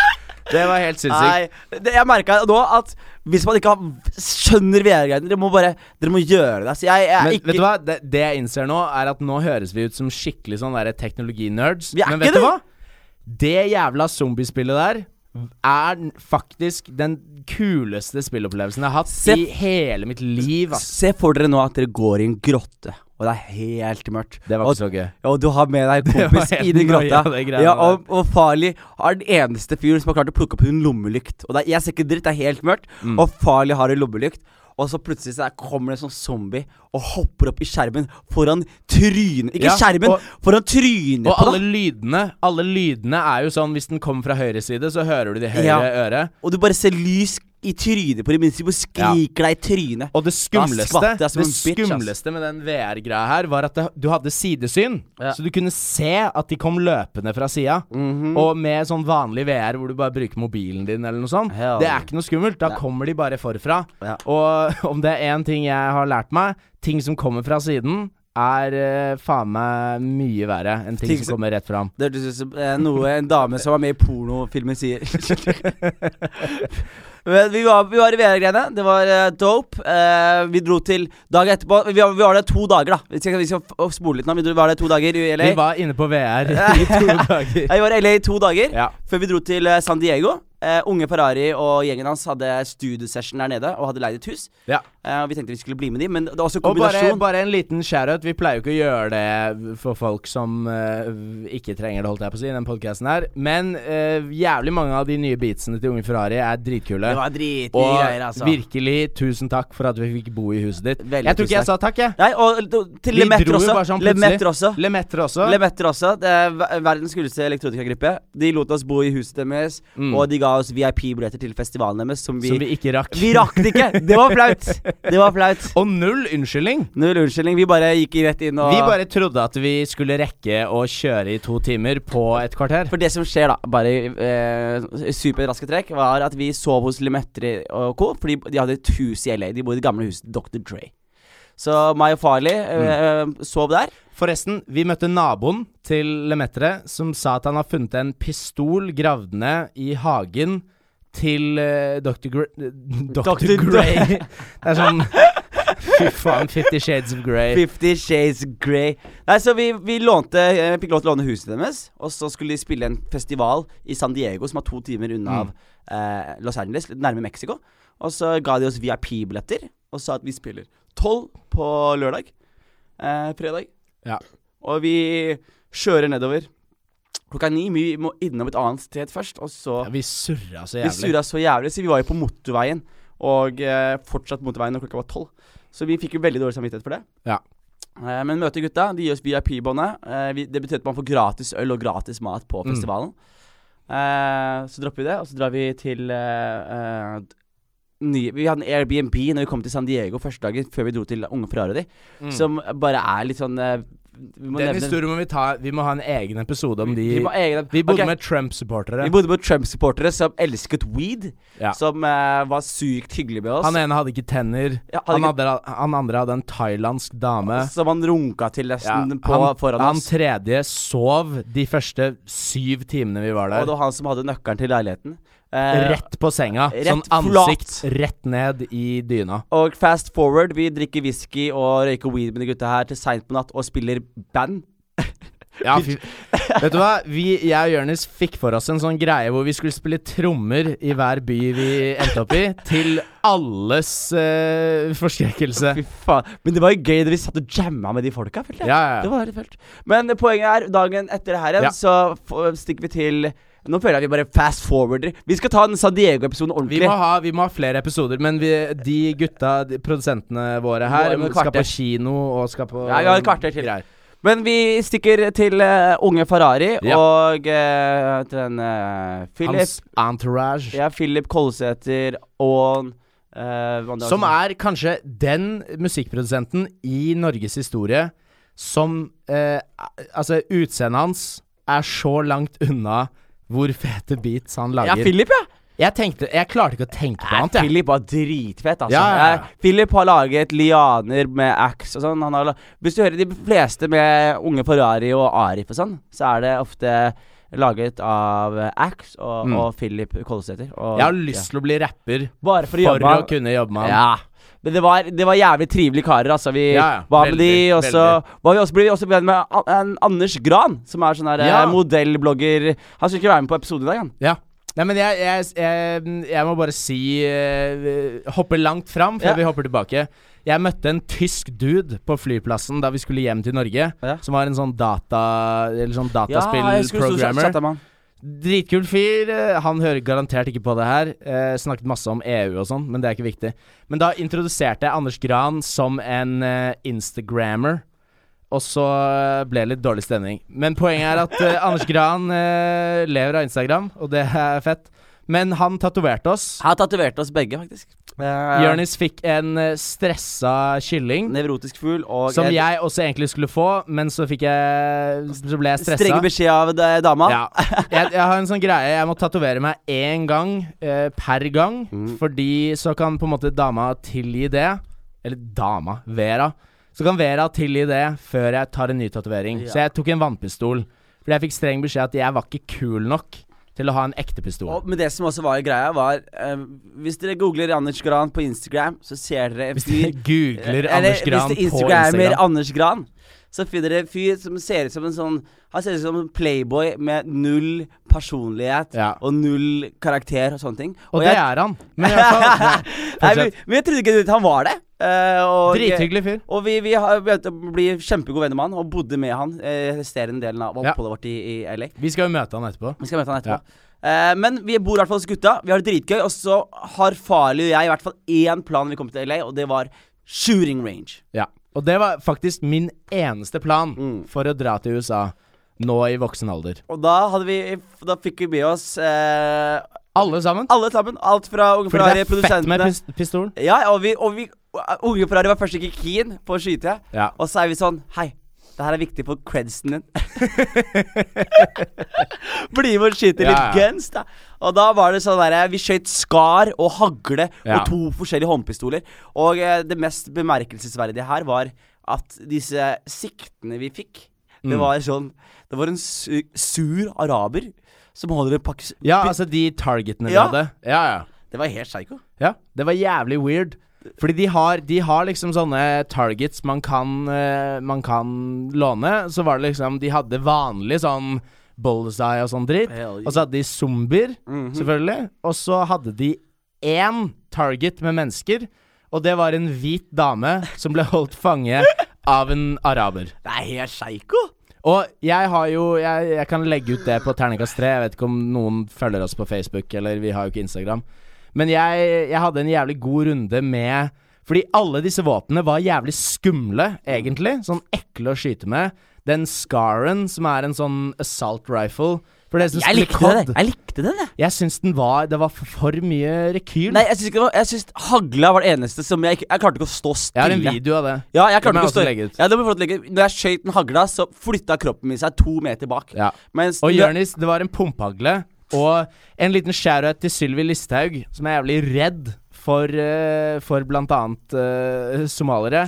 [SPEAKER 1] Det var helt sinnssykt.
[SPEAKER 2] Nei, det, jeg merka nå at hvis man ikke har, skjønner VR-greiene Dere må bare Dere må gjøre det. Så jeg, jeg er
[SPEAKER 1] Men
[SPEAKER 2] ikke
[SPEAKER 1] vet du hva? Det, det jeg innser nå, er at nå høres vi ut som skikkelig sånn derre teknologinerds.
[SPEAKER 2] Vi er
[SPEAKER 1] Men
[SPEAKER 2] ikke
[SPEAKER 1] vet du
[SPEAKER 2] det.
[SPEAKER 1] hva? Det jævla zombiespillet der er faktisk den kuleste spillopplevelsen jeg har hatt
[SPEAKER 2] Se-
[SPEAKER 1] i hele mitt liv. Ass.
[SPEAKER 2] Se for dere nå at dere går i en grotte, og det er helt mørkt.
[SPEAKER 1] Det var
[SPEAKER 2] og,
[SPEAKER 1] ikke så gøy.
[SPEAKER 2] Og du har med deg en
[SPEAKER 1] Det var
[SPEAKER 2] kompis i
[SPEAKER 1] helt
[SPEAKER 2] den grotta.
[SPEAKER 1] nøye, det greiene
[SPEAKER 2] Ja, og, og Farley er den eneste fyren som har klart å plukke opp en lommelykt. Og det er, jeg ser ikke dritt, det er helt mørkt.
[SPEAKER 1] Mm.
[SPEAKER 2] Og Farley har en lommelykt. Og så plutselig så der kommer det en sånn zombie og hopper opp i skjermen foran trynet Ikke
[SPEAKER 1] Ja,
[SPEAKER 2] skjermen,
[SPEAKER 1] og-
[SPEAKER 2] foran trynet
[SPEAKER 1] Og
[SPEAKER 2] på
[SPEAKER 1] alle
[SPEAKER 2] deg!
[SPEAKER 1] lydene Alle lydene er jo sånn Hvis den kommer fra høyre side Så hører du det i høyre
[SPEAKER 2] Ja.
[SPEAKER 1] øret
[SPEAKER 2] Og du bare ser lys i trynet på dem mens de bare skriker deg i trynet.
[SPEAKER 1] Og det skumleste
[SPEAKER 2] skvatt jeg som
[SPEAKER 1] Det
[SPEAKER 2] en bitch, ass.
[SPEAKER 1] skumleste med den VR-greia her Var at det, du hadde sidesyn Så du kunne se at de kom løpende fra sida Og med sånn vanlig VR Hvor du bare bruker mobilen din eller noe sånt
[SPEAKER 2] Ja.
[SPEAKER 1] Det er ikke noe skummelt Da kommer de bare forfra
[SPEAKER 2] Ja.
[SPEAKER 1] Og om det er en ting jeg har lært meg Ting som kommer fra siden Er eh, faen meg mye verre Enn ting,
[SPEAKER 2] Ting
[SPEAKER 1] som
[SPEAKER 2] som-
[SPEAKER 1] kommer rett fram
[SPEAKER 2] Det hørtes ut som eh, noe en dame som var med i pornofilmen sier. Men vi var, vi var i VR-greiene. Det var eh, dope. Eh, vi dro til dagen etterpå. Vi var, vi var der to dager, da. Vi skal, vi skal f- spole litt nå. Vi dro- var der to dager i LA.
[SPEAKER 1] Vi var inne på VR i to dager
[SPEAKER 2] Ja, vi var i LA i to dager
[SPEAKER 1] Ja.
[SPEAKER 2] før vi dro til eh, San Diego. Eh, unge Ferrari og gjengen hans hadde studiosession der nede og hadde leid et hus.
[SPEAKER 1] Ja.
[SPEAKER 2] Eh, og vi tenkte vi skulle bli med de, men det var også
[SPEAKER 1] Og bare,
[SPEAKER 2] kombinasjon.
[SPEAKER 1] bare en liten shoutout. Vi pleier jo ikke å gjøre det for folk som eh, ikke trenger det, holdt jeg på å si, i den podkasten her. Men eh, jævlig mange av de nye beatsene til Unge Ferrari er dritkule.
[SPEAKER 2] Det var dritmye
[SPEAKER 1] og
[SPEAKER 2] greier, altså.
[SPEAKER 1] virkelig tusen takk for at vi fikk bo i huset ditt.
[SPEAKER 2] Veldig
[SPEAKER 1] jeg tror ikke
[SPEAKER 2] tusen
[SPEAKER 1] jeg sa takk, jeg.
[SPEAKER 2] Nei, og og til
[SPEAKER 1] Vi
[SPEAKER 2] Lemetter
[SPEAKER 1] dro jo
[SPEAKER 2] også.
[SPEAKER 1] bare sånn
[SPEAKER 2] Lemetter
[SPEAKER 1] plutselig.
[SPEAKER 2] også.
[SPEAKER 1] Lemetter også.
[SPEAKER 2] Lemetter også. Det er ver- verdens kuleste elektronikagruppe. De lot oss bo i huset deres, og de ga ga oss VIP-billetter til festivalen deres, som vi,
[SPEAKER 1] Mm. Som vi ikke rakk.
[SPEAKER 2] Vi rakk det ikke! Det var flaut. Det var flaut.
[SPEAKER 1] Og null unnskyldning!
[SPEAKER 2] Null unnskyldning. Vi bare gikk rett inn og
[SPEAKER 1] Vi bare trodde at vi skulle rekke å kjøre i to timer på et kvarter.
[SPEAKER 2] For det som skjer, da, bare i eh, superraske trekk, var at vi sov hos Limetri og co. Fordi de hadde et hus i LA. De bodde i det gamle huset Dr. Dre. Så meg og Farley eh,
[SPEAKER 1] Mm.
[SPEAKER 2] sov der.
[SPEAKER 1] Forresten, vi møtte naboen til Lemetre, som sa at han har funnet en pistol gravd ned i hagen til eh, Dr. Gr eh, Dr.
[SPEAKER 2] Dr.
[SPEAKER 1] Grey. Det er sånn Fy faen, Fifty Shades of Grey.
[SPEAKER 2] Fifty Shades Grey. Nei, så vi, vi lånte eh, fikk lov til å låne huset deres. Og så skulle de spille en festival i San Diego, som er to timer unna av, eh, Los Angeles, litt nærme Mexico. Og så ga de oss VIP-billetter og sa at vi spiller tolv på lørdag. Eh, fredag.
[SPEAKER 1] Ja.
[SPEAKER 2] Og vi kjører nedover. Klokka ni. Vi må innom et annet sted først, og så
[SPEAKER 1] Ja, vi surra så
[SPEAKER 2] vi
[SPEAKER 1] jævlig.
[SPEAKER 2] surra så jævlig, så vi var jo på motorveien. Og eh, fortsatt motorveien når klokka var tolv. Så vi fikk jo veldig dårlig samvittighet for det.
[SPEAKER 1] Ja.
[SPEAKER 2] Eh, men møte gutta. De gir oss VIP-båndet. Eh, vi- det betyr at man får gratis øl og gratis mat på
[SPEAKER 1] Mm.
[SPEAKER 2] festivalen. Eh, så dropper vi det, og så drar vi til eh, eh, nye, Vi hadde en Airbnb når vi kom til San Diego første dagen, før vi dro til Unge Ferrari,
[SPEAKER 1] Mm.
[SPEAKER 2] som bare er litt sånn eh, Vi må
[SPEAKER 1] Den
[SPEAKER 2] nevne
[SPEAKER 1] historien må vi ta Vi må ha en egen episode om de
[SPEAKER 2] vi, må egne,
[SPEAKER 1] Vi bodde
[SPEAKER 2] Ok,
[SPEAKER 1] med Trump-supportere.
[SPEAKER 2] vi bodde med Trump-supportere som elsket weed,
[SPEAKER 1] Ja.
[SPEAKER 2] som eh, var sykt hyggelig med oss.
[SPEAKER 1] Han ene hadde ikke tenner.
[SPEAKER 2] Ja, hadde
[SPEAKER 1] han, hadde, han andre hadde en thailandsk dame.
[SPEAKER 2] Som han runka til nesten
[SPEAKER 1] Ja,
[SPEAKER 2] på,
[SPEAKER 1] han,
[SPEAKER 2] foran
[SPEAKER 1] han
[SPEAKER 2] oss.
[SPEAKER 1] tredje sov de første syv timene vi var
[SPEAKER 2] Og
[SPEAKER 1] der.
[SPEAKER 2] det var han som hadde nøkkelen til leiligheten. Eh,
[SPEAKER 1] Rett på senga.
[SPEAKER 2] rett
[SPEAKER 1] sånn
[SPEAKER 2] flat.
[SPEAKER 1] ansikt rett ned i dyna.
[SPEAKER 2] Og fast forward, vi drikker whisky og røyker weed med de gutta her til seint på natt og spiller band.
[SPEAKER 1] Ja, fy. Vet du hva? Vi, jeg og Jonis fikk for oss en sånn greie hvor vi skulle spille trommer i hver by vi endte opp i, til alles eh, forskrekkelse.
[SPEAKER 2] Fy faen. Men det var jo gøy da vi satt og jamma med de folka, følte jeg.
[SPEAKER 1] Ja, ja,
[SPEAKER 2] Det
[SPEAKER 1] ja.
[SPEAKER 2] var helt fælt. Men poenget er, dagen etter det her igjen,
[SPEAKER 1] Ja.
[SPEAKER 2] så f- stikker vi til Nå føler jeg vi bare fast forwarder. Vi skal ta den San Diego-episoden
[SPEAKER 1] Vi
[SPEAKER 2] ordentlig.
[SPEAKER 1] må, ha, vi må ha flere episoder, men vi, de gutta, de produsentene våre her,
[SPEAKER 2] Må ha med
[SPEAKER 1] skal
[SPEAKER 2] kvarter.
[SPEAKER 1] på kino og skal på
[SPEAKER 2] Ja, vi har et kvarter til.
[SPEAKER 1] greier.
[SPEAKER 2] Men vi stikker til eh, unge Ferrari
[SPEAKER 1] Ja.
[SPEAKER 2] og eh, til den eh, Philip
[SPEAKER 1] Hans entourage.
[SPEAKER 2] Ja, Philip Kolsæter og eh, hva det
[SPEAKER 1] Som er kanskje den musikkprodusenten i Norges historie som eh, Altså, utseendet hans er så langt unna hvor fete beats han
[SPEAKER 2] Ja,
[SPEAKER 1] lager.
[SPEAKER 2] Philip, ja.
[SPEAKER 1] jeg tenkte Jeg klarte ikke å tenke på annet, jeg.
[SPEAKER 2] Philip var dritfett, altså.
[SPEAKER 1] Ja, ja, ja.
[SPEAKER 2] Eh, Philip har laget lianer med ax og sånn. Han har la Hvis du hører de fleste med unge Ferrari og Arif og sånn, så er det ofte laget av eh, ax og,
[SPEAKER 1] Mm.
[SPEAKER 2] og Philip Kolsæter. og-
[SPEAKER 1] Jeg har lyst til å bli rapper
[SPEAKER 2] ja. Bare for å
[SPEAKER 1] for å
[SPEAKER 2] jobbe med han.
[SPEAKER 1] kunne jobbe med han.
[SPEAKER 2] Ja. Men det var, det var jævlig trivelige karer, altså. Vi
[SPEAKER 1] Ja, ja.
[SPEAKER 2] var med
[SPEAKER 1] Veldig,
[SPEAKER 2] de, og så var vi også, ble vi også venn med An An- Anders Gran, som er sånn her eh,
[SPEAKER 1] Ja.
[SPEAKER 2] modellblogger. Han skulle ikke være med på episoden i dag, han.
[SPEAKER 1] Ja. Nei, men jeg, jeg, jeg, jeg må bare si eh, Hoppe langt fram før
[SPEAKER 2] Ja.
[SPEAKER 1] vi hopper tilbake. Jeg møtte en tysk dude på flyplassen da vi skulle hjem til Norge.
[SPEAKER 2] Ja.
[SPEAKER 1] Som var en sånn data Eller sånn
[SPEAKER 2] Ja,
[SPEAKER 1] dataspill-programmer.
[SPEAKER 2] jeg
[SPEAKER 1] Dritkul fyr. eh, Han hører garantert ikke på det her. Eh, snakket masse om EU og sånn, men det er ikke viktig. Men da introduserte jeg Anders Gran som en eh, Instagrammer. Og så eh, ble det litt dårlig stemning. Men poenget er at eh, Anders Gran eh, lever av Instagram, og det er fett. Men han tatoverte oss.
[SPEAKER 2] Han tatoverte oss begge, faktisk.
[SPEAKER 1] Eh,
[SPEAKER 2] Uh,
[SPEAKER 1] Jonis fikk en eh, stressa kylling.
[SPEAKER 2] Nevrotisk fugl og
[SPEAKER 1] Som
[SPEAKER 2] en
[SPEAKER 1] jeg også egentlig skulle få, men så fikk jeg Så ble jeg stressa.
[SPEAKER 2] strenge beskjed av eh, dama.
[SPEAKER 1] Ja. Jeg, jeg har en sånn greie. Jeg må tatovere meg én gang eh, per gang. Fordi så kan på en måte dama tilgi det. Eller dama, Vera. Så kan Vera tilgi det før jeg tar en ny tatovering.
[SPEAKER 2] Ja.
[SPEAKER 1] Så jeg tok en vannpistol. Fordi jeg fikk streng beskjed at jeg var ikke kul nok til å ha en ekte pistol.
[SPEAKER 2] Og, men det som også var greia, var eh, Hvis dere googler Anders Gran på Instagram, så ser dere en
[SPEAKER 1] Hvis dere
[SPEAKER 2] fyr
[SPEAKER 1] googler
[SPEAKER 2] Eller
[SPEAKER 1] Anders Gran
[SPEAKER 2] hvis dere
[SPEAKER 1] på
[SPEAKER 2] instagrammer
[SPEAKER 1] Instagram
[SPEAKER 2] Anders Gran, så finner dere en fyr som ser ut som en sånn Han ser ut som en playboy med null personlighet
[SPEAKER 1] Ja.
[SPEAKER 2] og null karakter og sånne ting.
[SPEAKER 1] Og det
[SPEAKER 2] jeg,
[SPEAKER 1] er han. Men i hvert fall
[SPEAKER 2] nei,
[SPEAKER 1] fortsett.
[SPEAKER 2] men, men jeg trodde ikke han var det. Eh, og-
[SPEAKER 1] Drithyggelig fyr.
[SPEAKER 2] Og vi, vi har- begynte å bli kjempegode venner med han, og bodde med han eh, resterende delen av
[SPEAKER 1] Ja.
[SPEAKER 2] oppholdet vårt i, i LA.
[SPEAKER 1] Vi skal jo møte han etterpå.
[SPEAKER 2] Vi skal møte han etterpå. Eh, men vi bor i hvert fall hos gutta, vi har det dritgøy, og så har Farley og jeg i hvert fall én plan når vi kommer til LA, og det var shooting range.
[SPEAKER 1] Ja. Og det var faktisk min eneste plan
[SPEAKER 2] Mm.
[SPEAKER 1] for å dra til USA nå i voksen alder.
[SPEAKER 2] Og da hadde vi Da fikk vi med oss eh,
[SPEAKER 1] Alle sammen?
[SPEAKER 2] Alle sammen. Alt fra Unge
[SPEAKER 1] Fordi det
[SPEAKER 2] Ferrari,
[SPEAKER 1] er fett med
[SPEAKER 2] produsentene
[SPEAKER 1] pis pistol.
[SPEAKER 2] Ja, og vi, og vi Unge Ferrari var først ikke keen på å skyte,
[SPEAKER 1] Ja.
[SPEAKER 2] og så er vi sånn Hei, det her er viktig for credsen din. Bli med og skyte litt
[SPEAKER 1] Ja, ja.
[SPEAKER 2] guns, da. Og da var det sånn derre Vi skjøt skar og hagle
[SPEAKER 1] Ja.
[SPEAKER 2] og to forskjellige håndpistoler. Og eh, det mest bemerkelsesverdige her var at disse siktene vi fikk,
[SPEAKER 1] Mm.
[SPEAKER 2] det var sånn Det var en su sur araber som holder en pakke
[SPEAKER 1] ja, altså de targetene de
[SPEAKER 2] Ja.
[SPEAKER 1] hadde. Ja, ja.
[SPEAKER 2] Det var helt psycho.
[SPEAKER 1] Ja, det var jævlig weird. Fordi de har, de har liksom sånne targets man kan, eh, man kan låne. Så var det liksom De hadde vanlig sånn bullseye og sånn dritt.
[SPEAKER 2] Hell yeah. Mhm.
[SPEAKER 1] Og så hadde de zombier, selvfølgelig. Og så hadde de én target med mennesker. Og det var en hvit dame som ble holdt fange av en araber.
[SPEAKER 2] Det er helt psycho!
[SPEAKER 1] Og jeg har jo Jeg, jeg kan legge ut det på terningkast tre. Jeg vet ikke om noen følger oss på Facebook, eller vi har jo ikke Instagram. Men jeg, jeg hadde en jævlig god runde med Fordi alle disse våpnene var jævlig skumle, egentlig. Sånn ekle å skyte med. Den Scaren, som er en sånn assault rifle For det som spiller
[SPEAKER 2] Jeg likte
[SPEAKER 1] COD,
[SPEAKER 2] det. Jeg likte den, jeg.
[SPEAKER 1] Jeg syns den var Det var for, for mye rekyl.
[SPEAKER 2] Nei, jeg syns ikke det var Jeg syns hagla var det eneste som jeg ikke Jeg klarte ikke å stå
[SPEAKER 1] jeg har en
[SPEAKER 2] stille.
[SPEAKER 1] video av det.
[SPEAKER 2] Ja, jeg klarte
[SPEAKER 1] Den må
[SPEAKER 2] ikke å
[SPEAKER 1] jeg
[SPEAKER 2] stå
[SPEAKER 1] også legge ut.
[SPEAKER 2] Ja, det må jeg få legge ut. Når jeg skjøt den hagla, så flytta kroppen min seg to meter bak.
[SPEAKER 1] Ja.
[SPEAKER 2] Mens
[SPEAKER 1] Og Jonis, det var en pumphagle. Og en liten share-out til Sylvi Listhaug, som er jævlig redd for, eh, for blant annet eh, somalere.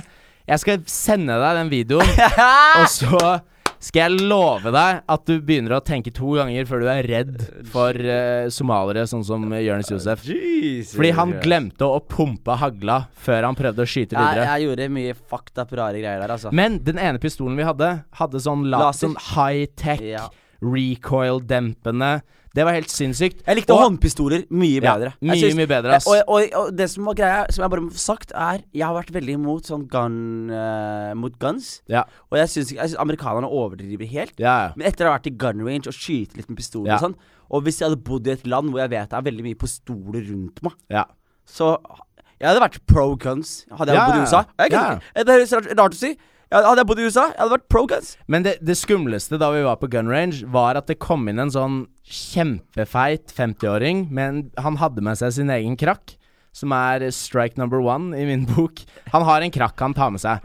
[SPEAKER 1] Jeg skal sende deg den videoen, og så skal jeg love deg at du begynner å tenke to ganger før du er redd for eh, somalere, sånn som Jonis Josef. Fordi han glemte å pumpe hagla før han prøvde å skyte
[SPEAKER 2] jeg,
[SPEAKER 1] videre.
[SPEAKER 2] jeg gjorde mye fucked up rare greier der, altså.
[SPEAKER 1] Men den ene pistolen vi hadde, hadde sånn, la,
[SPEAKER 2] Laser.
[SPEAKER 1] sånn high-tech,
[SPEAKER 2] Ja.
[SPEAKER 1] recoil-dempende. Det var helt sinnssykt.
[SPEAKER 2] jeg likte
[SPEAKER 1] Og-
[SPEAKER 2] håndpistoler mye
[SPEAKER 1] Ja,
[SPEAKER 2] bedre.
[SPEAKER 1] mye,
[SPEAKER 2] Jeg synes-
[SPEAKER 1] mye bedre, ass.
[SPEAKER 2] Og, og, og det som var greia, som jeg bare må få sagt, er Jeg har vært veldig imot sånn gun eh, mot guns.
[SPEAKER 1] Ja,
[SPEAKER 2] Og jeg syns ikke- jeg synes amerikanerne overdriver helt.
[SPEAKER 1] ja, ja.
[SPEAKER 2] Men etter å ha vært i gun range og skyte litt med pistol
[SPEAKER 1] Ja.
[SPEAKER 2] og sånn Og hvis jeg hadde bodd i et land hvor jeg vet det er veldig mye pistoler rundt meg,
[SPEAKER 1] ja.
[SPEAKER 2] så Jeg hadde vært pro guns hadde jeg
[SPEAKER 1] Ja,
[SPEAKER 2] bodd i
[SPEAKER 1] ja,
[SPEAKER 2] USA. Jeg
[SPEAKER 1] ja.
[SPEAKER 2] kunne, ikke- Det er rart, rart å si. Ja, Hadde jeg bodd i USA, jeg hadde vært pro guns.
[SPEAKER 1] Men det, det skumleste da vi var på gun range, var at det kom inn en sånn kjempefeit 50-åring, men han hadde med seg sin egen krakk, som er strike number one i min bok. Han har en krakk han tar med seg.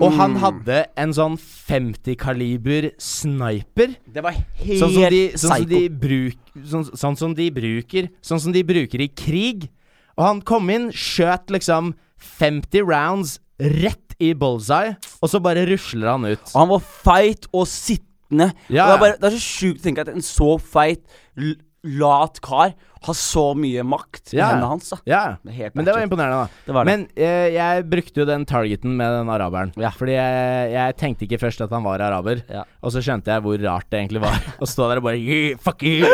[SPEAKER 1] Og
[SPEAKER 2] Mm.
[SPEAKER 1] han hadde en sånn 50-kaliber sniper.
[SPEAKER 2] Det var helt
[SPEAKER 1] Sånn som, de, sånn, som
[SPEAKER 2] psycho.
[SPEAKER 1] de bruk, sånn, sånn som de bruker Sånn som de bruker i krig. Og han kom inn, skjøt liksom 50 rounds rett i bullseye, og så bare rusler han ut.
[SPEAKER 2] Og han var feit og sittende.
[SPEAKER 1] Ja.
[SPEAKER 2] Og det, er bare, det er så sjukt å tenke at en så feit, l- lat kar har så mye makt i
[SPEAKER 1] Ja.
[SPEAKER 2] hendene hans. da
[SPEAKER 1] Ja,
[SPEAKER 2] Det er helt
[SPEAKER 1] Men det var
[SPEAKER 2] batshit.
[SPEAKER 1] imponerende, da.
[SPEAKER 2] Det var det.
[SPEAKER 1] Men eh, jeg brukte jo den targeten med den araberen.
[SPEAKER 2] Ja.
[SPEAKER 1] Fordi jeg, jeg tenkte ikke først at han var araber,
[SPEAKER 2] Ja.
[SPEAKER 1] og så skjønte jeg hvor rart det egentlig var å stå der og bare yeah, Fuck you!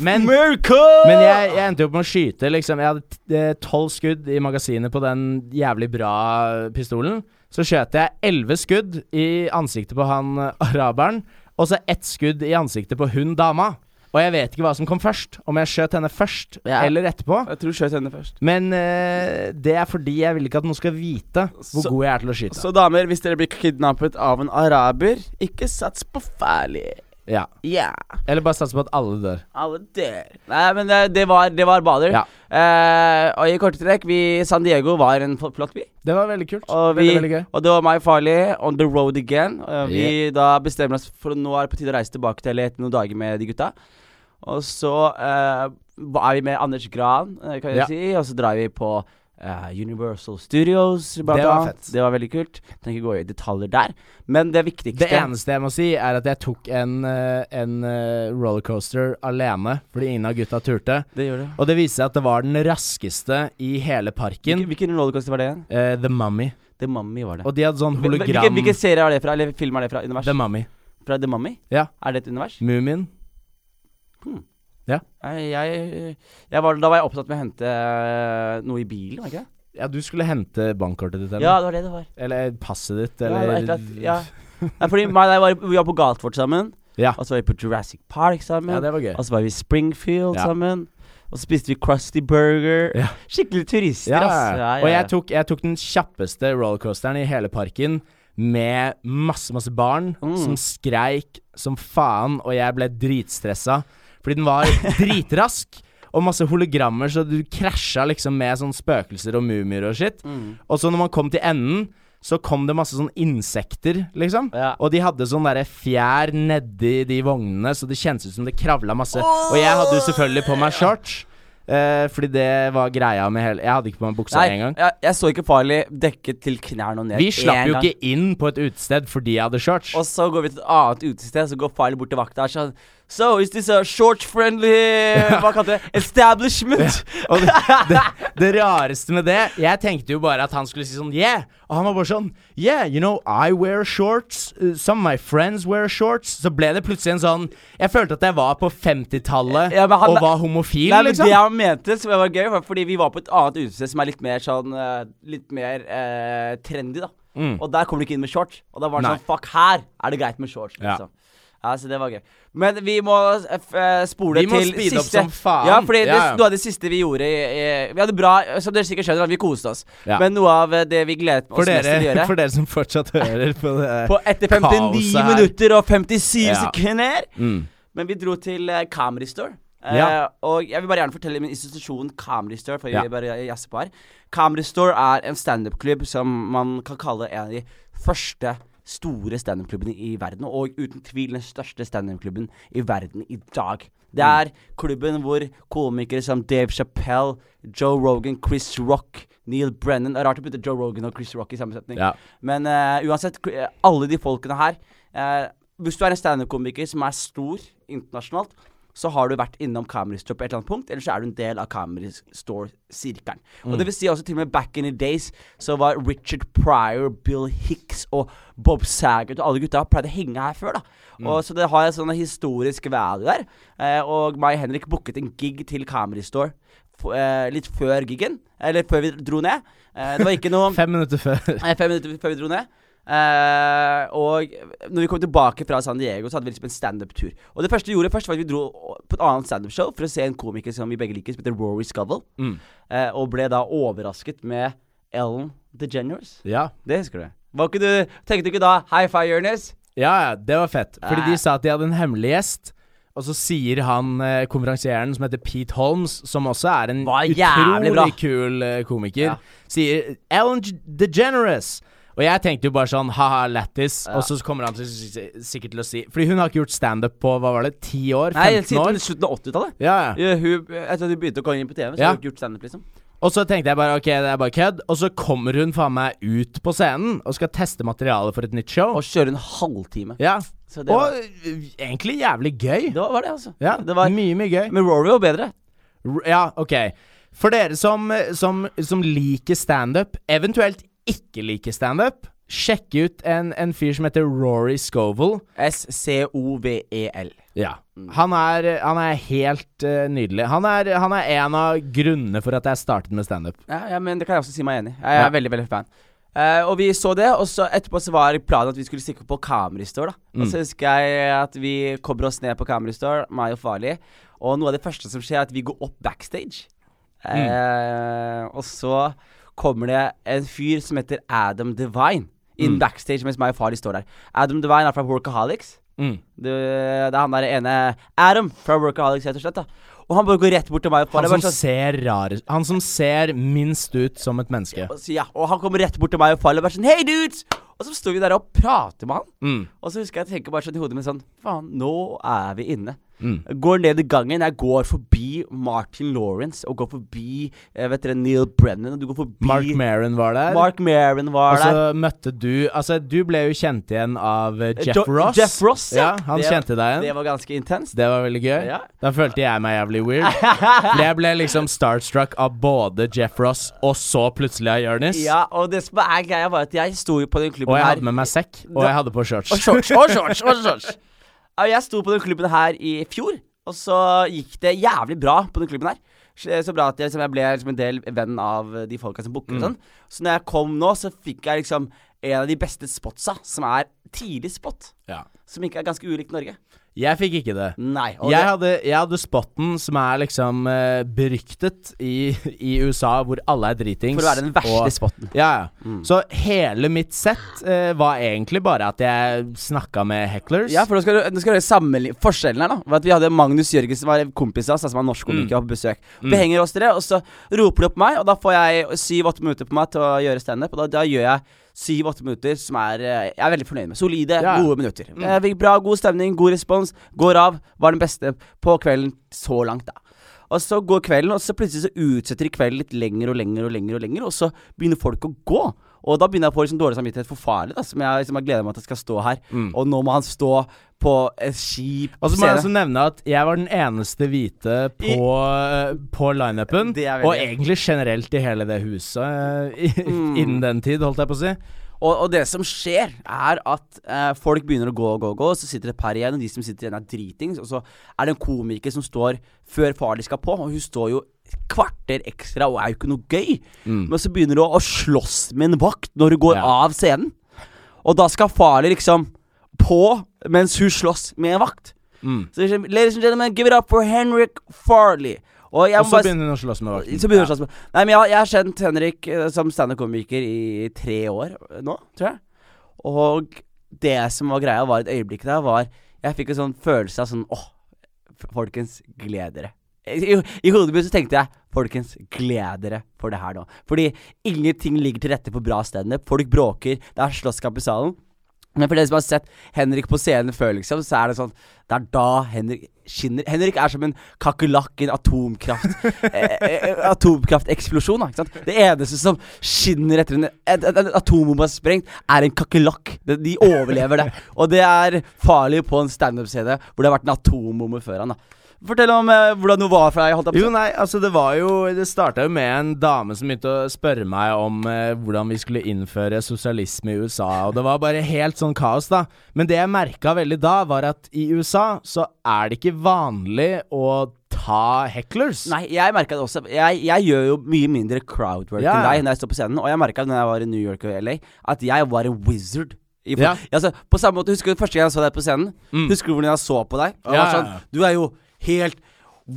[SPEAKER 1] Men
[SPEAKER 2] America!
[SPEAKER 1] Men jeg, jeg endte jo opp med å skyte, liksom. Jeg hadde tolv skudd i magasinet på den jævlig bra pistolen. Så skjøt jeg elleve skudd i ansiktet på han eh, araberen, og så ett skudd i ansiktet på hun dama. Og jeg vet ikke hva som kom først, om jeg skjøt henne først
[SPEAKER 2] Ja.
[SPEAKER 1] eller etterpå.
[SPEAKER 2] jeg tror du skjøt henne først.
[SPEAKER 1] Men eh, det er fordi jeg vil ikke at noen skal vite hvor
[SPEAKER 2] Så-
[SPEAKER 1] god jeg er til å skyte.
[SPEAKER 2] Så damer, hvis dere blir kidnappet av en araber, ikke sats på farlig.
[SPEAKER 1] Ja.
[SPEAKER 2] Ja.
[SPEAKER 1] Eller bare satse på at alle dør.
[SPEAKER 2] Alle dør. Nei, men det, det, var, det var bader.
[SPEAKER 1] Ja.
[SPEAKER 2] Eh, og i korte trekk, vi, San Diego var en fl- flott by.
[SPEAKER 1] Det var veldig kult.
[SPEAKER 2] Og, vi,
[SPEAKER 1] veldig, veldig gøy.
[SPEAKER 2] og det var meg farlig. On the road again. Eh, vi da bestemmer oss for nå er det på tide å reise tilbake til LA etter noen dager med de gutta. Og så eh, er vi med Anders Gran, eh, kan jeg
[SPEAKER 1] Ja.
[SPEAKER 2] si. Og så drar vi på eh, Universal Studios. Blant
[SPEAKER 1] Det var
[SPEAKER 2] annet.
[SPEAKER 1] fett.
[SPEAKER 2] Det var veldig kult. Trenger ikke gå i detaljer der. Men det viktigste
[SPEAKER 1] Det eneste jeg må si, er at jeg tok en, eh, en eh, rollercoaster alene fordi ingen av gutta turte.
[SPEAKER 2] Det gjør det.
[SPEAKER 1] Og det viste seg at det var den raskeste i hele parken.
[SPEAKER 2] Hvilken, hvilken rollercoaster var det igjen?
[SPEAKER 1] eh, The Mummy.
[SPEAKER 2] The Mummy var det.
[SPEAKER 1] Og de hadde sånn
[SPEAKER 2] Hvil-
[SPEAKER 1] hologram
[SPEAKER 2] Hvilken, hvilken serie er det fra? Eller film er det fra? Univers?
[SPEAKER 1] The Mummy.
[SPEAKER 2] Fra The Mummy?
[SPEAKER 1] Ja.
[SPEAKER 2] Er det et univers?
[SPEAKER 1] Mumien.
[SPEAKER 2] Jeg, jeg, jeg var, da var jeg opptatt med å hente eh, noe i bilen, var det ikke det?
[SPEAKER 1] Ja, du skulle hente bankkortet ditt, eller?
[SPEAKER 2] Ja, det var det det var.
[SPEAKER 1] Eller passet ditt,
[SPEAKER 2] Ja, det var
[SPEAKER 1] eller
[SPEAKER 2] et eller annet- ja. Nei, fordi meg og deg var, vi var på Galtvort sammen,
[SPEAKER 1] Ja.
[SPEAKER 2] og så var vi på Jurassic Park sammen,
[SPEAKER 1] Ja, det var gøy.
[SPEAKER 2] og så var vi i Springfield
[SPEAKER 1] Ja.
[SPEAKER 2] sammen, og så spiste vi Krusty Burger.
[SPEAKER 1] Ja.
[SPEAKER 2] Skikkelig turister,
[SPEAKER 1] Ja,
[SPEAKER 2] ass. Ja, ja,
[SPEAKER 1] Og jeg
[SPEAKER 2] ja.
[SPEAKER 1] tok, jeg tok den kjappeste rollercoasteren i hele parken med masse, masse barn
[SPEAKER 2] Mm.
[SPEAKER 1] som skreik som faen, og jeg ble dritstressa fordi den var dritrask. og masse hologrammer, så du krasja liksom med sånn spøkelser og mumier og shit.
[SPEAKER 2] Mm.
[SPEAKER 1] Og så når man kom til enden, så kom det masse sånn insekter, liksom.
[SPEAKER 2] Ja.
[SPEAKER 1] Og de hadde sånn derre fjær nedi de vognene, så det kjentes ut som det kravla masse. Og jeg hadde jo selvfølgelig på meg shorts. eh, fordi det var greia med hele Jeg hadde ikke på meg buksa
[SPEAKER 2] Nei,
[SPEAKER 1] engang.
[SPEAKER 2] jeg, jeg så ikke Farley dekket til knærne og ned.
[SPEAKER 1] Vi slapp
[SPEAKER 2] en
[SPEAKER 1] jo
[SPEAKER 2] gang.
[SPEAKER 1] ikke inn på et utested fordi jeg hadde shorts.
[SPEAKER 2] Og så går vi til et annet utested, så går Farley bort til vakta og er sånn So, is this a short-friendly Hva kalte det? Establishment?
[SPEAKER 1] Og det, det, det rareste med det Jeg tenkte jo bare at han skulle si sånn Yeah! Og han var bare sånn Yeah, you know, I wear shorts. uh, Some of my friends wear shorts. Så ble det plutselig en sånn Jeg følte at jeg var på 50-tallet
[SPEAKER 2] Ja, men han-
[SPEAKER 1] og var homofil,
[SPEAKER 2] Nei, men
[SPEAKER 1] liksom.
[SPEAKER 2] Det han mente, som var gøy, var fordi vi var på et annet utested som er litt mer sånn eh, Litt mer eh, trendy, da. Og der kom du ikke inn med shorts. Og da var det
[SPEAKER 1] Mm. Nei.
[SPEAKER 2] sånn Fuck, her er det greit med shorts.
[SPEAKER 1] Ja.
[SPEAKER 2] Liksom. Ja, så det var gøy. Men vi må eh, f- eh, spole
[SPEAKER 1] Vi må
[SPEAKER 2] til
[SPEAKER 1] speede opp
[SPEAKER 2] siste.
[SPEAKER 1] som faen.
[SPEAKER 2] Ja, fordi det,
[SPEAKER 1] Ja, ja.
[SPEAKER 2] noe av det siste vi gjorde i, i, Vi hadde bra Som dere sikkert skjønner, at vi koste oss.
[SPEAKER 1] Ja.
[SPEAKER 2] Men noe av eh, det vi gledet oss
[SPEAKER 1] for,
[SPEAKER 2] mest til å
[SPEAKER 1] dere,
[SPEAKER 2] gjøre
[SPEAKER 1] for dere som fortsatt hører på det her.
[SPEAKER 2] På etter 59
[SPEAKER 1] kaoset her.
[SPEAKER 2] minutter og 57
[SPEAKER 1] Ja.
[SPEAKER 2] sekunder.
[SPEAKER 1] mm.
[SPEAKER 2] Men vi dro til eh, Camry Store. Eh,
[SPEAKER 1] Ja.
[SPEAKER 2] og jeg vil bare gjerne fortelle min institusjon Camry Store. For
[SPEAKER 1] Ja.
[SPEAKER 2] jeg bare jazzer på her Camry Store er en standup-klubb som man kan kalle en av de første store standup-klubbene i verden. Og uten tvil den største standup-klubben i verden i dag. Det
[SPEAKER 1] Mm.
[SPEAKER 2] er klubben hvor komikere som Dave Chappelle, Joe Rogan, Chris Rock, Neil Brennan Det er rart å putte Joe Rogan og Chris Rock i samme setning.
[SPEAKER 1] Ja.
[SPEAKER 2] Men eh, uansett, kl- eh, alle de folkene her eh, Hvis du er en standup-komiker som er stor internasjonalt, så har du vært innom Comedy Store på et eller annet punkt, eller så er du en del av Comedy Store-sirkelen. Og det vil si også til og med back in the days så var Richard Pryor, Bill Hicks og Bob Saget og alle gutta pleide å henge her før, da. Og Så det har en sånn historisk value der. Eh, og meg og Henrik booket en gig til Comedy Store f eh, litt før gigen, eller før vi dro ned. Eh, det var ikke noe
[SPEAKER 1] Fem minutter før.
[SPEAKER 2] Eh, Fem minutter før vi dro ned. Eh, og når vi kom tilbake fra San Diego, så hadde vi liksom en standup-tur. Og det første vi gjorde først, var at vi dro på et annet standup-show for å se en komiker som vi begge liker, som heter Rory Scovel.
[SPEAKER 1] Mm.
[SPEAKER 2] Eh, og ble da overrasket med Ellen DeGeneres.
[SPEAKER 1] Ja.
[SPEAKER 2] Det husker du. Var ikke du Tenkte du ikke da High five, Jonis?
[SPEAKER 1] Ja, ja, det var fett. Fordi
[SPEAKER 2] Nei.
[SPEAKER 1] de sa at de hadde en hemmelig gjest. Og så sier han eh, konferansieren som heter Pete Holmes, som også er en
[SPEAKER 2] Var
[SPEAKER 1] utrolig
[SPEAKER 2] jævlig bra.
[SPEAKER 1] kul eh, komiker,
[SPEAKER 2] Ja.
[SPEAKER 1] sier Ellen G- DeGeneres. Og jeg tenkte jo bare sånn ha-ha, lættis.
[SPEAKER 2] Ja.
[SPEAKER 1] Og så kommer han til, sikkert til å si Fordi hun har ikke gjort standup på hva var det, 10 år?
[SPEAKER 2] Nei,
[SPEAKER 1] 15
[SPEAKER 2] siden
[SPEAKER 1] år?
[SPEAKER 2] slutten av 80-tallet.
[SPEAKER 1] Ja, ja.
[SPEAKER 2] Ja, hun- Etter at hun begynte å komme inn på TV, så
[SPEAKER 1] Ja.
[SPEAKER 2] har hun ikke gjort standup, liksom.
[SPEAKER 1] Og så tenkte jeg bare ok, det er bare kødd. Og så kommer hun faen meg ut på scenen og skal teste materialet for et nytt show.
[SPEAKER 2] Og kjøre en halvtime.
[SPEAKER 1] Ja.
[SPEAKER 2] Så det
[SPEAKER 1] Og
[SPEAKER 2] var,
[SPEAKER 1] eh, egentlig jævlig gøy.
[SPEAKER 2] det var, var det, altså.
[SPEAKER 1] Ja,
[SPEAKER 2] Det var,
[SPEAKER 1] mye, mye gøy.
[SPEAKER 2] men Rory var bedre.
[SPEAKER 1] R- Ja, ok. For dere som, som, som liker standup, eventuelt ikke liker standup, sjekk ut en, en fyr som heter Rory Scovel.
[SPEAKER 2] S-C-O-V-E-L.
[SPEAKER 1] Ja. Han er, han er helt eh, nydelig. Han er, han er en av grunnene for at jeg startet med standup.
[SPEAKER 2] Ja, ja, men det kan jeg også si meg enig i. Jeg er
[SPEAKER 1] Ja.
[SPEAKER 2] veldig, veldig fan. Eh, og vi så det, og så etterpå så var planen at vi skulle stikke på Camry Store. da Og
[SPEAKER 1] Mm.
[SPEAKER 2] så husker jeg at vi kommer oss ned på Camry Store, meg og Farley. Og noe av det første som skjer, er at vi går opp backstage.
[SPEAKER 1] Mm.
[SPEAKER 2] Eh, og så kommer det en fyr som heter Adam Divine inn
[SPEAKER 1] Mm.
[SPEAKER 2] backstage mens meg og Farley står der. Adam Divine er fra Workaholics.
[SPEAKER 1] Mm.
[SPEAKER 2] Du, det er han der ene Adam fra Workaholics, rett og slett. da Og han bare går rett bort til meg og
[SPEAKER 1] Han
[SPEAKER 2] Farley.
[SPEAKER 1] som,
[SPEAKER 2] bare sånn-
[SPEAKER 1] ser rar, han som ser minst ut som et menneske.
[SPEAKER 2] Og, så, ja, og han kommer rett bort til meg og faller og bare sånn Hei, dudes! Og så står vi der og prater med han.
[SPEAKER 1] Mm.
[SPEAKER 2] Og så husker jeg at jeg tenker bare sånn i hodet mitt sånn Faen, nå er vi inne.
[SPEAKER 1] Mm.
[SPEAKER 2] Jeg Går ned i gangen. Jeg går forbi Martin Lawrence og går forbi eh, vet dere, Neil Brennan. Og du går forbi
[SPEAKER 1] Mark Maron var der.
[SPEAKER 2] Mark Maron var
[SPEAKER 1] og
[SPEAKER 2] der.
[SPEAKER 1] så møtte du Altså, du ble jo kjent igjen av eh, Jeff
[SPEAKER 2] Jo-
[SPEAKER 1] Ross.
[SPEAKER 2] Jeff Ross, ja.
[SPEAKER 1] Han
[SPEAKER 2] Det-
[SPEAKER 1] kjente deg igjen.
[SPEAKER 2] Det var ganske intenst.
[SPEAKER 1] Det var veldig gøy.
[SPEAKER 2] Ja.
[SPEAKER 1] Da følte jeg meg jævlig weird. For jeg ble liksom starstruck av både Jeff Ross og så plutselig av Jonis.
[SPEAKER 2] Ja, og det som er greia, var at jeg sto jo på den klubben
[SPEAKER 1] Og jeg
[SPEAKER 2] her
[SPEAKER 1] hadde med meg sekk, og jeg hadde på shorts.
[SPEAKER 2] Og shorts, og shorts, og shorts. Ja, Jeg sto på den klubben her i fjor, og så gikk det jævlig bra på den klubben her. Så så bra at jeg, liksom, jeg ble liksom, en del venn av eh, de folka som booker og sånn. Så når jeg kom nå, så fikk jeg liksom en av de beste spotsa, som er tidlig spot.
[SPEAKER 1] Ja.
[SPEAKER 2] Som ikke er ganske ulikt Norge.
[SPEAKER 1] Jeg fikk ikke det.
[SPEAKER 2] Nei. Mm. Og
[SPEAKER 1] Jeg
[SPEAKER 2] det,
[SPEAKER 1] hadde, jeg hadde spotten som er liksom eh, beryktet i, i USA, hvor alle er dritings.
[SPEAKER 2] for å være den verste Mm.
[SPEAKER 1] og-
[SPEAKER 2] spotten.
[SPEAKER 1] Ja, ja. Så hele mitt sett eh, var egentlig bare at jeg snakka med hecklers.
[SPEAKER 2] Ja, for nå skal du, nå skal du høre sammenli- forskjellen her, da. Var at vi hadde Magnus Jørgensen, var en kompis av oss, da, som er norsk komiker, på besøk. Vi henger oss til det, og så roper de på meg, og da får jeg syv-åtte minutter på meg til å gjøre standup, og da, da gjør jeg syv-åtte minutter som er eh, jeg er veldig fornøyd med. Solide,
[SPEAKER 1] Ja.
[SPEAKER 2] gode minutter.
[SPEAKER 1] Mm.
[SPEAKER 2] Eh, vi- Bra, god stemning, god respons. Går av. Var den beste på kvelden så langt, da. Og så går kvelden, og så plutselig så utsetter de kvelden litt lenger og lenger og lenger, og lenger, og så begynner folk å gå. Og da begynner jeg på liksom dårlig samvittighet for farlig, da, som jeg liksom har gledet meg til at jeg skal stå her. Og nå må han stå på et skip
[SPEAKER 1] Mm. Og så må
[SPEAKER 2] scene.
[SPEAKER 1] jeg også nevne at jeg var den eneste hvite på, eh, på lineupen.
[SPEAKER 2] Det er veldig-
[SPEAKER 1] Og egentlig generelt i hele det huset eh, i, innen den tid, holdt jeg på å si.
[SPEAKER 2] og, og det som skjer, er at eh, folk begynner å gå og gå og gå, og så sitter det et par igjen, og de som sitter igjen, er dritings. Og så er det en komiker som står før farlig skal på, og hun står jo et kvarter ekstra og er jo ikke noe gøy. Men så begynner hun å slåss med en vakt når hun går
[SPEAKER 1] Mm. Ja.
[SPEAKER 2] av scenen. Og da skal Farley liksom på mens hun slåss med en vakt.
[SPEAKER 1] Mm.
[SPEAKER 2] Så liksom, Ladies and gentlemen, give it up for Henrik Farley. Og jeg
[SPEAKER 1] Og
[SPEAKER 2] må
[SPEAKER 1] så
[SPEAKER 2] bare s-
[SPEAKER 1] begynner hun å slåss med vakten.
[SPEAKER 2] så begynner hun å slåss med Nei, men jeg, jeg har kjent Henrik eh, som standup-komiker i tre år eh, nå, tror jeg. Og det som var greia, var et øyeblikk der, var Jeg fikk en sånn følelse av sånn Åh, f- folkens, gled dere. I, I hodet mitt så tenkte jeg Folkens, gled dere for det her nå. Fordi ingenting ligger til rette for bra standup. Folk bråker, det er slåsskamp i salen. Men for dere som har sett Henrik på scenen før, liksom, så er det sånn Det er da Henrik skinner. Henrik er som en kakerlakk i en atomkraft eh, eh, atomkrafteksplosjon. da, Ikke sant? Det eneste som skinner etter en, en, en, en atombombe er sprengt, er en kakerlakk. De, de overlever det. Og det er farlig på en standup-scene hvor det har vært en atombombe før han. da Fortell om eh, hvordan hun var for deg. Holdt jeg på å si.
[SPEAKER 1] Jo, nei, altså det var jo Det starta jo med en dame som begynte å spørre meg om eh, hvordan vi skulle innføre sosialisme i USA, og det var bare helt sånn kaos, da. Men det jeg merka veldig da, var at i USA så er det ikke vanlig å ta hecklers.
[SPEAKER 2] Nei, jeg merka det også. Jeg, jeg gjør jo mye mindre crowdwork
[SPEAKER 1] Ja,
[SPEAKER 2] enn
[SPEAKER 1] ja.
[SPEAKER 2] deg når jeg står på scenen. Og jeg merka når jeg var i New York og LA, at jeg var en wizard. I for,
[SPEAKER 1] Ja. Mm.
[SPEAKER 2] altså, på samme måte, Husker du første gang jeg så deg på scenen? Husker du hvordan jeg så på deg? Og
[SPEAKER 1] Ja,
[SPEAKER 2] jeg var
[SPEAKER 1] ja,
[SPEAKER 2] sånn,
[SPEAKER 1] ja.
[SPEAKER 2] du er jo helt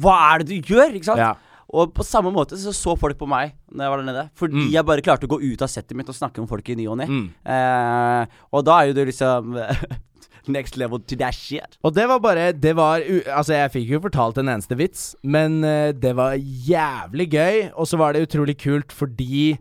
[SPEAKER 2] Hva er det du gjør? Ikke sant?
[SPEAKER 1] Ja.
[SPEAKER 2] Og på samme måte så så folk på meg når jeg var der nede. Fordi
[SPEAKER 1] Mm.
[SPEAKER 2] jeg bare klarte å gå ut av settet mitt og snakke om folk i ny og ne. Eh, og da er jo du liksom Next level to that shit.
[SPEAKER 1] Og det var bare det var, u- Altså, jeg fikk jo fortalt en eneste vits, men eh, det var jævlig gøy. Og så var det utrolig kult fordi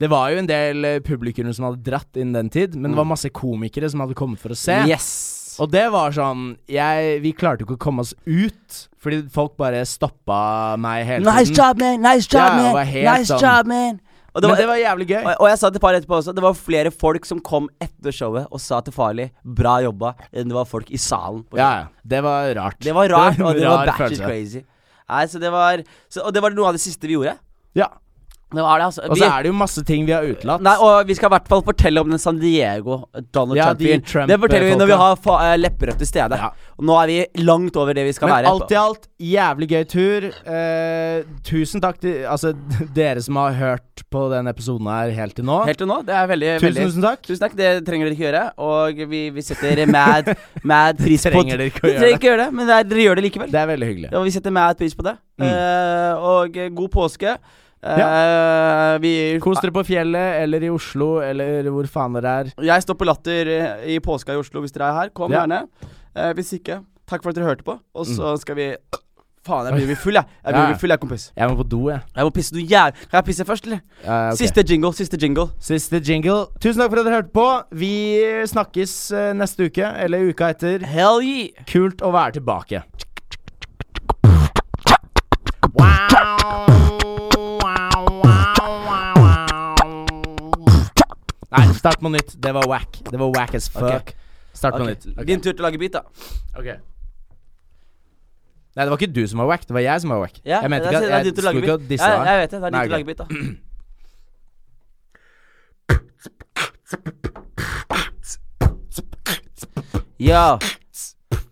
[SPEAKER 1] det var jo en del eh, publikummere som hadde dratt innen den tid, men det var masse komikere som hadde kommet for å se.
[SPEAKER 2] Mm. Yes.
[SPEAKER 1] Og det var sånn jeg, Vi klarte jo ikke å komme oss ut, fordi folk bare stoppa meg hele
[SPEAKER 2] Nice
[SPEAKER 1] tiden.
[SPEAKER 2] job, man! Nice job,
[SPEAKER 1] Ja, det var
[SPEAKER 2] man!
[SPEAKER 1] helt
[SPEAKER 2] Nice
[SPEAKER 1] sånn.
[SPEAKER 2] job, man! Og
[SPEAKER 1] Men det var jævlig gøy.
[SPEAKER 2] Og, og jeg sa til Farley etterpå også, det var flere folk som kom etter showet og sa til Farley 'bra jobba', enn det var folk i salen.
[SPEAKER 1] Ja,
[SPEAKER 2] på showet.
[SPEAKER 1] ja. Det var rart.
[SPEAKER 2] Det var rart, og det
[SPEAKER 1] en rar
[SPEAKER 2] var batches
[SPEAKER 1] følelse.
[SPEAKER 2] crazy. Nei, så det var så, Og det var noe av det siste vi gjorde.
[SPEAKER 1] Ja.
[SPEAKER 2] Det var det, altså.
[SPEAKER 1] Og
[SPEAKER 2] Vi-
[SPEAKER 1] så er det jo masse ting vi har utelatt.
[SPEAKER 2] Nei, og vi skal i hvert fall fortelle om den San Diego Donald
[SPEAKER 1] Ja, de
[SPEAKER 2] Trump-fyren.
[SPEAKER 1] Trump-
[SPEAKER 2] det forteller vi når vi
[SPEAKER 1] folka.
[SPEAKER 2] har fa eh, Lepperødt til stede.
[SPEAKER 1] Ja.
[SPEAKER 2] Og nå er vi langt over det vi skal
[SPEAKER 1] Men
[SPEAKER 2] være.
[SPEAKER 1] alt i alt, jævlig gøy tur. Eh, tusen takk til altså, dere som har hørt på den episoden her helt til nå.
[SPEAKER 2] Helt til nå. Det er veldig
[SPEAKER 1] tusen,
[SPEAKER 2] veldig-
[SPEAKER 1] tusen takk.
[SPEAKER 2] Tusen takk, det trenger dere ikke gjøre. Og vi, vi setter mad, mad pris på
[SPEAKER 1] trenger dere ikke å
[SPEAKER 2] Dere trenger ikke gjøre det, men det er- dere gjør det likevel.
[SPEAKER 1] Det er Mm. veldig hyggelig.
[SPEAKER 2] Ja, vi setter mad pris på det. Eh, og eh, god påske. Eh, Vi
[SPEAKER 1] Kos dere på fjellet eller i Oslo eller hvor faen dere er.
[SPEAKER 2] Jeg står på Latter eh, i påska i Oslo hvis dere er her. Kom
[SPEAKER 1] Ja. Mm.
[SPEAKER 2] gjerne. Eh, hvis ikke, takk for at dere hørte på. Og så skal vi Faen, jeg blir full, jeg. Jeg
[SPEAKER 1] Ja.
[SPEAKER 2] blir full, jeg, kompis.
[SPEAKER 1] Jeg må på do, jeg.
[SPEAKER 2] Jeg må pisse noe jævlig. Kan jeg pisse først, eller?
[SPEAKER 1] Ja, ok.
[SPEAKER 2] Siste jingle, siste jingle.
[SPEAKER 1] Siste jingle. Tusen takk for at dere hørte på. Vi snakkes eh, neste uke eller uka etter.
[SPEAKER 2] Hell yeah!
[SPEAKER 1] Kult å være tilbake. Nei, start på nytt. Det var whack. Det var whack as fuck. Start på
[SPEAKER 2] Ok,
[SPEAKER 1] nytt.
[SPEAKER 2] Din tur til å lage beat, da.
[SPEAKER 1] Nei, det var ikke du som var whack. Det var jeg som var whack.
[SPEAKER 2] Ja,
[SPEAKER 1] jeg mente
[SPEAKER 2] det er-
[SPEAKER 1] ikke
[SPEAKER 2] det er
[SPEAKER 1] at
[SPEAKER 2] din
[SPEAKER 1] jeg
[SPEAKER 2] tur til å lage
[SPEAKER 1] skulle ikke
[SPEAKER 2] beat.
[SPEAKER 1] disse
[SPEAKER 2] Ja,
[SPEAKER 1] deg.
[SPEAKER 2] Jeg vet det. Det er din
[SPEAKER 1] Nei,
[SPEAKER 2] tur til
[SPEAKER 1] ok.
[SPEAKER 2] å lage beat, da. Ja.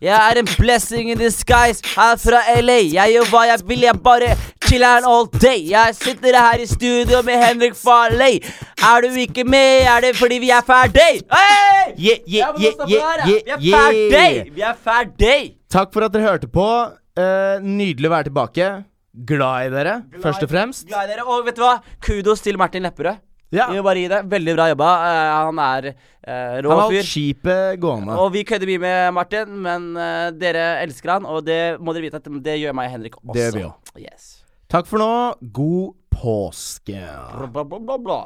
[SPEAKER 2] Jeg er en blessing in disguise her fra LA. Jeg gjør hva jeg vil, jeg bare chiller'n all day. Jeg sitter her i studio med Henrik Farley. Er du ikke med, er det fordi vi er ferdig. Hei!
[SPEAKER 1] Yeah,
[SPEAKER 2] Ja,
[SPEAKER 1] yeah,
[SPEAKER 2] men nå
[SPEAKER 1] yeah,
[SPEAKER 2] stopper det her,
[SPEAKER 1] yeah,
[SPEAKER 2] ja.
[SPEAKER 1] yeah,
[SPEAKER 2] Vi er ferdig! Vi er ferdig!
[SPEAKER 1] Takk for at dere hørte på. Eh, nydelig å være tilbake. Glad i dere, først og fremst.
[SPEAKER 2] Glad i dere. Og vet du hva? Kudos til Martin Lepperød.
[SPEAKER 1] Ja.
[SPEAKER 2] Vi må bare gi det. Veldig bra jobba. Eh, han er eh,
[SPEAKER 1] Han
[SPEAKER 2] rå
[SPEAKER 1] har holdt
[SPEAKER 2] fyr.
[SPEAKER 1] skipet gående.
[SPEAKER 2] Og vi kødder mye med Martin, men eh, dere elsker han, og det må dere vite at det gjør meg og Henrik også.
[SPEAKER 1] Det gjør vi
[SPEAKER 2] Yes.
[SPEAKER 1] Takk for nå. God påske.
[SPEAKER 2] Bla, bla, bla, bla.